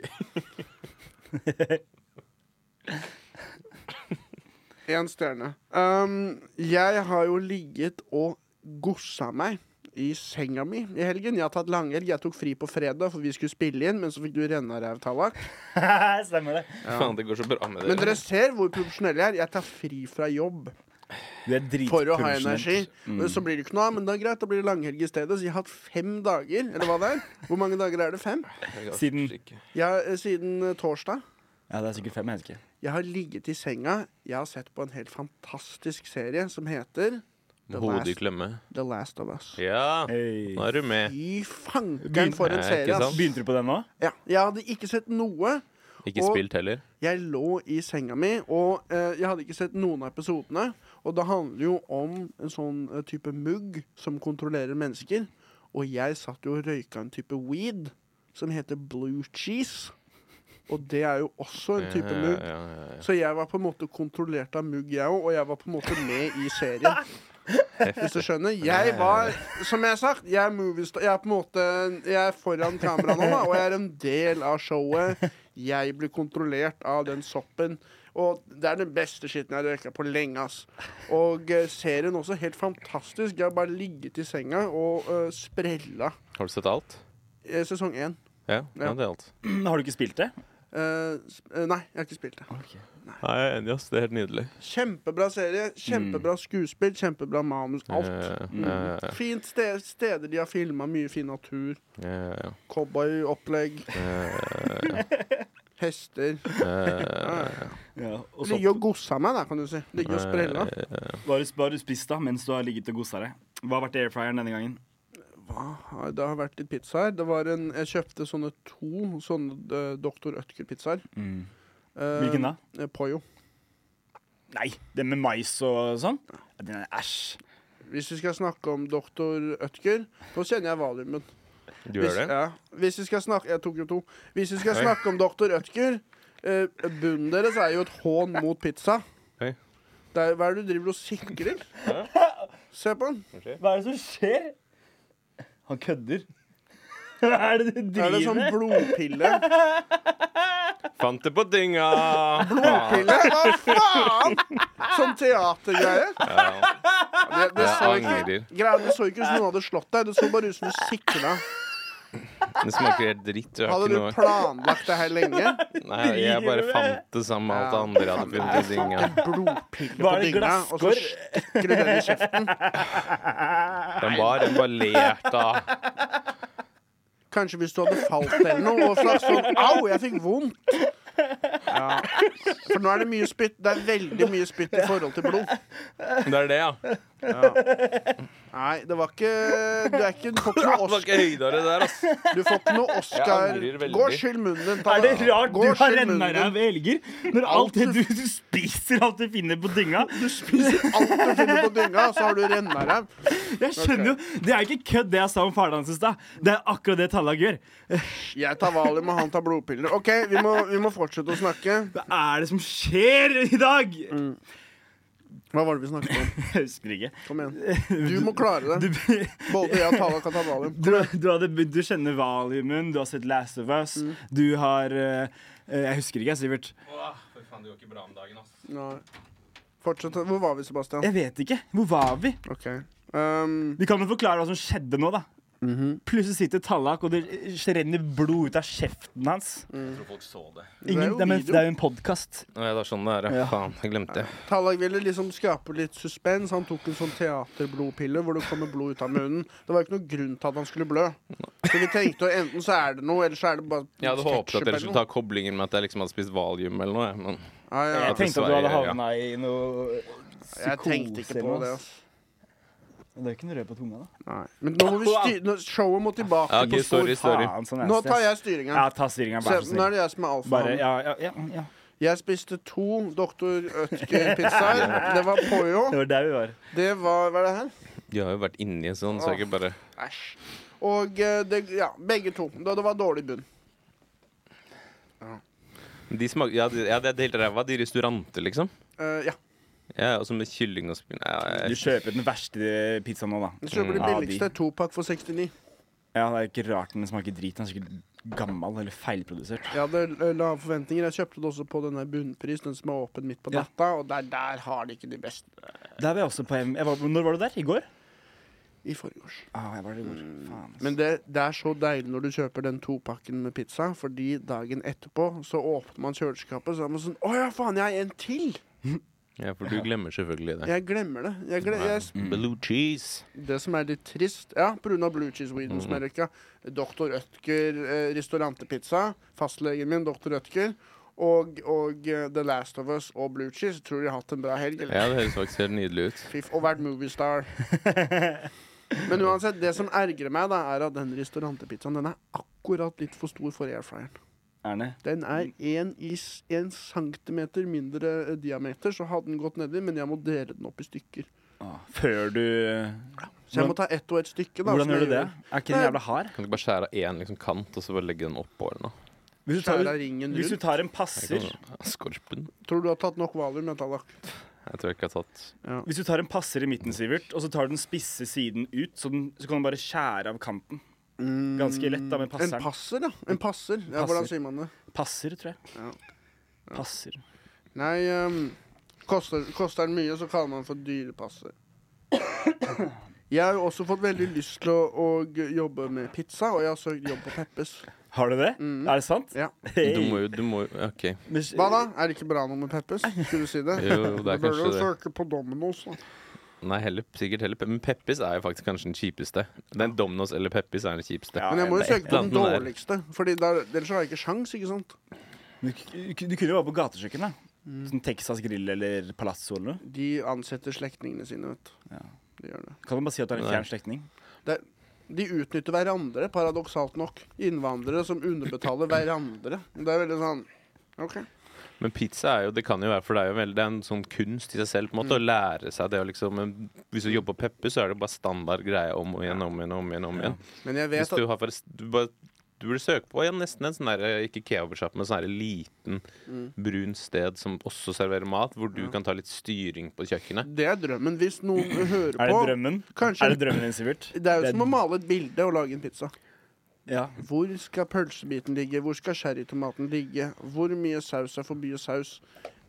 [SPEAKER 2] Én stjerne. Um, jeg har jo ligget og gossa meg i senga mi i helgen. Jeg har tatt langhelg. Jeg tok fri på fredag, for vi skulle spille inn, men så fikk du rennaræv, Tallak.
[SPEAKER 3] Stemmer det.
[SPEAKER 1] Faen, det går så bra med
[SPEAKER 2] Men
[SPEAKER 1] dere.
[SPEAKER 2] dere ser hvor profesjonell jeg er. Jeg tar fri fra jobb
[SPEAKER 3] Du er dritprofesjonell.
[SPEAKER 2] for å ha energi. Men så blir det ikke noe av. Men det er greit, da blir det langhelg i stedet. Så jeg har hatt fem dager, eller hva det er. Hvor mange dager er det? Fem?
[SPEAKER 3] Siden
[SPEAKER 2] Jeg, har, eh, siden eh, torsdag.
[SPEAKER 3] Ja, det er sikkert fem, jeg vet ikke.
[SPEAKER 2] Jeg har ligget i senga. Jeg har sett på en helt fantastisk serie som heter The
[SPEAKER 1] Hodet i
[SPEAKER 2] Last,
[SPEAKER 1] klemme.
[SPEAKER 2] The Last of Us.
[SPEAKER 1] Ja,
[SPEAKER 3] Hey.
[SPEAKER 1] nå er du med.
[SPEAKER 2] Fy fanken
[SPEAKER 3] Begynn-
[SPEAKER 2] for
[SPEAKER 1] Ja,
[SPEAKER 2] en serie,
[SPEAKER 1] ikke
[SPEAKER 2] ass.
[SPEAKER 1] sant?
[SPEAKER 3] Begynte du på den nå?
[SPEAKER 2] Ja, jeg hadde ikke sett noe.
[SPEAKER 1] Ikke
[SPEAKER 2] Og-
[SPEAKER 1] spilt heller.
[SPEAKER 2] Jeg lå i senga mi, og eh, jeg hadde ikke sett noen av episodene. Og det handler jo om en sånn eh, type mugg som kontrollerer mennesker. Og jeg satt jo og røyka en type weed som heter blue cheese. Og det er jo også en type mugg.
[SPEAKER 1] Eh, Ja, ja, ja, ja.
[SPEAKER 2] Så jeg var på en måte kontrollert av mugg, jeg òg, og jeg var på en måte med i serien. Hvis du skjønner. Jeg var, som jeg har sagt, jeg er moviestar. Jeg er på en måte Jeg er foran kamera nå, da, og jeg er en del av showet. Jeg blir kontrollert av den soppen. Og det er den beste skitten jeg har røyka på lenge. ass. Og eh, serien også helt fantastisk. Jeg har bare ligget i senga og eh, sprella
[SPEAKER 1] Har du sett alt?
[SPEAKER 2] eh, sesong én.
[SPEAKER 1] Ja, ja, det er alt.
[SPEAKER 3] Har du ikke spilt det?
[SPEAKER 2] Eh, s- eh, nei, jeg har ikke spilt det.
[SPEAKER 1] Nei, jeg er enig, ass. Det er helt nydelig.
[SPEAKER 2] Kjempebra serie, kjempebra skuespill, kjempebra manus. Alt.
[SPEAKER 1] Mm.
[SPEAKER 2] Mm.
[SPEAKER 1] Ja, ja, ja,
[SPEAKER 2] Fint sted, steder de har filma, mye fin natur.
[SPEAKER 1] ja, ja, Eh,
[SPEAKER 2] Cowboyopplegg. Hester.
[SPEAKER 1] ja, ja.
[SPEAKER 3] Ja, og så
[SPEAKER 2] Ligge og gossa meg, da, kan du si. Ligge og sprella.
[SPEAKER 3] Hva har du, hva har du spist da, mens du har ligget og gosa deg? Hva har vært airfryeren denne gangen?
[SPEAKER 2] Hva? Det har vært litt pizza her. Det var en, jeg kjøpte sånne to sånne eh, Dr. Ødker-pizzaer. Eh,
[SPEAKER 3] Mm. Hvilken da?
[SPEAKER 2] eh, Poyo.
[SPEAKER 3] Nei, den med mais og sånn? Ja, Den er æsj.
[SPEAKER 2] Hvis vi skal snakke om Dr. Ødker, så kjenner jeg valiumen.
[SPEAKER 1] Du gjør
[SPEAKER 2] Hvis,
[SPEAKER 1] det?
[SPEAKER 2] ja. Hvis vi skal snakke Jeg tok jo to. Hvis vi skal
[SPEAKER 1] Oi.
[SPEAKER 2] snakke om Dr. Ødker eh, Bunnen deres er jo et hån mot pizza.
[SPEAKER 1] Oi.
[SPEAKER 2] Det er, hva er det du driver og sikrer? Se på den.
[SPEAKER 3] Hva er det som skjer? Han kødder. Hva er det du
[SPEAKER 2] Er det sånn blodpille?
[SPEAKER 1] Fant det på dynga!
[SPEAKER 2] Blodpille? Hva faen? Sånn teatergreie?
[SPEAKER 1] Ja.
[SPEAKER 2] Det, det, så
[SPEAKER 1] Jeg
[SPEAKER 2] ikke,
[SPEAKER 1] angrer.
[SPEAKER 2] greia, det så ikke ut som noen hadde slått deg. Det så bare ut som du sikra.
[SPEAKER 1] Det smaker helt dritt. Jeg har ikke
[SPEAKER 2] Hadde du
[SPEAKER 1] noe
[SPEAKER 2] planlagt det her lenge?
[SPEAKER 1] Nei, jeg bare fant det sammen med alt det andre jeg hadde funnet i dynga.
[SPEAKER 2] Blodpille på
[SPEAKER 3] Var det
[SPEAKER 2] dynga, og så
[SPEAKER 3] glasskår?
[SPEAKER 2] stikker du den i kjeften.
[SPEAKER 1] Den var den var lert av.
[SPEAKER 2] Kanskje hvis du hadde falt eller noe og slags sånn Au, jeg fikk vondt. Ja. For nå er det mye spytt. Det er veldig mye spytt i forhold til blod.
[SPEAKER 1] Det er det, ja.
[SPEAKER 2] Nei, det var ikke Du er ikke, du får ikke
[SPEAKER 1] Det
[SPEAKER 2] noe
[SPEAKER 1] var
[SPEAKER 2] Oscar.
[SPEAKER 1] ikke høydere der, ass.
[SPEAKER 2] Du får ikke noe Oscar.
[SPEAKER 1] Jeg angrer veldig.
[SPEAKER 2] Gå og skyll munnen din. ta
[SPEAKER 3] Er det
[SPEAKER 2] den.
[SPEAKER 3] rart
[SPEAKER 2] Gå
[SPEAKER 3] du
[SPEAKER 2] og
[SPEAKER 3] har
[SPEAKER 2] skyll
[SPEAKER 3] renna
[SPEAKER 2] munnen
[SPEAKER 3] deg
[SPEAKER 2] din.
[SPEAKER 3] av elger når alt det du, du spiser, alt du finner på dynga?
[SPEAKER 2] Alt du finner på dynga, så har du rennaræv.
[SPEAKER 3] Jeg skjønner jo, Det er ikke kødd, det jeg sa om faren hans i stad. Det er akkurat det Tallag gjør.
[SPEAKER 2] Jeg tar valium, og han tar blodpiller. OK, vi må, vi må fortsette å snakke.
[SPEAKER 3] Hva er det som skjer i dag?
[SPEAKER 2] Hva var det vi snakket om?
[SPEAKER 3] Jeg husker ikke.
[SPEAKER 2] Kom igjen. Du må klare
[SPEAKER 3] Du,
[SPEAKER 2] det. Både jeg og Tala kan ta valium.
[SPEAKER 3] du, du, hadde, du kjenner valiumen, du har sett Last of Us, du har eh, eh, Jeg husker ikke, jeg, Sivert.
[SPEAKER 1] Fy faen, det går ikke bra om dagen, ass.
[SPEAKER 2] Nei. Fortsett. Hvor var vi, Sebastian?
[SPEAKER 3] Jeg vet ikke. Hvor var vi?
[SPEAKER 2] OK. Um,
[SPEAKER 3] Vi kan jo forklare hva som skjedde nå, da. Plutselig sitter Tallak, og det eh, renner blod ut av kjeften hans.
[SPEAKER 1] Jeg tror folk så det.
[SPEAKER 2] er
[SPEAKER 3] Ingen,
[SPEAKER 2] jo
[SPEAKER 3] det, er men,
[SPEAKER 2] video.
[SPEAKER 3] det er jo en podkast.
[SPEAKER 1] Nei, det er sånn det er, ja.
[SPEAKER 3] Ja.
[SPEAKER 1] Faen, jeg glemte det.
[SPEAKER 2] Tallak ville liksom skape litt suspens. Han tok en sånn teaterblodpille hvor det kommer blod ut av munnen. Det var ikke noen grunn til at han skulle blø. Så vi tenkte at enten så er det noe, eller så er det bare
[SPEAKER 1] Jeg hadde håpet at dere
[SPEAKER 2] ketchup
[SPEAKER 1] skulle ta koblingen med at jeg liksom hadde spist valium eller noe. jeg, Men
[SPEAKER 2] Ja, ja.
[SPEAKER 3] Jeg tenkte at du hadde
[SPEAKER 1] dessverre, ja.
[SPEAKER 3] havna i noe
[SPEAKER 2] Jeg tenkte ikke på det. Altså.
[SPEAKER 3] Det er jo ikke noe rød på tunga, da.
[SPEAKER 2] Nei. Men nå må vi styre nå- Showet må tilbake
[SPEAKER 1] Ja, ok,
[SPEAKER 2] på spor.
[SPEAKER 1] sorry, sorry.
[SPEAKER 3] Faen, sånn er
[SPEAKER 2] Nå
[SPEAKER 3] det.
[SPEAKER 2] tar jeg styringa.
[SPEAKER 3] Ja, ta styringa,
[SPEAKER 2] Se,
[SPEAKER 3] vær så
[SPEAKER 2] nå er
[SPEAKER 3] snill.
[SPEAKER 2] det jeg som er
[SPEAKER 3] Bare,
[SPEAKER 2] alfaen.
[SPEAKER 3] ja, ja, ja, ja.
[SPEAKER 2] Jeg spiste to Dr. Ødker-pizzaer. Det var Poyo.
[SPEAKER 3] Det var der vi var.
[SPEAKER 2] Det var Hva er det her?
[SPEAKER 1] De har jo vært inni sånn, så jeg ikke bare
[SPEAKER 2] Æsj. Og eh, det, ja, begge to. Det, det var dårlig bunn.
[SPEAKER 1] De smaker Ja, de, ja det er helt ræva. De restauranter, liksom.
[SPEAKER 2] Eh, ja.
[SPEAKER 1] Ja, og så med kylling og spinn ja,
[SPEAKER 3] Du
[SPEAKER 1] jeg-
[SPEAKER 3] kjøper den verste pizzaen nå, da.
[SPEAKER 2] Jeg kjøper det
[SPEAKER 3] Mm. Ja,
[SPEAKER 2] billigste. Topakk for 69.
[SPEAKER 3] Ja, Det er ikke rart den smaker drit. Den er sikkert gammel eller feilprodusert.
[SPEAKER 2] Jeg hadde eh, lave forventninger. Jeg kjøpte det også på denne bunnpris, den som er åpen midt på
[SPEAKER 3] Ja.
[SPEAKER 2] natta. Og der, der har de ikke de beste
[SPEAKER 3] Der var jeg også på M... Jeg var, når var du der? I går?
[SPEAKER 2] i forgårs.
[SPEAKER 3] Ah, jeg var der i går. Faen. ass.
[SPEAKER 2] Men det, det er så deilig når du kjøper den topakken med pizza, fordi dagen etterpå så åpner man kjøleskapet, så er man sånn Å ja, faen, jeg har en til!
[SPEAKER 1] Ja, for du glemmer selvfølgelig det.
[SPEAKER 2] Jeg glemmer det. Jeg gle- jeg,
[SPEAKER 1] Blue cheese.
[SPEAKER 2] Det som er litt trist Ja, pga. Blue Cheese Sweden som jeg
[SPEAKER 3] Mhm.
[SPEAKER 2] røyka. Dr. Ødker eh, restaurantepizza. Fastlegen min, Dr. Ødker. Og, og eh, The Last of Us og Blue Cheese. Tror de har hatt en bra helg. Eller?
[SPEAKER 1] Ja, det høres faktisk helt nydelig ut.
[SPEAKER 2] Fiff, og vært moviestar. Men uansett, det som ergrer meg, da, er at den restaurantepizzaen den er akkurat litt for stor for airfryeren.
[SPEAKER 3] Erne,
[SPEAKER 2] Den er én is- én centimeter mindre eh, diameter, så hadde den gått nedi, men jeg må dele den opp i stykker.
[SPEAKER 3] ah, før du
[SPEAKER 2] Så jeg må ta ett og ett stykke. da
[SPEAKER 3] Hvordan
[SPEAKER 2] som jeg
[SPEAKER 3] gjør du det?
[SPEAKER 2] gjør.
[SPEAKER 3] Er ikke den jævla hard?
[SPEAKER 1] Kan du ikke bare skjære av én liksom, kant og så bare legge den oppå? eller noe?
[SPEAKER 3] Hvis du
[SPEAKER 2] Skjærer
[SPEAKER 3] tar,
[SPEAKER 2] jeg ringen
[SPEAKER 3] hvis du
[SPEAKER 2] rundt?
[SPEAKER 3] tar en
[SPEAKER 1] Jeg
[SPEAKER 3] passer
[SPEAKER 1] kan- Ja, Skorpen?
[SPEAKER 2] Tror du har tatt nok valium? Jeg, Tallak?
[SPEAKER 1] Jeg tror jeg ikke har tatt
[SPEAKER 3] Hvis du tar en passer i midten, Sivert, og så tar du den spisse siden ut, så, den, så kan du bare skjære av kanten. Ganske lett da med
[SPEAKER 2] En
[SPEAKER 3] passeren.
[SPEAKER 2] passer, ja. En passer. Ja,
[SPEAKER 3] Passer.
[SPEAKER 2] Hvordan sier man det?
[SPEAKER 3] passer, tror jeg.
[SPEAKER 2] Ja.
[SPEAKER 3] Passer.
[SPEAKER 2] Nei, ehm, koster, koster den mye, så kaller man den for dyrepasser. Jeg har jo også fått veldig lyst til å, å jobbe med pizza, og jeg har søkt jobb på Peppes.
[SPEAKER 3] Har du det? Er det sant?
[SPEAKER 2] Ja.
[SPEAKER 3] Hey.
[SPEAKER 1] Du må jo du må, jo- OK.
[SPEAKER 3] Men-
[SPEAKER 2] Hva da? Er det ikke bra noe med Peppers? Skulle du si det?
[SPEAKER 1] Jo, jo, det er
[SPEAKER 2] Bør
[SPEAKER 1] kanskje
[SPEAKER 2] du
[SPEAKER 1] det.
[SPEAKER 2] søke på Domino's? da?
[SPEAKER 1] Nei, heller, sikkert heller Pe- Men Peppis er jo faktisk kanskje den kjipeste. Den Domino's eller Peppis er den kjipeste.
[SPEAKER 3] Ja.
[SPEAKER 2] Men jeg må jo
[SPEAKER 3] det er
[SPEAKER 2] søke på den
[SPEAKER 1] et eller annet med
[SPEAKER 2] dårligste, Fordi der, ellers har jeg ikke sjans, ikke sant?
[SPEAKER 3] Du, du kunne jo være på gatekjøkken, da. Sånn Texas Grill eller Palazzo eller noe.
[SPEAKER 2] De ansetter slektningene sine, vet du.
[SPEAKER 3] Ja.
[SPEAKER 2] De gjør det.
[SPEAKER 3] Kan man bare si at du er en
[SPEAKER 1] Nei.
[SPEAKER 3] fjern slektning?
[SPEAKER 2] De utnytter hverandre, paradoksalt nok. Innvandrere som underbetaler hverandre. Det er veldig sånn OK.
[SPEAKER 1] Men pizza er jo Det kan jo være for deg veldig Det er en sånn kunst i seg selv på en måte
[SPEAKER 2] Mm.
[SPEAKER 1] å lære seg det å liksom men Hvis du jobber på Peppis, så er det bare standard greie om og igjen, om igjen, om igjen. om igjen
[SPEAKER 2] Men jeg
[SPEAKER 1] Hvis
[SPEAKER 2] vet
[SPEAKER 1] du
[SPEAKER 2] at
[SPEAKER 1] har forrest- du bare du burde søke på igjen nesten en sånn der, ikke kebabsjapp, men sånn der liten,
[SPEAKER 2] Mm.
[SPEAKER 1] brun sted som også serverer mat, hvor du kan ta litt styring på kjøkkenet.
[SPEAKER 2] det er drømmen. Hvis noen hører
[SPEAKER 3] Er det
[SPEAKER 2] på
[SPEAKER 3] drømmen?
[SPEAKER 2] Kanskje.
[SPEAKER 3] Er det drømmen din, Sivert?
[SPEAKER 2] Det er jo som å male et bilde og lage en pizza.
[SPEAKER 3] Ja.
[SPEAKER 2] Hvor skal pølsebiten ligge? Hvor skal sherrytomaten ligge? Hvor mye saus er for mye saus?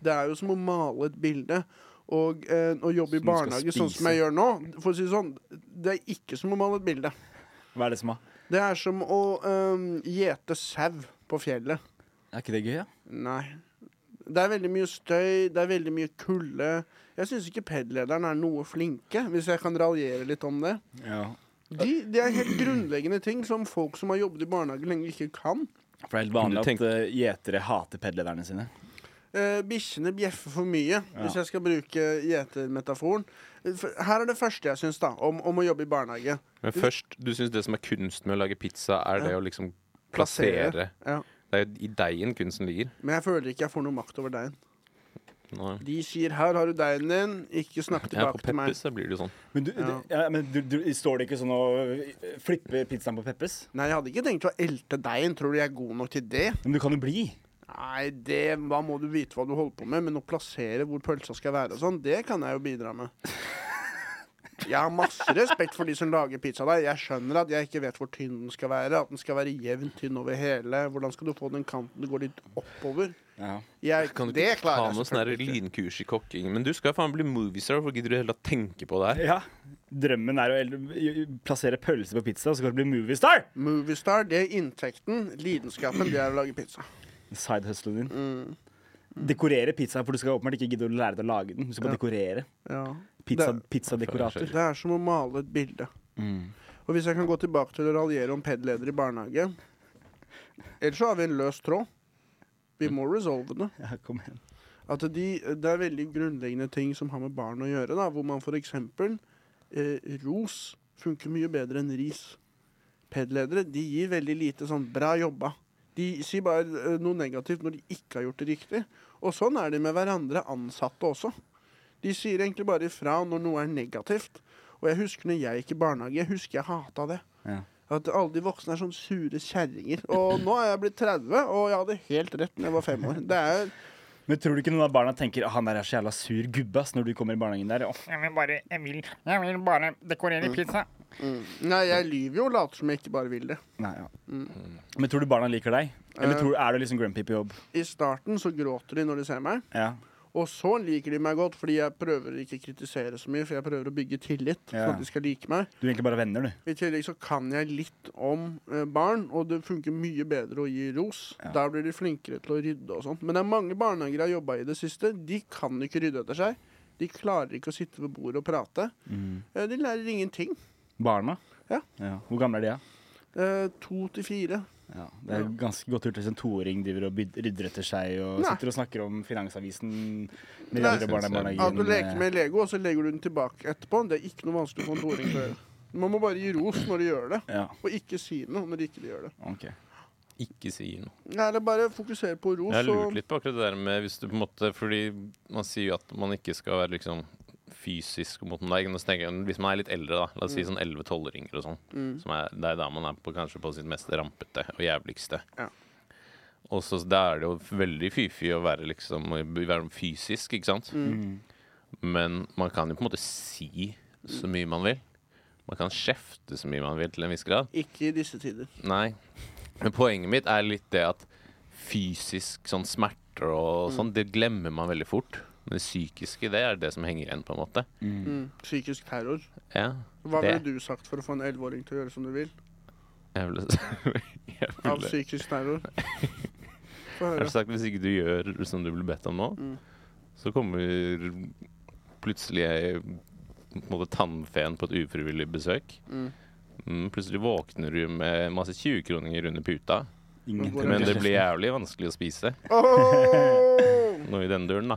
[SPEAKER 2] Det er jo som å male et bilde. Og eh, å jobbe i
[SPEAKER 3] Som du skal
[SPEAKER 2] barnehage sånn
[SPEAKER 3] spise.
[SPEAKER 2] som jeg gjør nå, for å si det sånn, det er ikke som å male et bilde.
[SPEAKER 3] Hva er det som er?
[SPEAKER 2] Det er som å eh, gjete sau på fjellet.
[SPEAKER 3] Er ikke det gøy, ja?
[SPEAKER 2] Nei. Det er veldig mye støy, det er veldig mye kulde. Jeg syns ikke PED-lederen er noe flinke, hvis jeg kan raljere litt om det.
[SPEAKER 3] ja.
[SPEAKER 2] De, det er helt grunnleggende ting som folk som har jobbet i barnehage lenge, ikke kan.
[SPEAKER 3] For det er helt
[SPEAKER 1] Men
[SPEAKER 3] vanlig
[SPEAKER 1] du tenk-
[SPEAKER 3] at eh, gjetere hater pedlederne sine.
[SPEAKER 2] Uh, Bikkjene bjeffer for mye, hvis jeg skal bruke gjetermetaforen. Eh, for- Her er det første jeg syns da, om, om å jobbe i barnehage.
[SPEAKER 1] Men først, du syns det som er kunst med å lage pizza, er det å liksom plassere
[SPEAKER 2] Ja.
[SPEAKER 1] Det er jo i deigen kunsten ligger.
[SPEAKER 2] Men jeg føler ikke jeg får noe makt over deigen.
[SPEAKER 1] Nå,
[SPEAKER 2] De sier 'her har du deigen din', ikke snakk
[SPEAKER 1] ja, på
[SPEAKER 2] tilbake til meg.
[SPEAKER 1] Peppis så blir det jo sånn.
[SPEAKER 3] Men, du, ja. men du, du, står det ikke sånn og eh, flipper pizzaen på Peppes?
[SPEAKER 2] Nei, jeg hadde ikke tenkt å elte deigen. Tror du jeg er god nok til det?
[SPEAKER 3] Men du kan jo bli.
[SPEAKER 2] Nei, det, da må du vite hva du holder på med, men å plassere hvor pølsa skal være og sånn, det kan jeg jo bidra med. Jeg har masse respekt for de som lager pizza der. Jeg skjønner at jeg ikke vet hvor tynn den skal være. At den skal være jevnt tynn over hele. Hvordan skal du få den kanten det går litt oppover?
[SPEAKER 3] Ja.
[SPEAKER 2] Jeg,
[SPEAKER 1] Kan du
[SPEAKER 2] det
[SPEAKER 1] ikke ta
[SPEAKER 2] klarer
[SPEAKER 1] noe
[SPEAKER 2] jeg
[SPEAKER 1] sånn der
[SPEAKER 2] selvfølgelig ikke.
[SPEAKER 1] lynkurs i kokking? Men du skal faen bli moviestar, hvorfor gidder du heller å tenke på det her?
[SPEAKER 3] Drømmen er å el- plassere pølse på pizza, og så kan du bli moviestar!
[SPEAKER 2] Moviestar, det er inntekten. Lidenskapen, det er å lage pizza.
[SPEAKER 3] Sidehustlen din. Dekorere pizza, for du skal åpenbart ikke gidde å lære deg å lage den. Du skal bare dekorere.
[SPEAKER 2] Ja.
[SPEAKER 3] Pizza,
[SPEAKER 2] Det-
[SPEAKER 3] pizzadekorater.
[SPEAKER 2] Det er som å male et bilde.
[SPEAKER 3] Mm.
[SPEAKER 2] Og hvis jeg kan gå tilbake til å raljere om PED-leder i barnehage Ellers så har vi en løs tråd. Vi må resolve det.
[SPEAKER 3] Ja, kom igjen.
[SPEAKER 2] At de, det er veldig grunnleggende ting som har med barn å gjøre, da, hvor man f.eks. Eh, ros funker mye bedre enn ris. PED-ledere de gir veldig lite sånn 'bra jobba'. De sier bare eh, noe negativt når de ikke har gjort det riktig. Og sånn er det med hverandre ansatte også. De sier egentlig bare ifra når noe er negativt. Og jeg husker når jeg gikk i barnehage, jeg husker jeg hata det.
[SPEAKER 3] Ja.
[SPEAKER 2] At alle de voksne er sånn sure kjerringer. Og nå er jeg blitt 30, og jeg hadde helt rett da jeg var fem år. Det er
[SPEAKER 3] Men tror du ikke noen av barna tenker «Ah, han der er så jævla sur gubbe ass, når du kommer i barnehagen der? Åh,
[SPEAKER 4] Jeg vil bare, jeg vil, jeg vil bare dekorere pizza.
[SPEAKER 2] Nei, jeg lyver jo og later som jeg ikke bare vil det.
[SPEAKER 3] nei, ja. Men tror du barna liker deg? Eller tror, er du liksom grumpy på jobb?
[SPEAKER 2] I starten så gråter de når de ser meg,
[SPEAKER 3] Ja.
[SPEAKER 2] og så liker de meg godt fordi jeg prøver ikke å kritisere så mye, for jeg prøver å bygge tillit,
[SPEAKER 3] Ja.
[SPEAKER 2] sånn at de skal like meg.
[SPEAKER 3] Du er egentlig bare venner, du.
[SPEAKER 2] I tillegg så kan jeg litt om eh, barn, og det funker mye bedre å gi ros.
[SPEAKER 3] Ja.
[SPEAKER 2] Der blir de flinkere til å rydde og sånn. Men det er mange barnehager jeg har jobba i det siste, de kan ikke rydde etter seg. De klarer ikke å sitte ved bordet og prate.
[SPEAKER 3] Mm.
[SPEAKER 2] Eh, De lærer ingenting.
[SPEAKER 3] Barna?
[SPEAKER 2] Ja.
[SPEAKER 3] Hvor gamle er de, da?
[SPEAKER 2] Eh, To til fire.
[SPEAKER 3] Ja. Det er ganske godt gjort hvis en toåring driver og byd- rydder etter seg og
[SPEAKER 2] Nei.
[SPEAKER 3] sitter og snakker om Finansavisen med de
[SPEAKER 2] Nei.
[SPEAKER 3] andre barna i barnehagen.
[SPEAKER 2] At du leker
[SPEAKER 1] eh,
[SPEAKER 2] med Lego, og så legger du den tilbake etterpå. Det er ikke noe vanskelig for en toåring til å gjøre. Man må bare gi ros når de gjør det,
[SPEAKER 3] Ja,
[SPEAKER 2] og ikke si noe når de ikke gjør det.
[SPEAKER 3] ok.
[SPEAKER 1] Ikke si noe.
[SPEAKER 2] Nei, Eller bare fokusere på ros.
[SPEAKER 1] Jeg har lurt
[SPEAKER 2] og-
[SPEAKER 1] litt på akkurat det der med hvis du på en måte Fordi man sier jo at man ikke skal være liksom fysisk mot noen. Deg, hvis man er litt eldre, da. La oss si
[SPEAKER 2] Mm.
[SPEAKER 1] sånn 11-12-åringer og sånn. Som er, det er da man er på, kanskje på sitt mest rampete og jævligste.
[SPEAKER 2] Ja.
[SPEAKER 1] Og så da er det jo veldig fy-fy å være liksom være fysisk, ikke sant?
[SPEAKER 2] Mm.
[SPEAKER 3] Mm.
[SPEAKER 1] Men man kan jo på en måte si så mye man vil. Man kan kjefte så mye man vil til en viss grad.
[SPEAKER 2] Ikke i disse tider.
[SPEAKER 1] Nei. Men poenget mitt er litt det at fysisk sånn smerter og sånn, det glemmer man veldig fort. Men det psykiske, det er det som henger igjen, på en måte.
[SPEAKER 2] Mm. Psykisk terror.
[SPEAKER 1] Ja.
[SPEAKER 2] Hva
[SPEAKER 1] Det.
[SPEAKER 2] ville du sagt for å få en elleveåring til å gjøre som du vil?
[SPEAKER 1] Jeg ville, jeg
[SPEAKER 2] av
[SPEAKER 1] ville,
[SPEAKER 2] psykisk terror. Få
[SPEAKER 1] jeg
[SPEAKER 2] høre.
[SPEAKER 1] ville sagt hvis ikke du gjør som du blir bedt om nå,
[SPEAKER 2] Mm.
[SPEAKER 1] så kommer plutselig ei- på en måte tannfeen på et ufrivillig besøk.
[SPEAKER 2] Mm.
[SPEAKER 1] Mm, plutselig våkner du med masse 20-kroninger under puta,
[SPEAKER 2] Hvor er
[SPEAKER 1] men det
[SPEAKER 2] kjeften?
[SPEAKER 1] blir jævlig vanskelig å spise
[SPEAKER 2] Åh!
[SPEAKER 1] noe i den duren, da.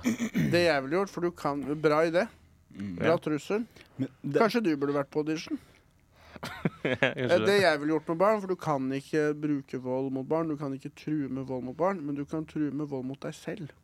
[SPEAKER 2] Det jeg ville gjort, for du kan Bra idé. Bra
[SPEAKER 1] Mm. Ja.
[SPEAKER 2] trussel.
[SPEAKER 3] Men det,
[SPEAKER 2] Kanskje du burde vært på audition. Eh,
[SPEAKER 1] Kanskje
[SPEAKER 2] Det jeg ville gjort med barn, for du kan ikke bruke vold mot barn. Du kan ikke true med vold mot barn, men du kan true med vold mot deg selv.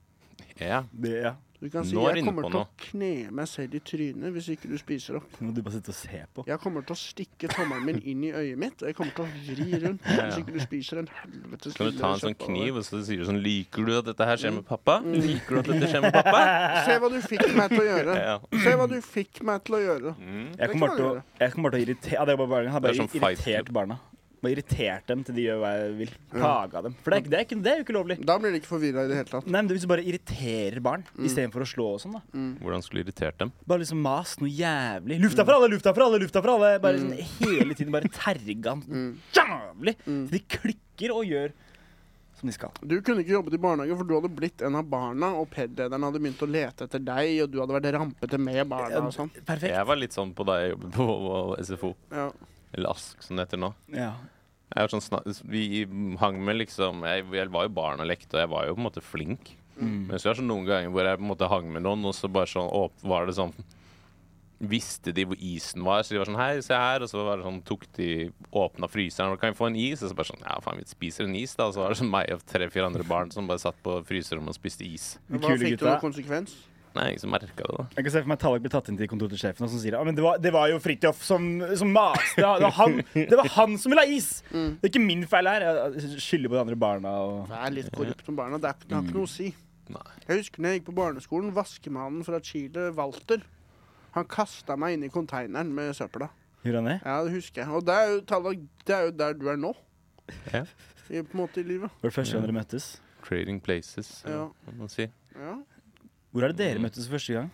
[SPEAKER 1] Ja.
[SPEAKER 3] det, ja.
[SPEAKER 2] Du kan si
[SPEAKER 1] Nå er du
[SPEAKER 2] jeg
[SPEAKER 1] inne
[SPEAKER 2] kommer
[SPEAKER 1] på
[SPEAKER 2] til å
[SPEAKER 1] noe.
[SPEAKER 2] kne meg selv i trynet hvis ikke du spiser opp.
[SPEAKER 3] Det må du bare sitte og se på.
[SPEAKER 2] Jeg kommer til å stikke tommelen min inn i øyet mitt, og jeg kommer til å vri rundt
[SPEAKER 1] Ja, ja.
[SPEAKER 2] hvis ikke du spiser en helvetes
[SPEAKER 1] Kan du
[SPEAKER 2] lille
[SPEAKER 1] ta en sånn
[SPEAKER 2] kjøttbolle.
[SPEAKER 1] kniv og så sier du sånn Liker du at dette her
[SPEAKER 2] Mm.
[SPEAKER 1] skjer med pappa? Liker du at dette skjer med pappa?
[SPEAKER 2] Se hva du fikk meg til å gjøre.
[SPEAKER 1] Ja.
[SPEAKER 2] Se hva du fikk meg til å gjøre.
[SPEAKER 3] Jeg
[SPEAKER 2] Det
[SPEAKER 3] kommer
[SPEAKER 2] kan
[SPEAKER 3] bare til å,
[SPEAKER 2] man
[SPEAKER 3] jeg kommer bare til å irritere ja, det var bare, Jeg har
[SPEAKER 1] Det er
[SPEAKER 3] bare
[SPEAKER 1] som Fight
[SPEAKER 3] irritert
[SPEAKER 1] Club.
[SPEAKER 3] barna. Bare irritert dem til de gjør hva jeg vil. Plaga dem. For det er, ikke- det, er ikke, det er jo ikke lovlig.
[SPEAKER 2] Da blir de ikke forvirra i det hele tatt.
[SPEAKER 3] Nei, men det er Hvis du bare irriterer barn
[SPEAKER 2] Mm.
[SPEAKER 3] istedenfor å slå og sånn, da.
[SPEAKER 1] Hvordan skulle du irritert dem?
[SPEAKER 3] Bare liksom mas noe jævlig. Lufta for alle, lufta for alle, lufta for alle! Bare sånn hele tiden bare terga han jævlig til de klikker og gjør som de skal.
[SPEAKER 2] Du kunne ikke jobbet i barnehage, for du hadde blitt en av barna, og PED-lederen hadde begynt å lete etter deg, og du hadde vært rampete med barna og sånn.
[SPEAKER 3] Perfekt.
[SPEAKER 1] Jeg var litt sånn på da jeg jobbet på på SFO.
[SPEAKER 2] Ja.
[SPEAKER 1] Eller ASK, som det heter nå.
[SPEAKER 3] Ja.
[SPEAKER 1] Jeg var sånn snak, vi hang med liksom jeg, jeg var jo barn og lekte, og jeg var jo på en måte flink.
[SPEAKER 2] Mm.
[SPEAKER 1] Men så er det sånn noen ganger hvor jeg på en måte hang med noen, og så bare sånn åp, var det sånn Visste de hvor isen var, så de var sånn Hei, se her. Og så var det sånn, tok de åpna fryseren og Kan vi få en is? Og så bare sånn Ja, faen, vi spiser en is, da. Og så var det sånn meg og tre-fire andre barn som bare satt på fryserommet og spiste is.
[SPEAKER 3] De
[SPEAKER 2] Hva
[SPEAKER 3] kule
[SPEAKER 2] fikk du
[SPEAKER 3] gutta.
[SPEAKER 2] noen konsekvens?
[SPEAKER 1] Nei, ingen som merka det, da.
[SPEAKER 3] Jeg kan se for meg Tallak blir tatt inn til kontoret til sjefen og som sier ah, men det, var, det var jo Fridtjof som, som maste. Det var, han, det var han som ville ha is! Det er ikke min feil her. Jeg skylder på de andre barna. Og...
[SPEAKER 2] Det er litt korrupt som barna. Det, er, ikke- det har ikke noe å si.
[SPEAKER 1] Mm. Nei.
[SPEAKER 2] Jeg husker når jeg gikk på barneskolen, vaskemannen fra Chile, Walter, han kasta meg inn i konteineren med søpla.
[SPEAKER 3] Gjorde han det?
[SPEAKER 2] Ja, det husker jeg. Og det er jo, Tallak, det er jo der du er nå.
[SPEAKER 1] Ja.
[SPEAKER 2] I, på en måte i livet.
[SPEAKER 3] Var det første gang dere møttes?
[SPEAKER 1] Trading places,
[SPEAKER 2] Ja.
[SPEAKER 1] kan man si.
[SPEAKER 2] Ja.
[SPEAKER 3] Hvor er det dere møttes for første gang?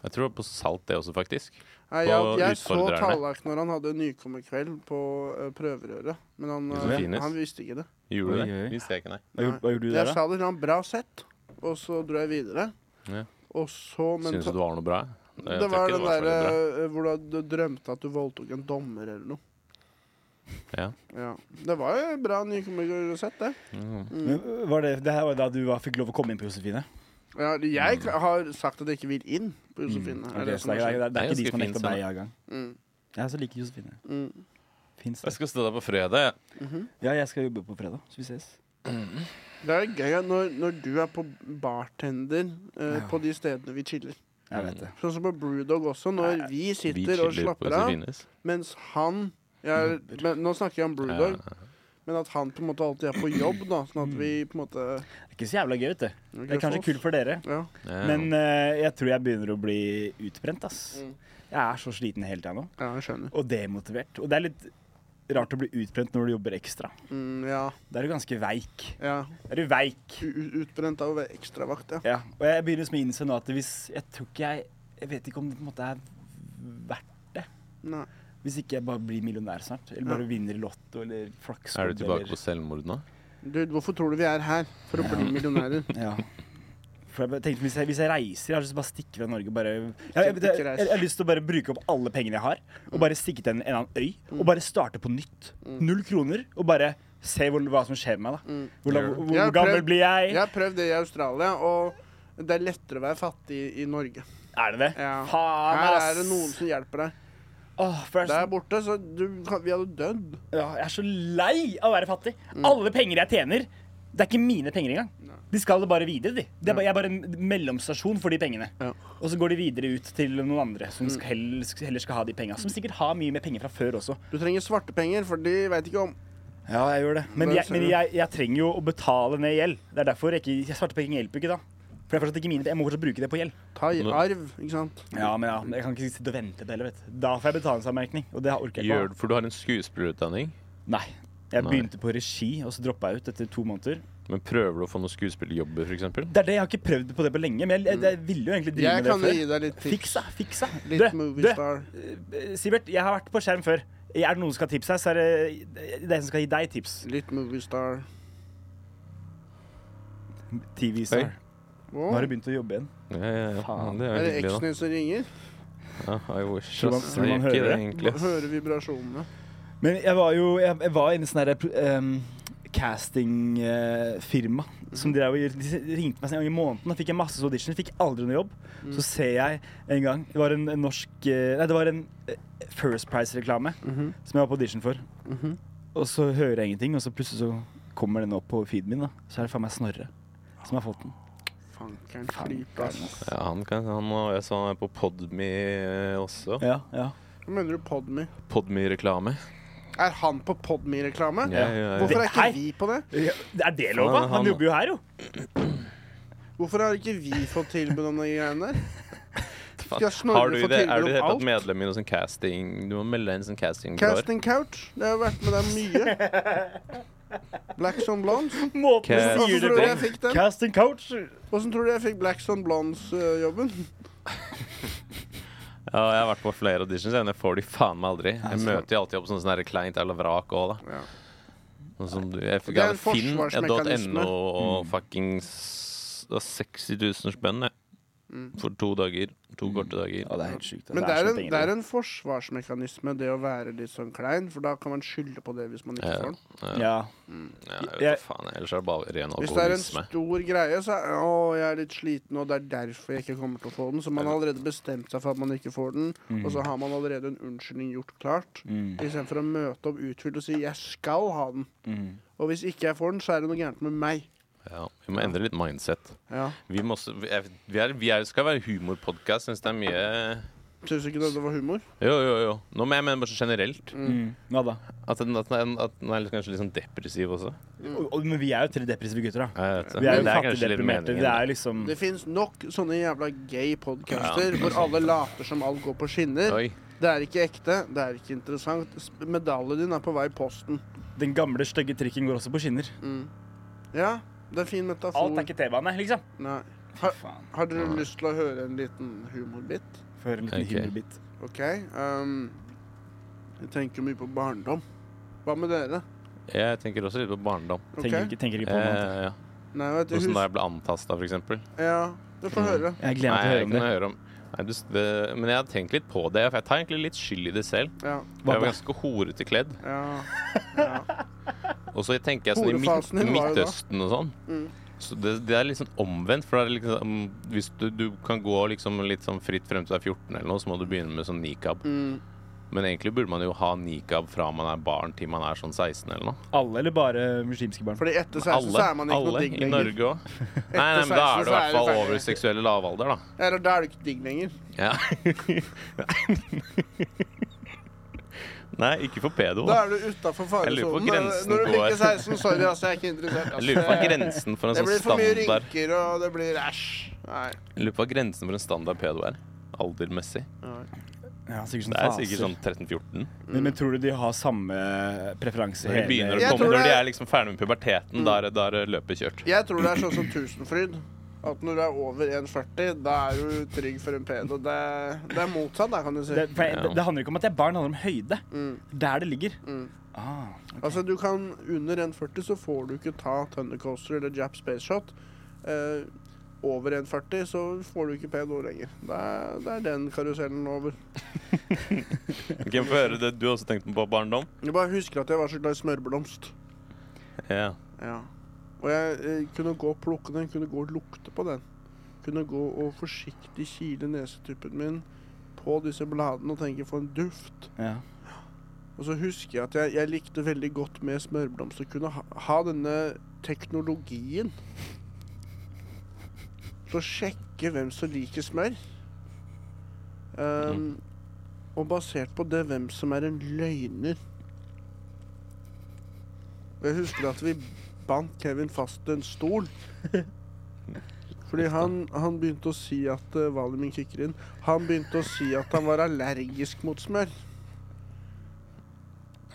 [SPEAKER 1] Jeg tror det var på Salt, det også, faktisk.
[SPEAKER 2] Nei,
[SPEAKER 1] På
[SPEAKER 2] jeg, jeg så
[SPEAKER 1] utfordrerne.
[SPEAKER 2] Tallak når han hadde nykommerkveld på eh, prøverøret, men han,
[SPEAKER 1] Ikke så
[SPEAKER 2] eh,
[SPEAKER 1] finest.
[SPEAKER 2] han visste ikke det.
[SPEAKER 1] Gjorde
[SPEAKER 3] Oi,
[SPEAKER 1] du det?
[SPEAKER 3] oi.
[SPEAKER 1] Visste jeg ikke, nei.
[SPEAKER 3] Hva gjorde, hva gjorde du
[SPEAKER 2] Jeg
[SPEAKER 3] der, da?
[SPEAKER 2] sa det til han, bra sett, og så dro jeg videre.
[SPEAKER 1] Ja.
[SPEAKER 2] Og så, men
[SPEAKER 1] Syns du det var noe bra? Jeg tror
[SPEAKER 2] Det,
[SPEAKER 1] ikke
[SPEAKER 2] var den
[SPEAKER 1] så veldig bra.
[SPEAKER 2] derre eh, hvor du, du drømte at du voldtok en dommer eller noe.
[SPEAKER 1] Ja.
[SPEAKER 2] Ja. Det var jo bra nykommersett, det.
[SPEAKER 1] Mm.
[SPEAKER 3] Men Var det, det her var da du var, fikk lov å komme inn på Josefine?
[SPEAKER 2] Ja, jeg k- har sagt at jeg ikke vil inn på Josefine.
[SPEAKER 3] Mm. Ok,
[SPEAKER 2] er det
[SPEAKER 3] så
[SPEAKER 2] som
[SPEAKER 3] det,
[SPEAKER 2] har
[SPEAKER 3] er, det, er, det
[SPEAKER 1] Det er
[SPEAKER 3] er ikke de
[SPEAKER 1] ganske
[SPEAKER 3] som
[SPEAKER 1] fint,
[SPEAKER 3] har nekta
[SPEAKER 1] sånn,
[SPEAKER 3] deg
[SPEAKER 1] da.
[SPEAKER 3] adgang?
[SPEAKER 2] skjedd. Mm.
[SPEAKER 3] Jeg så liker Josefine.
[SPEAKER 2] Mm. mhm.
[SPEAKER 3] Fins
[SPEAKER 1] Jeg
[SPEAKER 3] det?
[SPEAKER 1] skal stå der på fredag. jeg.
[SPEAKER 3] Ja, jeg skal jobbe på fredag, så vi ses.
[SPEAKER 2] Det er gøy at når, når du er på bartender eh, på de stedene vi chiller.
[SPEAKER 3] Jeg vet det.
[SPEAKER 2] Sånn som på Brewdog også, når vi
[SPEAKER 1] Vi
[SPEAKER 2] sitter og
[SPEAKER 1] chiller på
[SPEAKER 2] slapper av,
[SPEAKER 1] Josefines.
[SPEAKER 2] mens han jeg er, men, Nå snakker jeg om Brewdog, men at han på en måte alltid er på jobb, da, sånn at vi på en måte
[SPEAKER 3] Det er ikke så jævla gøy, vet du. Det er kanskje kult for dere.
[SPEAKER 2] Ja.
[SPEAKER 1] Ja.
[SPEAKER 3] Men eh, jeg tror jeg begynner å bli utbrent. ass.
[SPEAKER 2] Mm.
[SPEAKER 3] Jeg er så sliten hele tida nå.
[SPEAKER 2] ja, jeg skjønner.
[SPEAKER 3] Og demotivert. Og det er litt rart å bli utbrent når du jobber ekstra.
[SPEAKER 2] Mm, ja,
[SPEAKER 3] Da er du ganske veik.
[SPEAKER 2] ja.
[SPEAKER 3] Da er du veik.
[SPEAKER 2] U- u- Utbrent av å være ekstravakt, ja.
[SPEAKER 3] Ja. Og jeg begynner liksom å innse nå at hvis Jeg tror ikke jeg Jeg vet ikke om det på en måte er verdt
[SPEAKER 2] Nei.
[SPEAKER 3] Hvis ikke jeg bare blir millionær snart. Eller bare vinner i Lotto eller
[SPEAKER 1] Er
[SPEAKER 3] flakslodd.
[SPEAKER 1] du tilbake på
[SPEAKER 3] eller,
[SPEAKER 1] selvmord nå?
[SPEAKER 2] Du, hvorfor tror du vi er her? For å bli millionærer.
[SPEAKER 3] Ja. For jeg bare tenkte, hvis jeg, hvis jeg reiser, jeg har lyst til å bare stikke fra Norge og bare jeg, jeg, jeg, jeg, jeg har lyst til å bare bruke opp alle pengene jeg har, og bare stikke til en, en annen øy.
[SPEAKER 2] Mm.
[SPEAKER 3] Og bare starte på nytt. Null kroner. Og bare se hvor, hva som skjer med meg,
[SPEAKER 2] Mm.
[SPEAKER 3] da. Hvordan, hvor,
[SPEAKER 2] Jeg har
[SPEAKER 3] hvor gammel
[SPEAKER 2] prøvd-
[SPEAKER 3] blir jeg?
[SPEAKER 2] Jeg har prøvd det i Australia, og det er lettere å være fattig i Norge.
[SPEAKER 3] Er det det?
[SPEAKER 2] Ja.
[SPEAKER 3] Faen,
[SPEAKER 2] Her
[SPEAKER 3] ass.
[SPEAKER 2] er det noen som hjelper deg.
[SPEAKER 3] Åh, for jeg,
[SPEAKER 2] Der
[SPEAKER 3] er så,
[SPEAKER 2] borte, så du, kan- vi hadde dødd.
[SPEAKER 3] ja, jeg er så lei av å være fattig. Alle penger jeg tjener, det er ikke mine penger engang. De skal bare videre, de. Det er bare, jeg er bare en mellomstasjon for de pengene.
[SPEAKER 2] Ja.
[SPEAKER 3] Og så går de videre ut til noen andre som skal heller, heller skal ha de penga. Som sikkert har mye mer penger fra før også.
[SPEAKER 2] Du trenger svarte penger, for de veit ikke om.
[SPEAKER 3] Ja, jeg gjør det. Men,
[SPEAKER 2] Det
[SPEAKER 3] jeg,
[SPEAKER 2] ser
[SPEAKER 3] men
[SPEAKER 2] du.
[SPEAKER 3] jeg, jeg trenger jo å betale ned gjeld. Det er derfor jeg ikke jeg svarte penger hjelper ikke, da. For det er fortsatt ikke mine, jeg må fortsatt bruke det på gjeld.
[SPEAKER 2] Ta i
[SPEAKER 1] Nå-
[SPEAKER 2] arv, ikke sant.
[SPEAKER 3] Ja, men ja, men Jeg kan ikke sitte og vente på det heller, vet du. Da får jeg betalingsanmerkning, og det orker jeg
[SPEAKER 1] Gjør,
[SPEAKER 3] ikke.
[SPEAKER 1] for du har en skuespillerutdanning.
[SPEAKER 3] å ha. Nei. Jeg
[SPEAKER 1] Nei.
[SPEAKER 3] begynte på regi, og så droppa jeg ut etter to måneder.
[SPEAKER 1] Men prøver du å få noen skuespillerjobber, f.eks.?
[SPEAKER 3] Det er det, Jeg har ikke prøvd på det på lenge, men jeg, jeg, jeg ville jo egentlig drive
[SPEAKER 2] Jeg
[SPEAKER 3] med det
[SPEAKER 2] kan
[SPEAKER 3] før.
[SPEAKER 2] jo gi deg litt tips.
[SPEAKER 3] Fiksa, fiksa.
[SPEAKER 2] Litt
[SPEAKER 3] Du, du,
[SPEAKER 2] moviestar.
[SPEAKER 3] eh, Sivert, jeg har vært på skjerm før. Er det noen som skal ha tips her, så er det den som skal gi deg tips.
[SPEAKER 2] Litt moviestar.
[SPEAKER 3] TV-star.
[SPEAKER 1] Oi.
[SPEAKER 3] Nå har
[SPEAKER 2] Wow.
[SPEAKER 3] du begynt å jobbe igjen.
[SPEAKER 1] Ja, ja, ja.
[SPEAKER 3] Faen.
[SPEAKER 1] Det
[SPEAKER 2] Er
[SPEAKER 1] er
[SPEAKER 2] det
[SPEAKER 1] jo hyggelig,
[SPEAKER 2] eksen din som ringer?
[SPEAKER 1] da. Ja, I wish.
[SPEAKER 3] Tror man-
[SPEAKER 1] ass.
[SPEAKER 3] tror
[SPEAKER 1] Jeg
[SPEAKER 3] man
[SPEAKER 1] gjør ikke
[SPEAKER 3] hører
[SPEAKER 1] det, egentlig.
[SPEAKER 3] det?
[SPEAKER 1] ass.
[SPEAKER 2] Hører vibrasjonene.
[SPEAKER 3] Men jeg var jo jeg, jeg var inne i sånn derre castingfirma som drev og De ringte meg en gang i måneden. Da fikk jeg masse auditioner, fikk aldri noe jobb. Så ser jeg en gang Det var en, en norsk eh, Nei, det var en eh, First Price-reklame
[SPEAKER 2] Mhm.
[SPEAKER 3] som jeg var på audition for.
[SPEAKER 2] Mhm.
[SPEAKER 3] Og så hører jeg ingenting, og så plutselig så kommer den opp på feeden min. da Så er det faen meg Snorre som har fått den.
[SPEAKER 2] Fankeren
[SPEAKER 3] Faen,
[SPEAKER 2] klype, ass.
[SPEAKER 1] Ja, han kan han, og Jeg så han er på Podme eh, også.
[SPEAKER 3] Ja, ja.
[SPEAKER 2] Hva mener du Podme?
[SPEAKER 1] Podme-reklame.
[SPEAKER 2] Er han på Podme-reklame?
[SPEAKER 1] Ja, ja, ja.
[SPEAKER 2] Hvorfor er ikke
[SPEAKER 3] Hei.
[SPEAKER 2] vi på det?
[SPEAKER 3] Ja, Er det lov, da?
[SPEAKER 1] Faen,
[SPEAKER 3] Han
[SPEAKER 1] han-
[SPEAKER 3] jobber jo her, jo.
[SPEAKER 2] Hvorfor har ikke vi fått tilbud om de greiene der? Skal Snorre
[SPEAKER 1] Har du i
[SPEAKER 2] få
[SPEAKER 1] det,
[SPEAKER 2] tilbud
[SPEAKER 1] er du i det
[SPEAKER 2] om
[SPEAKER 1] hele
[SPEAKER 2] alt?
[SPEAKER 1] tatt medlem i noe sånn casting Du må melde deg inn i sånn castingbyrå.
[SPEAKER 2] Casting Couch. Det har jo vært med deg mye. Blacks on Blondes.
[SPEAKER 3] Måten
[SPEAKER 1] Cas-
[SPEAKER 3] du
[SPEAKER 2] Hvordan
[SPEAKER 3] sier det
[SPEAKER 2] tror du jeg
[SPEAKER 3] på.
[SPEAKER 2] fikk den?
[SPEAKER 3] Casting coach.
[SPEAKER 2] Hvordan tror du jeg fikk Blacks on Blondes-jobben?
[SPEAKER 1] Ja, jeg har vært på flere auditions, men jeg får de faen meg aldri. Jeg
[SPEAKER 3] så-
[SPEAKER 1] møter jo alltid opp som sånn der kleint eller vrak òg, da.
[SPEAKER 2] Ja.
[SPEAKER 1] Sånn som du, jeg fikk
[SPEAKER 2] Det er en
[SPEAKER 1] hadde finn.no
[SPEAKER 2] forsvarsmekanisme.
[SPEAKER 1] og
[SPEAKER 3] Mm.
[SPEAKER 1] fuckings det var 60 000 spenn, jeg.
[SPEAKER 2] Mm.
[SPEAKER 1] For to dager. To korte dager.
[SPEAKER 3] Mm. Ja, det er helt sjukt.
[SPEAKER 2] Men det er,
[SPEAKER 3] så
[SPEAKER 2] en,
[SPEAKER 3] penger,
[SPEAKER 2] det er en forsvarsmekanisme, det å være litt sånn klein, for da kan man skylde på det hvis man ikke
[SPEAKER 1] Ja.
[SPEAKER 2] får den.
[SPEAKER 3] Ja.
[SPEAKER 1] Ja, jeg vet da
[SPEAKER 3] Jeg-
[SPEAKER 1] faen. Ellers er det bare ren
[SPEAKER 2] Hvis det er en
[SPEAKER 1] alkoholisme.
[SPEAKER 2] stor greie, så er å, jeg er litt sliten, og det er derfor jeg ikke kommer til å få den. Så man har allerede bestemt seg for at man ikke får den,
[SPEAKER 1] Mm.
[SPEAKER 2] og så har man allerede en unnskyldning gjort klart. Istedenfor å møte opp uthvilt og si 'jeg skal ha den',
[SPEAKER 1] Mm.
[SPEAKER 2] og hvis ikke jeg får den, så er det noe gærent med meg.
[SPEAKER 1] Ja, vi må endre litt mindset.
[SPEAKER 2] Ja.
[SPEAKER 1] Vi, må også- vi er, vi, er, vi er, skal være humorpodkast. Syns det er mye
[SPEAKER 2] Syns du ikke det var humor?
[SPEAKER 1] Jo, jo, jo. Nå, men jeg mener bare sånn generelt.
[SPEAKER 3] Mm. Ja da.
[SPEAKER 1] At den, at den, at den er litt- kanskje litt sånn depressiv også.
[SPEAKER 3] Og- og- Men vi er jo tre depressive gutter, da.
[SPEAKER 1] Jeg vet det.
[SPEAKER 3] Vi er jo
[SPEAKER 1] Men det er kanskje litt
[SPEAKER 3] fattigdeprimerte.
[SPEAKER 1] meningen.
[SPEAKER 3] Det er jo liksom
[SPEAKER 2] Det fins nok sånne jævla gay podcaster hvor alle later som alt går på skinner.
[SPEAKER 1] Oi.
[SPEAKER 2] Det er ikke ekte, det er ikke interessant. Sp- Medaljen din er på vei i posten.
[SPEAKER 3] Den gamle, stygge trikken går også på skinner.
[SPEAKER 2] Ja, det er fin metafor.
[SPEAKER 3] Alt er ikke T-bane, liksom.
[SPEAKER 2] Nei.
[SPEAKER 3] Fy
[SPEAKER 2] Har,
[SPEAKER 3] faen.
[SPEAKER 2] har dere lyst til å høre en liten humorbit?
[SPEAKER 3] Få høre en liten
[SPEAKER 1] Ok.
[SPEAKER 3] hummelbit.
[SPEAKER 2] OK. Um, jeg tenker mye på barndom. Hva med dere?
[SPEAKER 1] Jeg tenker også litt på barndom.
[SPEAKER 2] Ok?
[SPEAKER 3] Tenker, ikke, tenker ikke på noe annet.
[SPEAKER 1] Eh, ja.
[SPEAKER 2] Nei, vet du,
[SPEAKER 1] Hvordan Mm. da
[SPEAKER 2] hus
[SPEAKER 1] jeg ble antasta, for eksempel.
[SPEAKER 2] Ja, du får høre.
[SPEAKER 3] Jeg gleder meg
[SPEAKER 1] Nei,
[SPEAKER 3] til å høre
[SPEAKER 1] jeg
[SPEAKER 3] om
[SPEAKER 1] kan
[SPEAKER 3] det.
[SPEAKER 1] høre om. Nei, du, s- det, men jeg har tenkt litt på det. For jeg tar egentlig litt skyld i det selv.
[SPEAKER 2] Ja.
[SPEAKER 1] Jeg
[SPEAKER 3] Hva
[SPEAKER 1] var
[SPEAKER 3] da?
[SPEAKER 1] ganske horete kledd.
[SPEAKER 2] ja. ja.
[SPEAKER 1] Og så tenker jeg sånn i
[SPEAKER 2] Horefasen
[SPEAKER 1] Mid
[SPEAKER 2] din var jo da.
[SPEAKER 1] Midtøsten og sånn.
[SPEAKER 2] Mm.
[SPEAKER 1] Så det, det er litt sånn omvendt. For det er liksom, hvis du, du kan gå liksom litt sånn fritt frem til du er 14 eller noe, så må du begynne med sånn nikab.
[SPEAKER 2] Mm.
[SPEAKER 1] Men egentlig burde man jo ha nikab fra man er barn til man er sånn 16 eller noe.
[SPEAKER 3] Alle eller bare muslimske barn?
[SPEAKER 2] Fordi etter 16 så
[SPEAKER 1] Alle,
[SPEAKER 2] er man ikke noe
[SPEAKER 1] alle
[SPEAKER 2] digg
[SPEAKER 1] i
[SPEAKER 2] lenger.
[SPEAKER 1] Norge òg. Nei, nei, men da er
[SPEAKER 2] 16
[SPEAKER 1] du i hvert
[SPEAKER 2] så er det
[SPEAKER 1] fall
[SPEAKER 2] ferdig.
[SPEAKER 1] over seksuelle lavalder, da.
[SPEAKER 2] Ja, da er du ikke digg lenger.
[SPEAKER 1] Ja. Nei, ikke for pedo.
[SPEAKER 2] Da
[SPEAKER 1] Da.
[SPEAKER 2] er du utafor
[SPEAKER 1] Jeg lurer på hvor
[SPEAKER 2] faresonen.
[SPEAKER 1] grensen
[SPEAKER 2] Når du
[SPEAKER 1] går.
[SPEAKER 2] bikker 16, sorry, altså, jeg er ikke interessert.
[SPEAKER 1] Jeg lurer på hva
[SPEAKER 2] Altså.
[SPEAKER 1] grensen for en
[SPEAKER 2] Det
[SPEAKER 1] sånn
[SPEAKER 2] blir for mye
[SPEAKER 1] standard
[SPEAKER 2] rynker, og det blir æsj. Nei.
[SPEAKER 1] Jeg lurer på hva grensen for en standard pedo er. Aldermessig.
[SPEAKER 3] Ja, sikkert sånn
[SPEAKER 1] Det er
[SPEAKER 3] faser.
[SPEAKER 1] sikkert sånn 13-14.
[SPEAKER 3] Men,
[SPEAKER 2] Mm.
[SPEAKER 3] men tror du de har samme preferanse
[SPEAKER 1] Når, de begynner å
[SPEAKER 2] Jeg
[SPEAKER 1] komme,
[SPEAKER 2] tror
[SPEAKER 1] når de
[SPEAKER 2] det-
[SPEAKER 1] er liksom ferdig med puberteten, da er det- da er det løpet kjørt.
[SPEAKER 2] Jeg tror det er sånn som Tusenfryd. At når du er over 1,40, da er du trygg for en pedo. Det, det er motsatt, da, kan du si.
[SPEAKER 3] det, for jeg, det, det handler ikke om at jeg er barn, det handler om høyde.
[SPEAKER 2] Mm.
[SPEAKER 3] Der det ligger.
[SPEAKER 2] Mm.
[SPEAKER 3] Ah,
[SPEAKER 2] Altså, du kan Under 1,40 så får du ikke ta Thundercoaster eller Jap Space Shot. Eh, over 1,40 så får du ikke pedo lenger. Det er, det er den karusellen over.
[SPEAKER 1] Kan jeg få høre det du også tenkte på barndom?
[SPEAKER 2] Jeg bare husker at jeg var så glad i smørblomst.
[SPEAKER 1] Ja.
[SPEAKER 2] Ja. Og jeg eh, kunne gå og plukke den, kunne gå og lukte på den. Kunne gå og forsiktig kile nesetuppen min på disse bladene og tenke for en duft.
[SPEAKER 3] ja.
[SPEAKER 2] Og så husker jeg at jeg, jeg likte veldig godt med smørblomst å kunne ha, ha denne teknologien. Så sjekke hvem som liker smør. Ehm, Og basert på det hvem som er en løgner. Og Jeg husker at vi bandt Kevin fast til en stol. Fordi han, han begynte å si at eh, Valium kicker inn. Han begynte å si at han var allergisk mot smør.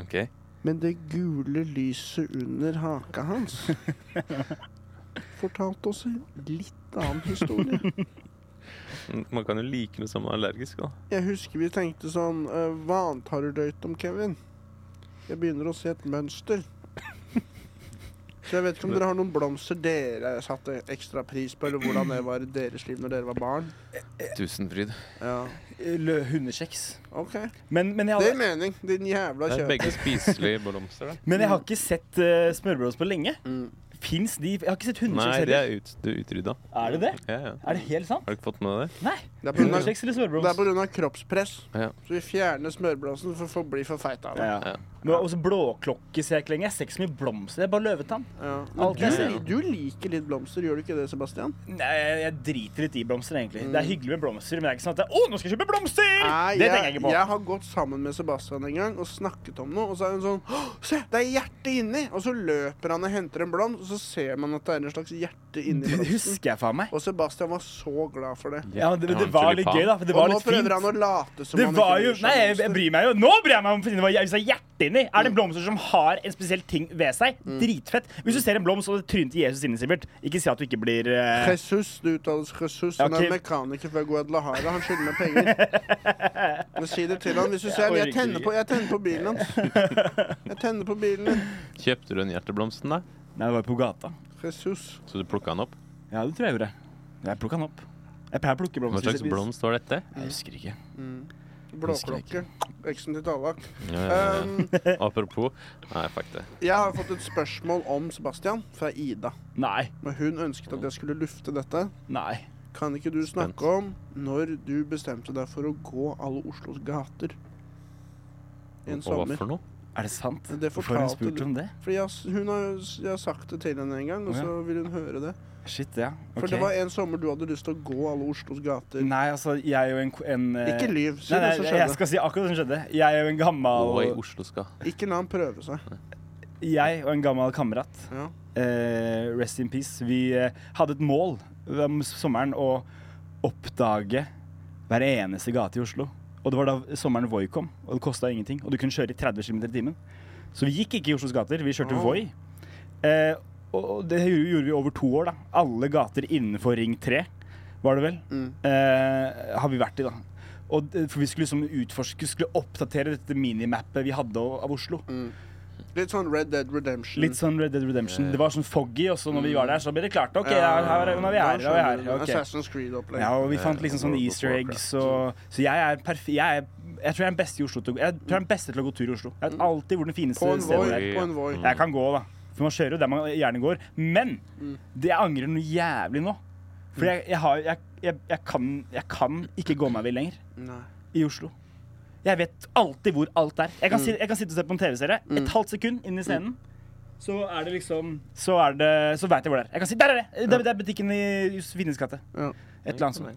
[SPEAKER 1] OK.
[SPEAKER 2] Men det gule lyset under haka hans fortalte oss en litt annen historie.
[SPEAKER 1] Mm, Man kan jo like noe som man er allergisk, da.
[SPEAKER 2] Jeg husker vi tenkte sånn eh, Hva annet har du røykt om, Kevin? Jeg begynner å se et mønster. Så jeg vet ikke om dere har noen blomster dere satte ekstra pris på, eller hvordan det var i deres liv når dere var barn.
[SPEAKER 1] Tusenfryd.
[SPEAKER 2] Ja,
[SPEAKER 3] Lø hundekjeks.
[SPEAKER 2] OK.
[SPEAKER 3] Men, men, jeg
[SPEAKER 2] Det gir
[SPEAKER 3] hadde,
[SPEAKER 2] mening, din jævla
[SPEAKER 1] Det er
[SPEAKER 2] kjøper.
[SPEAKER 1] begge spiselige blomster, da.
[SPEAKER 3] men jeg har ikke sett uh, smørbrød på lenge.
[SPEAKER 2] Mm.
[SPEAKER 3] Fins de? Jeg har ikke sett hundekjeks
[SPEAKER 1] Nei, det
[SPEAKER 3] heller.
[SPEAKER 1] er ut, det er utrydda.
[SPEAKER 3] Er det det?
[SPEAKER 1] Ja, ja.
[SPEAKER 3] Er det helt sant?
[SPEAKER 1] Har du ikke fått med deg det?
[SPEAKER 3] Nei.
[SPEAKER 2] Det er på grunn av-
[SPEAKER 3] Hundekjeks eller
[SPEAKER 2] det er
[SPEAKER 3] smørbrød?
[SPEAKER 2] pga. kroppspress.
[SPEAKER 1] Ja.
[SPEAKER 2] Så vi fjerner smørblomsten for folk blir for feite av det.
[SPEAKER 3] Ja.
[SPEAKER 1] Ja.
[SPEAKER 3] Men også blåklokke ser jeg ikke lenger. Jeg ser ikke så mye blomster. Det er bare løvetann.
[SPEAKER 2] Ja.
[SPEAKER 3] Alt jeg
[SPEAKER 2] Men
[SPEAKER 3] ser.
[SPEAKER 2] du, du liker litt blomster, gjør du ikke det, Sebastian?
[SPEAKER 3] Nei, jeg, jeg driter litt i blomster, egentlig. Det er hyggelig med blomster, men det er ikke sånn at det er, Å, nå skal jeg kjøpe blomster!
[SPEAKER 2] Mm. Nei,
[SPEAKER 3] det tenker jeg ikke på.
[SPEAKER 2] Jeg har gått sammen med Sebastian en gang og snakket om noe, og så er hun sånn «Hå, Se, det er hjertet inni! Og så løper han og henter en blomst, og så ser man at det er en slags hjerte inni
[SPEAKER 3] Det
[SPEAKER 2] blomsten.
[SPEAKER 3] husker jeg faen meg.
[SPEAKER 2] Og Sebastian var så glad for det.
[SPEAKER 3] Ja, men det,
[SPEAKER 1] Jeg har
[SPEAKER 3] det
[SPEAKER 1] en
[SPEAKER 3] var litt
[SPEAKER 1] tulipan.
[SPEAKER 3] gøy, da. For det
[SPEAKER 2] Og
[SPEAKER 3] var
[SPEAKER 2] nå
[SPEAKER 3] litt
[SPEAKER 2] prøver
[SPEAKER 3] fint.
[SPEAKER 2] han å late som
[SPEAKER 3] Det
[SPEAKER 2] han
[SPEAKER 3] var jo
[SPEAKER 2] bryr seg
[SPEAKER 3] Nei,
[SPEAKER 2] om
[SPEAKER 3] jeg, jeg
[SPEAKER 2] blomster.
[SPEAKER 3] bryr meg jo. Nå bryr jeg meg om å finne hva hvis det er hjertet inni. Er det blomster som har en spesiell ting ved seg?
[SPEAKER 2] Mm.
[SPEAKER 3] Dritfett. Hvis du ser en blomst og det trynet til Jesus inni, Sivert, ikke si at du ikke blir eh,
[SPEAKER 2] Jesus, det uttales Jesus. Han
[SPEAKER 3] ok.
[SPEAKER 2] er mekaniker fra Guadalajara. Han skylder meg penger. Men si det til han hvis du ser ham. Jeg
[SPEAKER 3] orker
[SPEAKER 2] tenner
[SPEAKER 3] ikke.
[SPEAKER 2] på, jeg tenner på bilen hans. Jeg tenner på bilen din.
[SPEAKER 1] Kjøpte du den hjerteblomsten, da?
[SPEAKER 3] Nei, det var på gata.
[SPEAKER 2] Jesus.
[SPEAKER 1] Så du plukka den opp?
[SPEAKER 3] Ja, det tror jeg gjorde. Jeg plukka den opp. Jeg pleier å plukke
[SPEAKER 1] Hva
[SPEAKER 3] blomster.
[SPEAKER 1] slags blomst var dette?
[SPEAKER 3] Jeg husker ikke. Husker
[SPEAKER 2] Blåklokke. Eksen til Tallak.
[SPEAKER 1] Ja, ja, ja.
[SPEAKER 2] Um,
[SPEAKER 1] Apropos Nei, fuck det.
[SPEAKER 2] jeg har fått et spørsmål om Sebastian fra Ida.
[SPEAKER 3] Nei.
[SPEAKER 2] Men hun ønsket at jeg skulle lufte dette.
[SPEAKER 3] Nei.
[SPEAKER 2] Kan ikke du snakke om når du bestemte deg for å gå alle Oslos gater en
[SPEAKER 1] Og hva
[SPEAKER 2] sommer?
[SPEAKER 1] for noe?
[SPEAKER 3] Er det sant?
[SPEAKER 2] Det
[SPEAKER 3] Hvorfor har hun
[SPEAKER 2] fortalte
[SPEAKER 3] spurt
[SPEAKER 2] du.
[SPEAKER 3] om det?
[SPEAKER 2] Fordi jeg, har s- hun har, jo s- jeg har sagt det til henne en gang, og
[SPEAKER 3] Å, ja.
[SPEAKER 2] så vil hun høre det.
[SPEAKER 3] Shit, ja.
[SPEAKER 2] For
[SPEAKER 3] Ok.
[SPEAKER 2] det var en sommer du hadde lyst til å gå alle Oslos gater.
[SPEAKER 3] Nei, altså, jeg er jo en, ko- en eh,
[SPEAKER 2] Ikke lyv, si
[SPEAKER 3] Nei,
[SPEAKER 2] det som
[SPEAKER 3] nei, jeg
[SPEAKER 2] skjedde.
[SPEAKER 3] skal si akkurat det som skjedde. Jeg er jo en gammal
[SPEAKER 1] Og i Oslo skal
[SPEAKER 2] Ikke la han prøve seg.
[SPEAKER 3] Jeg og en gammel kamerat,
[SPEAKER 2] Ja.
[SPEAKER 3] eh, rest in peace, vi eh, hadde et mål om sommeren å oppdage hver eneste gate i Oslo. Og det var da sommeren Voi kom, og det kosta ingenting. Og du kunne kjøre i 30 km i timen. Så vi gikk ikke i Oslos gater, vi kjørte
[SPEAKER 2] Ah.
[SPEAKER 3] Voi. Eh, og og det gjorde gjorde vi over to år, da. Alle gater innenfor Ring 3, var det vel,
[SPEAKER 2] Mm.
[SPEAKER 3] eh, har vi vært i, da. Og, det- for vi skulle liksom utforske, skulle oppdatere dette minimappet vi hadde av av Oslo.
[SPEAKER 2] Litt sånn Red Dead Redemption.
[SPEAKER 3] Litt sånn Red Dead Redemption.
[SPEAKER 1] Ja.
[SPEAKER 3] Det var sånn foggy, og så når vi var der, så ble det klart. OK,
[SPEAKER 2] Ja,
[SPEAKER 3] ja, her, er- nå er vi
[SPEAKER 2] da
[SPEAKER 3] her.
[SPEAKER 2] skjønner
[SPEAKER 3] Og,
[SPEAKER 2] du det. sånn-
[SPEAKER 3] er her. ok.
[SPEAKER 2] eh, Assassin's Creed-opplegg.
[SPEAKER 3] Ja, og vi fant liksom sånne easter eggs og Så jeg er perf... Jeg, er, jeg tror jeg er den beste i Oslo til å, jeg tror jeg er den beste til å gå tur i Oslo. Jeg vet alltid hvor det fineste
[SPEAKER 2] Mm. På en
[SPEAKER 3] stedet
[SPEAKER 2] Voi.
[SPEAKER 3] er.
[SPEAKER 2] På en Voi.
[SPEAKER 3] Jeg kan gå, da. For man kjører jo der man gjerne går. Men
[SPEAKER 2] Mm.
[SPEAKER 3] det jeg angrer noe jævlig nå. For jeg, jeg har jeg, jeg, jeg, kan, jeg kan ikke gå meg vill lenger
[SPEAKER 2] Nei.
[SPEAKER 3] i Oslo. Jeg vet alltid hvor alt er.
[SPEAKER 2] Mm.
[SPEAKER 3] Jeg kan, si, jeg kan sitte og se på en TV-serie. Et halvt sekund inn i scenen, så er det liksom Så, er det, så vet jeg hvor det er. Jeg kan si Der er det! Det, det er butikken i Josefines gate.
[SPEAKER 2] Ja.
[SPEAKER 3] Et eller annet sånt.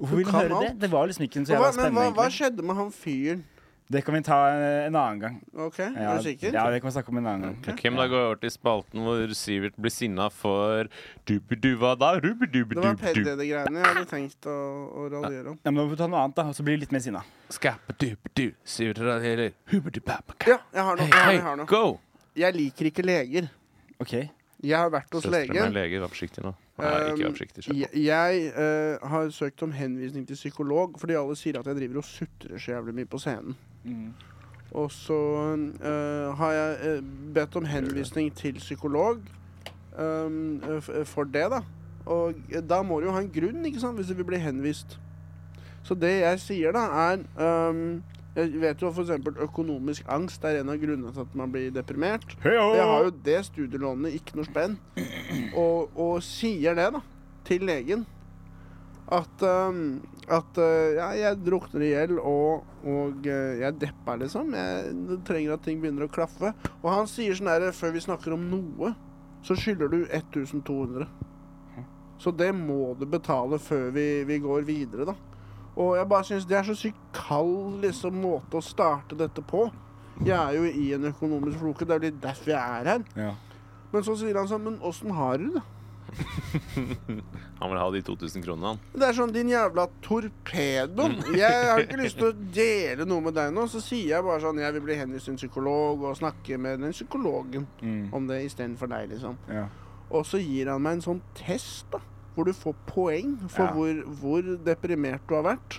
[SPEAKER 3] Hvorfor
[SPEAKER 2] Du
[SPEAKER 3] vil du
[SPEAKER 2] kan
[SPEAKER 3] høre det?
[SPEAKER 2] alt.
[SPEAKER 3] Det var liksom
[SPEAKER 2] Men
[SPEAKER 3] ikke så jævla
[SPEAKER 2] hva, men hva,
[SPEAKER 3] spennende.
[SPEAKER 2] hva
[SPEAKER 3] egentlig.
[SPEAKER 2] skjedde med han fyren?
[SPEAKER 3] Det kan vi ta en, en annen gang.
[SPEAKER 2] OK,
[SPEAKER 3] Ja,
[SPEAKER 2] er du sikker?
[SPEAKER 3] Ja, det kan vi snakke om en annen gang.
[SPEAKER 1] Ok, men da går jeg over til spalten hvor Sivert blir sinna for dubiduva da.
[SPEAKER 2] Det var
[SPEAKER 1] Rubidubidubidu.
[SPEAKER 2] PDD-greiene jeg hadde tenkt å, å raljere om.
[SPEAKER 3] Ja, men da får vi ta noe annet, da. Og så blir vi litt mer sinna.
[SPEAKER 1] Skapadubidu. Sivert radierer. Hubidubabaka.
[SPEAKER 2] Ja, jeg har noe. Jeg, har,
[SPEAKER 1] Hei,
[SPEAKER 2] jeg, har noe.
[SPEAKER 1] go!
[SPEAKER 2] jeg liker ikke leger.
[SPEAKER 3] OK.
[SPEAKER 2] Jeg har vært hos
[SPEAKER 1] Søsteren min
[SPEAKER 2] legen.
[SPEAKER 1] er lege. Vær forsiktig nå. Nei, ikke vær forsiktig.
[SPEAKER 2] Um,
[SPEAKER 1] Kjør på.
[SPEAKER 2] jeg jeg eh, har søkt om henvisning til psykolog, fordi alle sier at jeg driver og sutrer så jævlig mye på scenen. Mm. Og så eh, har jeg eh, bedt om henvisning til psykolog um, eh, f- for det, da. Og eh, da må du jo ha en grunn, ikke sant, hvis du vil bli henvist. Så det jeg sier, da, er um, Jeg vet jo f.eks. økonomisk angst er en av grunnene til at man blir deprimert. Og Jeg har jo det studielånet, ikke noe spenn. Og, og sier det, da, til legen. At, øhm, at øh, ja, jeg drukner i gjeld, og, og øh, jeg depper, liksom. Jeg trenger at ting begynner å klaffe. Og han sier sånn her, før vi snakker om noe, så skylder du 1200. Så det må du betale før vi, vi går videre, da. Og jeg bare syns det er så sykt kald liksom, måte å starte dette på. Jeg er jo i en økonomisk floke, det er jo litt derfor jeg er her.
[SPEAKER 3] Ja.
[SPEAKER 2] Men så sier han sånn, men åssen har du det?
[SPEAKER 1] Han vil ha de 2000 kronene, han.
[SPEAKER 2] Det er sånn, din jævla torpedo. Jeg har ikke lyst til å dele noe med deg nå. Så sier jeg bare sånn, jeg vil bli henvist til en psykolog og snakke med den psykologen
[SPEAKER 3] Mm.
[SPEAKER 2] om det istedenfor deg, liksom.
[SPEAKER 3] Ja.
[SPEAKER 2] Og så gir han meg en sånn test, da. hvor du får poeng for
[SPEAKER 3] Ja.
[SPEAKER 2] hvor, hvor deprimert du har vært.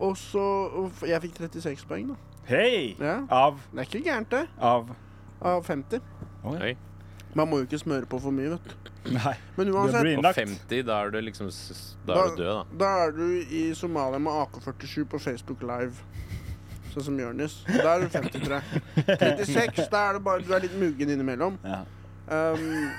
[SPEAKER 2] Og så og f- Jeg fikk 36 poeng, da.
[SPEAKER 3] Hei!
[SPEAKER 2] Ja.
[SPEAKER 3] Av
[SPEAKER 2] Det er ikke gærent, det.
[SPEAKER 3] Av
[SPEAKER 2] Av 50.
[SPEAKER 1] Oi.
[SPEAKER 2] Man må jo ikke smøre på for mye, vet du.
[SPEAKER 3] Nei.
[SPEAKER 2] Men
[SPEAKER 3] Du blir
[SPEAKER 2] uansett,
[SPEAKER 1] Og
[SPEAKER 3] innlagt.
[SPEAKER 1] 50, da er du liksom s- Da er du død, da.
[SPEAKER 2] da er du i Somalia med AK-47 på Facebook Live. Sånn som Jonis. Da er du 53. 36, da er det bare du er litt muggen innimellom.
[SPEAKER 3] Ja.
[SPEAKER 2] Um,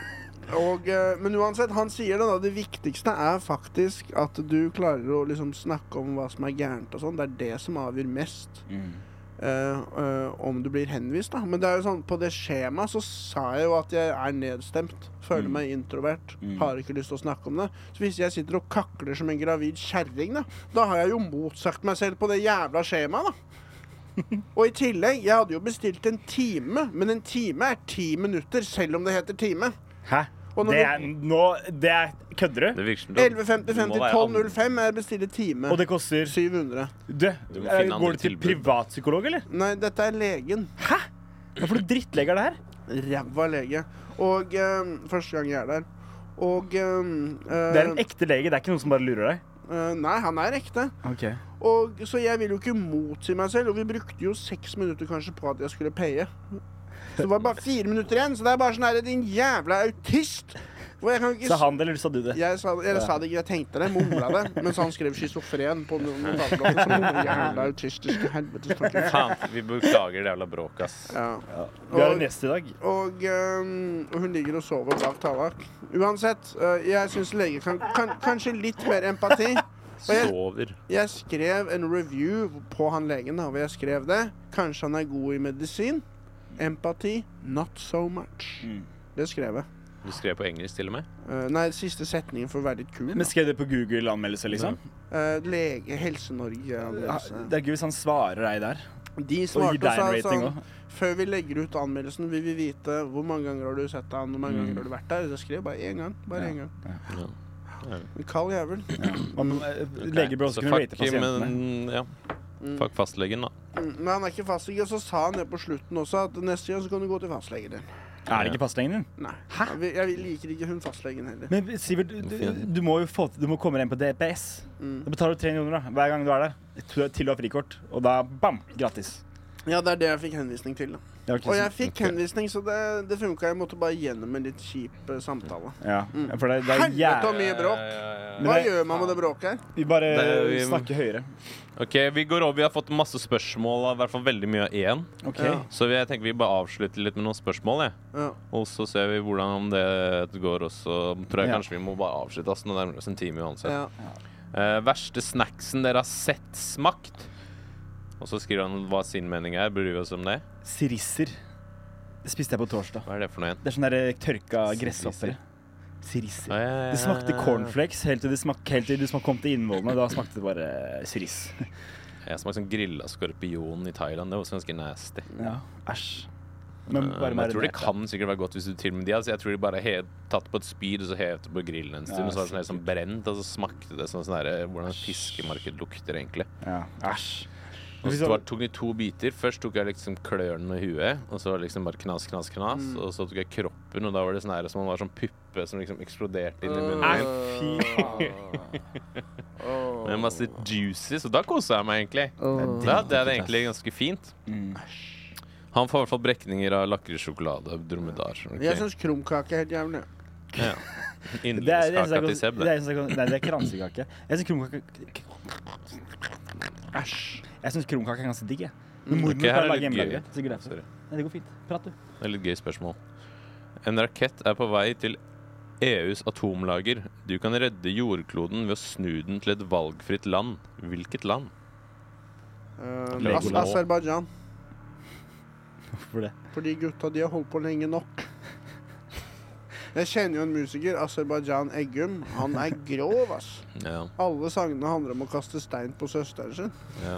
[SPEAKER 2] og, eh, men uansett, han sier det da Det viktigste er faktisk at du klarer å liksom snakke om hva som er gærent og sånn. Det er det som avgjør mest
[SPEAKER 3] Mm.
[SPEAKER 2] eh, eh, om du blir henvist, da. Men det er jo sånn, på det skjemaet så sa jeg jo at jeg er nedstemt. Føler
[SPEAKER 3] Mm.
[SPEAKER 2] meg introvert.
[SPEAKER 3] Mm.
[SPEAKER 2] Har ikke lyst til å snakke om det. Så hvis jeg sitter og kakler som en gravid kjerring, da, da har jeg jo motsagt meg selv på det jævla skjemaet, da. Og i tillegg, jeg hadde jo bestilt en time, men en time er ti minutter, selv om det heter time.
[SPEAKER 3] Hæ?
[SPEAKER 2] Og når du-
[SPEAKER 3] Det er nå Det er Kødder du?
[SPEAKER 1] Det virker som du-
[SPEAKER 2] 11.55
[SPEAKER 1] du må
[SPEAKER 2] til
[SPEAKER 1] være
[SPEAKER 2] 12.05 er bestille time.
[SPEAKER 3] Og det koster
[SPEAKER 2] 700.
[SPEAKER 3] Du,
[SPEAKER 1] Du må
[SPEAKER 3] eh,
[SPEAKER 1] finne
[SPEAKER 3] går
[SPEAKER 1] andre
[SPEAKER 3] du til
[SPEAKER 1] tilbud.
[SPEAKER 3] privatpsykolog, eller?
[SPEAKER 2] Nei, dette er legen.
[SPEAKER 3] Hva for noen drittleger er det her?
[SPEAKER 2] Ræva lege. Og eh, første gang jeg er der. Og eh,
[SPEAKER 3] Det er en ekte lege, det er ikke noen som bare lurer deg.
[SPEAKER 2] eh, Nei, han er ekte.
[SPEAKER 3] Ok.
[SPEAKER 2] Og, så jeg vil jo ikke motsi meg selv, og vi brukte jo seks minutter kanskje på at jeg skulle paye. Så det var bare fire minutter igjen, så det er bare sånn her Din jævla autist! Hvor jeg kan jo ikke
[SPEAKER 3] Sa han det, eller sa du det?
[SPEAKER 2] Jeg sa, eller sa det ikke, jeg tenkte det, mumla det. Mens han skrev schizofren på no- notatbladet. Så jævla autistiske helvetes tanker.
[SPEAKER 1] Faen, vi beklager det jævla bråket, ass.
[SPEAKER 2] Ja.
[SPEAKER 3] Vi har en gjest i dag.
[SPEAKER 2] Og øhm, og hun ligger og sover bak Tallak. Uansett, øh, jeg syns leger kan, kan Kanskje litt mer empati. Og jeg,
[SPEAKER 1] Sover.
[SPEAKER 2] jeg skrev en review på han legen, da, og jeg skrev det. Kanskje han er god i medisin. Empati, not so much.
[SPEAKER 3] Mm.
[SPEAKER 2] Det skrev jeg.
[SPEAKER 1] Du skrev på engelsk til og med.
[SPEAKER 2] Eh, nei, siste setningen for å være litt kul.
[SPEAKER 3] Men skrev det på Google-anmeldelse, liksom?
[SPEAKER 2] Eh, lege Helse-Norge.
[SPEAKER 3] Ja,
[SPEAKER 2] anmeldelse.
[SPEAKER 3] Det er gøy hvis han svarer deg der.
[SPEAKER 2] De
[SPEAKER 3] Og gir
[SPEAKER 2] svarte
[SPEAKER 3] deg en
[SPEAKER 2] og sa
[SPEAKER 3] rating
[SPEAKER 2] sånn
[SPEAKER 3] òg.
[SPEAKER 2] Før vi legger ut anmeldelsen, vil vi vite hvor mange ganger har du sett han, hvor mange
[SPEAKER 3] Mm.
[SPEAKER 2] ganger har du vært der. Jeg skrev bare én gang. Bare én gang.
[SPEAKER 1] Ja.
[SPEAKER 2] En kald jævel.
[SPEAKER 3] eh, Leger bør også
[SPEAKER 1] Så
[SPEAKER 3] kunne rate
[SPEAKER 1] fuck,
[SPEAKER 3] pasientene.
[SPEAKER 1] men, ja. fuck fastlegen, da.
[SPEAKER 2] Mm, Men han er ikke fastlege. Og så sa han det på slutten også, at neste gang så kan du gå til fastlegen din.
[SPEAKER 3] Er det ikke fastlegen din?
[SPEAKER 2] Nei. Jeg, vil- jeg liker ikke hun fastlegen heller.
[SPEAKER 3] Men Sivert, du, du, du må jo få, du må komme deg inn på DPS.
[SPEAKER 2] Mm.
[SPEAKER 3] Da betaler du 300 kroner da, hver gang du er der. Til- Til du har frikort. Og da bam! Gratis.
[SPEAKER 2] Ja, det er det jeg fikk henvisning til. da.
[SPEAKER 3] Det var ikke
[SPEAKER 2] Og
[SPEAKER 3] så-
[SPEAKER 2] jeg fikk henvisning, så det, det funka. Jeg måtte bare gjennom en litt kjip eh, samtale.
[SPEAKER 3] Ja, for det, det er
[SPEAKER 2] Helvete så
[SPEAKER 3] jævlig
[SPEAKER 2] mye bråk.
[SPEAKER 1] ja,
[SPEAKER 3] Men
[SPEAKER 2] Hva
[SPEAKER 3] det-
[SPEAKER 2] gjør man med det bråket her?
[SPEAKER 3] Vi bare
[SPEAKER 1] Det- vi-
[SPEAKER 3] snakker høyere.
[SPEAKER 1] OK, vi går over. Vi har fått masse spørsmål, i hvert fall veldig mye av én.
[SPEAKER 3] OK.
[SPEAKER 2] Ja.
[SPEAKER 1] Så jeg tenker vi bare avslutter litt med noen spørsmål, jeg.
[SPEAKER 2] Ja.
[SPEAKER 1] Og så ser vi hvordan om det går, og så tror jeg
[SPEAKER 3] Ja.
[SPEAKER 1] kanskje vi må bare avslutte. Ass, nå nærmer det oss en time uansett.
[SPEAKER 2] Ja.
[SPEAKER 1] Eh, verste snacksen dere har sett smakt? Og så skriver han hva sin mening er. Bryr vi oss om det?
[SPEAKER 3] Sirisser. Det spiste jeg på torsdag.
[SPEAKER 1] Hva er det for noe igjen?
[SPEAKER 3] Det er sånn der tørka
[SPEAKER 1] Sirisser.
[SPEAKER 3] gresshopper.
[SPEAKER 1] Ja,
[SPEAKER 3] Sirisser.
[SPEAKER 1] ja, ja, ja,
[SPEAKER 3] Det smakte
[SPEAKER 1] ja, ja.
[SPEAKER 3] cornflakes helt til det smak, helt til det smak kom til innvollene. Da smakte det bare eh, siriss.
[SPEAKER 1] Jeg smakte sånn grilla skorpion i Thailand. Det var også ganske nasty.
[SPEAKER 3] Ja, æsj. Men
[SPEAKER 1] Eh,
[SPEAKER 3] bare
[SPEAKER 1] men jeg tror det
[SPEAKER 3] marinert,
[SPEAKER 1] kan sikkert være godt hvis du til og med de altså, Jeg tror de bare har tatt på et spyd og så hevet det på grillen en stund.
[SPEAKER 3] Ja,
[SPEAKER 1] og så var det sånn, helt sånn
[SPEAKER 3] sikkert.
[SPEAKER 1] brent, og så smakte det sånn, sånn der, hvordan fiskemarked lukter egentlig.
[SPEAKER 3] Ja, æsj.
[SPEAKER 1] Og
[SPEAKER 3] Hvis
[SPEAKER 1] så
[SPEAKER 3] han-
[SPEAKER 1] tok de to biter. Først tok jeg liksom klørne med huet, og så var det liksom bare knas, knas, knas.
[SPEAKER 3] Mm.
[SPEAKER 1] Og så tok jeg kroppen, og da var det sånn her som om man var sånn puppe som liksom eksploderte inni munnen.
[SPEAKER 3] Nei,
[SPEAKER 1] min.
[SPEAKER 3] fy
[SPEAKER 1] Med masse juices, og da kosa jeg meg egentlig. Da hadde jeg det egentlig ganske fint.
[SPEAKER 3] Mm.
[SPEAKER 1] Han får i hvert fall brekninger av lakrisjokolade og dromedar.
[SPEAKER 2] Jeg
[SPEAKER 1] Okay.
[SPEAKER 2] syns krumkake er helt jævlig.
[SPEAKER 1] Ja.
[SPEAKER 3] Det er det eneste
[SPEAKER 1] Yndlingskaka til
[SPEAKER 3] jeg
[SPEAKER 1] Seb,
[SPEAKER 3] kan-
[SPEAKER 1] det.
[SPEAKER 3] det er eneste jeg kan- Nei, det er kransekake. Jeg syns krumkake Æsj. Jeg syns krumkake er ganske digg, jeg. Men mormor
[SPEAKER 1] Mm, Ok, her er
[SPEAKER 3] pleier å lage
[SPEAKER 1] litt gøy.
[SPEAKER 3] hjemmelaget. så går det
[SPEAKER 1] Sorry.
[SPEAKER 3] for- Nei, Det går fint. Prat, du.
[SPEAKER 1] Det er litt gøy spørsmål. En rakett er på vei til EUs atomlager. Du kan redde jordkloden ved å snu den til et valgfritt land. Hvilket land?
[SPEAKER 2] Uh, As
[SPEAKER 1] Legoland.
[SPEAKER 2] Aserbajdsjan.
[SPEAKER 3] Hvorfor det?
[SPEAKER 2] Fordi gutta de har holdt på lenge nok. Jeg kjenner jo en musiker, Aserbajdsjan Eggum. Han er grov, ass.
[SPEAKER 1] Ja,
[SPEAKER 2] Alle sangene handler om å kaste stein på søsteren sin.
[SPEAKER 1] ja.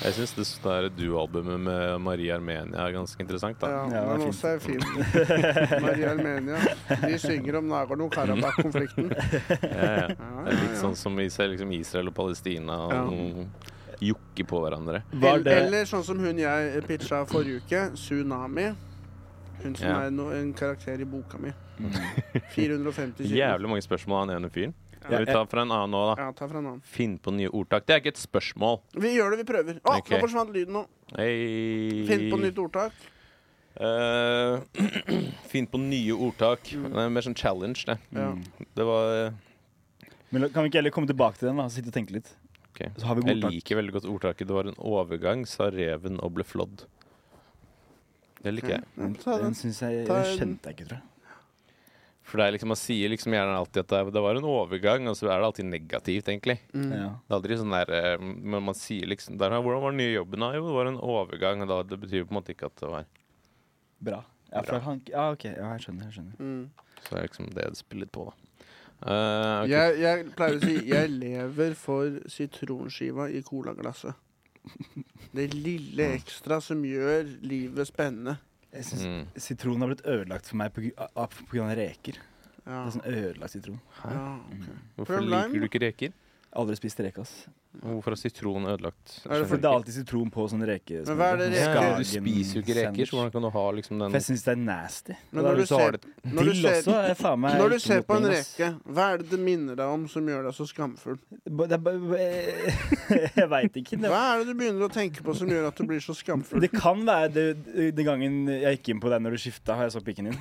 [SPEAKER 1] Jeg syns det der duo-albumet med Marie Armenia er ganske interessant. da.
[SPEAKER 2] Ja,
[SPEAKER 3] Ja, det er
[SPEAKER 2] men
[SPEAKER 3] fint.
[SPEAKER 2] også er fin. Maria Armenia. De synger om Nagorno-Karabakh-konflikten.
[SPEAKER 1] Ja, ja.
[SPEAKER 2] Ja,
[SPEAKER 1] Det er
[SPEAKER 2] ja,
[SPEAKER 1] litt
[SPEAKER 2] ja.
[SPEAKER 1] sånn som i seg liksom Israel og Palestina og
[SPEAKER 2] Ja.
[SPEAKER 1] noen jokker på hverandre.
[SPEAKER 3] Var
[SPEAKER 2] Eller,
[SPEAKER 3] det
[SPEAKER 2] eller sånn som hun jeg pitcha forrige uke, Tsunami. Hun som
[SPEAKER 1] Ja.
[SPEAKER 2] er no, en karakter i boka mi.
[SPEAKER 3] Mm.
[SPEAKER 2] 450 kilo.
[SPEAKER 1] Jævlig mange spørsmål av den ene fyren. Vi tar fra en annen nå, da.
[SPEAKER 2] Ja, ta fra en annen.
[SPEAKER 1] Finn på nye ordtak. Det er ikke et spørsmål.
[SPEAKER 2] Vi gjør det, vi prøver. Å,
[SPEAKER 1] Ok.
[SPEAKER 2] nå forsvant lyden nå.
[SPEAKER 1] Hey.
[SPEAKER 2] Finn på nytt ordtak.
[SPEAKER 1] Eh, finn på nye ordtak.
[SPEAKER 2] Mm.
[SPEAKER 1] Det er mer sånn challenge, det.
[SPEAKER 2] Ja.
[SPEAKER 1] Det var eh,
[SPEAKER 3] Men la- kan vi ikke heller komme tilbake til den da, og sitte og tenke litt?
[SPEAKER 1] OK.
[SPEAKER 3] Så har vi
[SPEAKER 1] Jeg
[SPEAKER 3] godtak.
[SPEAKER 1] liker veldig godt ordtaket 'det var en overgang', sa reven og ble flådd. Det liker jeg.
[SPEAKER 2] Ja,
[SPEAKER 3] Den,
[SPEAKER 2] ta den.
[SPEAKER 3] den synes jeg
[SPEAKER 2] Ta
[SPEAKER 3] den
[SPEAKER 2] en-
[SPEAKER 3] kjente jeg ikke, tror jeg.
[SPEAKER 1] For det er liksom, Man sier liksom gjerne alltid at det er- det var en overgang, og så er det alltid negativt, egentlig.
[SPEAKER 2] Mm.
[SPEAKER 3] Ja.
[SPEAKER 1] Det er aldri sånn der eh, Men man sier liksom der, 'Hvordan var den nye jobben?' da? Jo, det var en overgang. Og da, det betyr på en måte ikke at det var
[SPEAKER 3] Bra. Ja, for han, ja, ok, ja, jeg skjønner. jeg skjønner
[SPEAKER 2] Mm.
[SPEAKER 1] Så det er liksom det det spiller litt på, da. Eh, ok.
[SPEAKER 2] Jeg, jeg pleier å si jeg lever for sitronskiva i colaglasset. Det lille ekstra som gjør livet spennende.
[SPEAKER 3] Jeg synes
[SPEAKER 1] Mm.
[SPEAKER 3] Sitronen har blitt ødelagt for meg pga. av reker.
[SPEAKER 2] Ja.
[SPEAKER 3] Det er sånn ødelagt sitron.
[SPEAKER 2] Ja,
[SPEAKER 1] Mm.
[SPEAKER 2] ok.
[SPEAKER 1] Hvorfor
[SPEAKER 2] Prøv
[SPEAKER 1] liker
[SPEAKER 2] lime,
[SPEAKER 1] du ikke reker?
[SPEAKER 3] Aldri spist reke, ass.
[SPEAKER 1] Hvorfor er sitron ødelagt?
[SPEAKER 2] Er det
[SPEAKER 3] For det er alltid sitron på sånne reker.
[SPEAKER 2] Men hva er det
[SPEAKER 1] ja, ja, Du
[SPEAKER 3] Skagen
[SPEAKER 1] spiser jo ikke reker, så hvordan
[SPEAKER 3] sandwich.
[SPEAKER 1] kan du ha liksom den
[SPEAKER 3] For jeg syns det er nasty.
[SPEAKER 2] Men
[SPEAKER 1] Da
[SPEAKER 2] når
[SPEAKER 1] er
[SPEAKER 2] du
[SPEAKER 1] det så har
[SPEAKER 2] ser,
[SPEAKER 1] det-
[SPEAKER 2] når du
[SPEAKER 3] Dill også
[SPEAKER 2] ser,
[SPEAKER 3] er faen meg
[SPEAKER 2] når du
[SPEAKER 3] ikke
[SPEAKER 2] ser
[SPEAKER 3] mot
[SPEAKER 2] på en
[SPEAKER 3] min, ass.
[SPEAKER 2] reke, hva er det det minner deg om som gjør deg så skamfull?
[SPEAKER 3] Ba- det er ba- ba- Jeg veit ikke. Det,
[SPEAKER 2] Hva er det du begynner å tenke på som gjør at du blir så skamfull?
[SPEAKER 3] det kan være det, den gangen jeg gikk inn på deg når du skifta, og jeg så pikken din.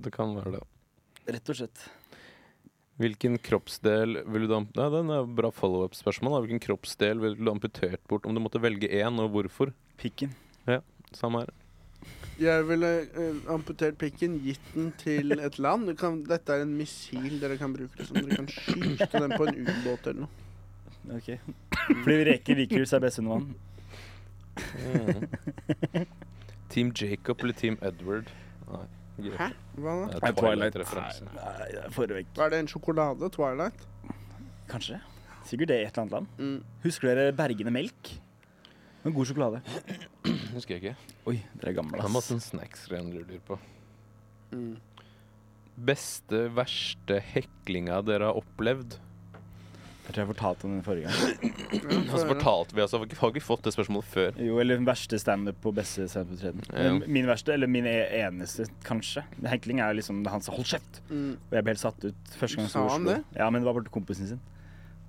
[SPEAKER 1] Det kan være det.
[SPEAKER 3] Rett og slett.
[SPEAKER 1] Hvilken kroppsdel vil du da Nei, den er et bra follow-up-spørsmål. da. Hvilken kroppsdel ville du amputert bort om du måtte velge én, og hvorfor?
[SPEAKER 3] Pikken.
[SPEAKER 1] Samme her.
[SPEAKER 2] Jeg ville eh, amputert pikken, gitt den til et land. Du kan, dette er en missil dere kan bruke. Liksom. Dere kan skyte den på en ubåt eller noe.
[SPEAKER 3] Ok. Fordi reker liker seg best under vann.
[SPEAKER 1] Mm. Team Jacob eller Team Edward? Nei. greit.
[SPEAKER 2] Hæ? Hva
[SPEAKER 1] Det
[SPEAKER 2] da?
[SPEAKER 3] Nei,
[SPEAKER 1] er
[SPEAKER 3] Twilight.
[SPEAKER 1] Twilight-referanse.
[SPEAKER 3] Nei, det er forrige vekk.
[SPEAKER 2] Hva er det, en sjokolade? Twilight?
[SPEAKER 3] Kanskje. Sikkert det i et eller annet land.
[SPEAKER 2] Mm.
[SPEAKER 3] Husker dere Bergene melk? En god sjokolade.
[SPEAKER 1] Husker jeg ikke.
[SPEAKER 3] Oi, dere er gamle,
[SPEAKER 1] Det er
[SPEAKER 3] ass.
[SPEAKER 1] masse snacks-greier du lurer på.
[SPEAKER 2] Mm.
[SPEAKER 1] Beste, verste heklinga dere har opplevd?
[SPEAKER 3] Jeg tror jeg fortalte om den forrige gang.
[SPEAKER 1] Og så fortalte vi altså, vi har ikke fått det spørsmålet før.
[SPEAKER 3] Jo, eller den verste standup på beste standup-treden.
[SPEAKER 1] Ja.
[SPEAKER 3] Min verste, eller min e- eneste, kanskje. Hekling er jo liksom han sa 'hold kjeft',
[SPEAKER 2] Mm.
[SPEAKER 3] og jeg ble helt satt ut første gang jeg
[SPEAKER 2] Sa
[SPEAKER 3] sto i
[SPEAKER 2] han
[SPEAKER 3] Oslo.
[SPEAKER 2] det?
[SPEAKER 3] Ja, men det var bare til kompisen sin.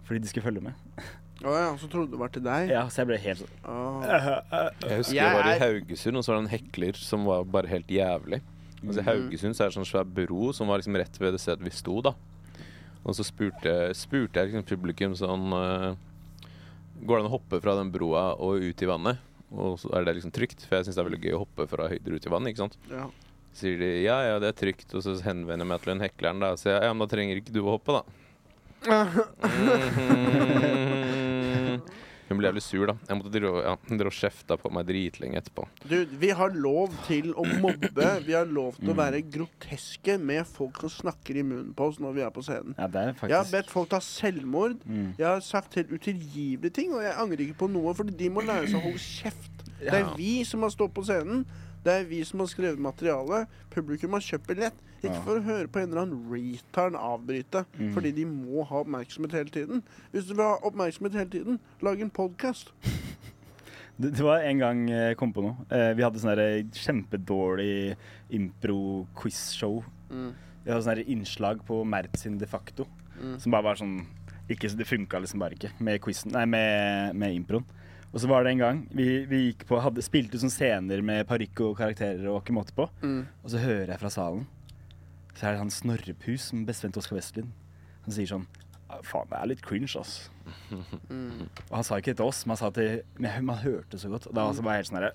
[SPEAKER 3] Fordi de skulle følge med.
[SPEAKER 2] Å ja, så trodde det var til deg?
[SPEAKER 3] Ja, Så jeg ble helt sånn
[SPEAKER 2] Å.
[SPEAKER 1] Jeg husker
[SPEAKER 2] Jeg
[SPEAKER 1] jeg var i
[SPEAKER 2] er-
[SPEAKER 1] Haugesund, og så var det en hekler som var bare helt jævlig. Altså, I
[SPEAKER 2] Mhm.
[SPEAKER 1] Haugesund så er det sånn svær bro som var liksom rett ved det stedet vi sto, da. Og så spurte, spurte jeg liksom publikum sånn eh, Går det an å hoppe fra den broa og ut i vannet? Og så er det liksom trygt, for jeg syns det er veldig gøy å hoppe fra høyder ut i vannet, ikke sant.
[SPEAKER 2] Ja.
[SPEAKER 1] Så sier de ja, ja, det er trygt, og så henvender jeg meg til den hekleren, da. Og sier jeg ja, men da trenger ikke du å hoppe, da. Mhm. Hun ble jævlig sur, da. Jeg måtte dra, ja, hun dro og kjefta på meg dritlenge etterpå.
[SPEAKER 2] Du, vi har lov til å mobbe. Vi har lov
[SPEAKER 3] Mm.
[SPEAKER 2] til å være groteske med folk som snakker i munnen på oss når vi er på scenen.
[SPEAKER 3] Ja, det er
[SPEAKER 2] Jeg har
[SPEAKER 3] faktisk
[SPEAKER 2] bedt folk ta selvmord.
[SPEAKER 3] Mm.
[SPEAKER 2] Jeg har sagt helt utilgivelige ting, og jeg angrer ikke på noe, for de må lære seg å holde kjeft. Det er
[SPEAKER 1] Ja.
[SPEAKER 2] vi som har stått på scenen. Det er vi som har skrevet materiale. Publikum har kjøpt billett. Ikke
[SPEAKER 3] Ja. Mm.
[SPEAKER 2] for å høre på en eller annen retard avbryte, fordi de må ha oppmerksomhet hele tiden. Hvis du vil ha oppmerksomhet hele tiden, lag en podkast.
[SPEAKER 3] Det, det var en gang eh, jeg kom på noe. Eh, Vi hadde sånn der kjempedårlig impro-quiz-show.
[SPEAKER 2] Mm.
[SPEAKER 3] Vi hadde sånn der innslag på Mert sin de facto, som bare var sånn ikke, Det funka liksom bare ikke med quizen, nei, med, med improen. Og så var det en gang vi, vi gikk på, hadde, spilte ut sånne scener med parykk og karakterer og ikke måte på. Og så hører jeg fra salen, så er det han Snorrepus, som bestevenn til Oskar Westlin, som sier sånn «Ah, Faen, det er litt cringe, ass. Og han sa ikke det til oss, men han sa til Men jeg- man hørte så godt. Og da var jeg helt sånn herre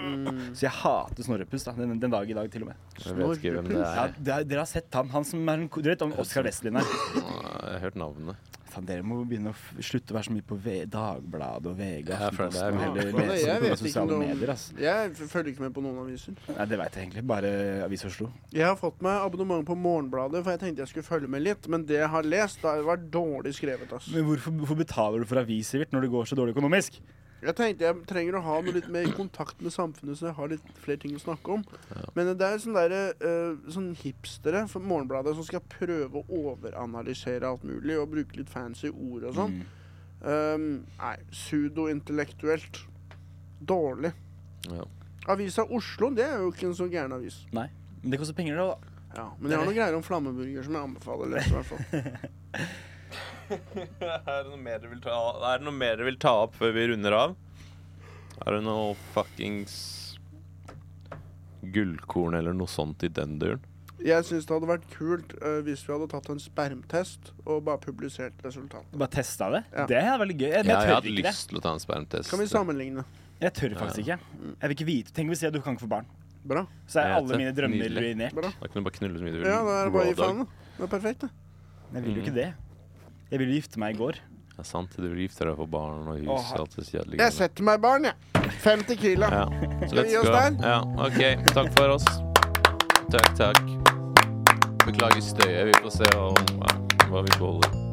[SPEAKER 3] Så jeg hater Snorrepus da, den, den dag i dag, til og med.
[SPEAKER 1] Jeg vet ikke hvem det
[SPEAKER 3] Ja,
[SPEAKER 1] er.
[SPEAKER 3] det- dere har sett han, han som er en Dere vet om Oskar Westlin her?
[SPEAKER 1] Jeg har hørt navnet.
[SPEAKER 3] Faen, dere må begynne å f- slutte å være så mye på v Dagbladet og VG.
[SPEAKER 1] Ja, for det er-
[SPEAKER 3] Aftenposten, og
[SPEAKER 2] Ja,
[SPEAKER 3] heller
[SPEAKER 2] men
[SPEAKER 3] lese
[SPEAKER 2] altså, jeg
[SPEAKER 3] på
[SPEAKER 2] vet ikke
[SPEAKER 3] sosiale
[SPEAKER 2] noe om-
[SPEAKER 3] medier. ass.
[SPEAKER 2] Jeg f- følger ikke med på noen aviser.
[SPEAKER 3] Nei, det veit jeg egentlig. Bare Avis Oslo.
[SPEAKER 2] Jeg har fått meg abonnement på Morgenbladet, for jeg tenkte jeg skulle følge med litt. Men det jeg har lest, det har vært dårlig skrevet. ass.
[SPEAKER 3] Men hvorfor, hvorfor betaler du for aviser, Virt, når det går så dårlig økonomisk?
[SPEAKER 2] Jeg tenkte jeg trenger å ha noe litt mer kontakt med samfunnet, så jeg har litt flere ting å snakke om. Men det er sånn derre eh, sånn hipstere for Morgenbladet som skal prøve å overanalysere alt mulig og bruke litt fancy ord og
[SPEAKER 3] Mm.
[SPEAKER 2] Ehm, sånn. Um, nei, pseudointellektuelt. Dårlig.
[SPEAKER 1] Ja.
[SPEAKER 2] Avisa Oslo, det er jo ikke en så gæren avis.
[SPEAKER 3] Nei. Men det koster penger, det òg, da.
[SPEAKER 2] Ja, men jeg har noen greier om flammeburger som jeg anbefaler å lese, i hvert fall.
[SPEAKER 1] Er det noe mer dere vil ta, er det noe mer dere vil ta opp før vi runder av? Er det noe fuckings gullkorn eller noe sånt i den duren?
[SPEAKER 2] Jeg syns det hadde vært kult eh, hvis vi hadde tatt en spermtest og bare publisert resultatet.
[SPEAKER 3] Bare testa det.
[SPEAKER 2] Ja.
[SPEAKER 3] Det er veldig gøy. Jeg,
[SPEAKER 1] Ja,
[SPEAKER 3] men
[SPEAKER 1] jeg
[SPEAKER 3] jeg tør
[SPEAKER 1] hadde
[SPEAKER 3] ikke det.
[SPEAKER 1] lyst til å ta en spermtest.
[SPEAKER 2] Kan vi sammenligne?
[SPEAKER 3] Jeg tør faktisk ikke. Jeg vil ikke vite. Tenk hvis jeg du kan ikke få barn.
[SPEAKER 2] Bra.
[SPEAKER 3] Så er
[SPEAKER 1] Jeg vet
[SPEAKER 3] alle
[SPEAKER 1] det.
[SPEAKER 3] mine drømmer
[SPEAKER 1] Nydelig.
[SPEAKER 3] ruinert.
[SPEAKER 2] Bra.
[SPEAKER 1] Da kan du bare knulle så mye du vil.
[SPEAKER 2] Ja, da er det bare å
[SPEAKER 1] Raw
[SPEAKER 2] gi
[SPEAKER 1] dog.
[SPEAKER 2] faen, da. Det er perfekt, det.
[SPEAKER 3] Jeg vil jo ikke det. Jeg ville jo gifte meg i går.
[SPEAKER 1] Det er sant, du vil gifte deg for barn og hus
[SPEAKER 3] Åh.
[SPEAKER 1] og alt det kjedelige.
[SPEAKER 2] Jeg setter meg barn, jeg. 50 kilo.
[SPEAKER 1] Ja. Så
[SPEAKER 2] Skal vi
[SPEAKER 1] let's
[SPEAKER 2] gi oss
[SPEAKER 1] go.
[SPEAKER 2] der?
[SPEAKER 1] Ja, OK. Takk for oss. Takk, takk. Beklager støyet. Vi får se hva, hva vi beholder.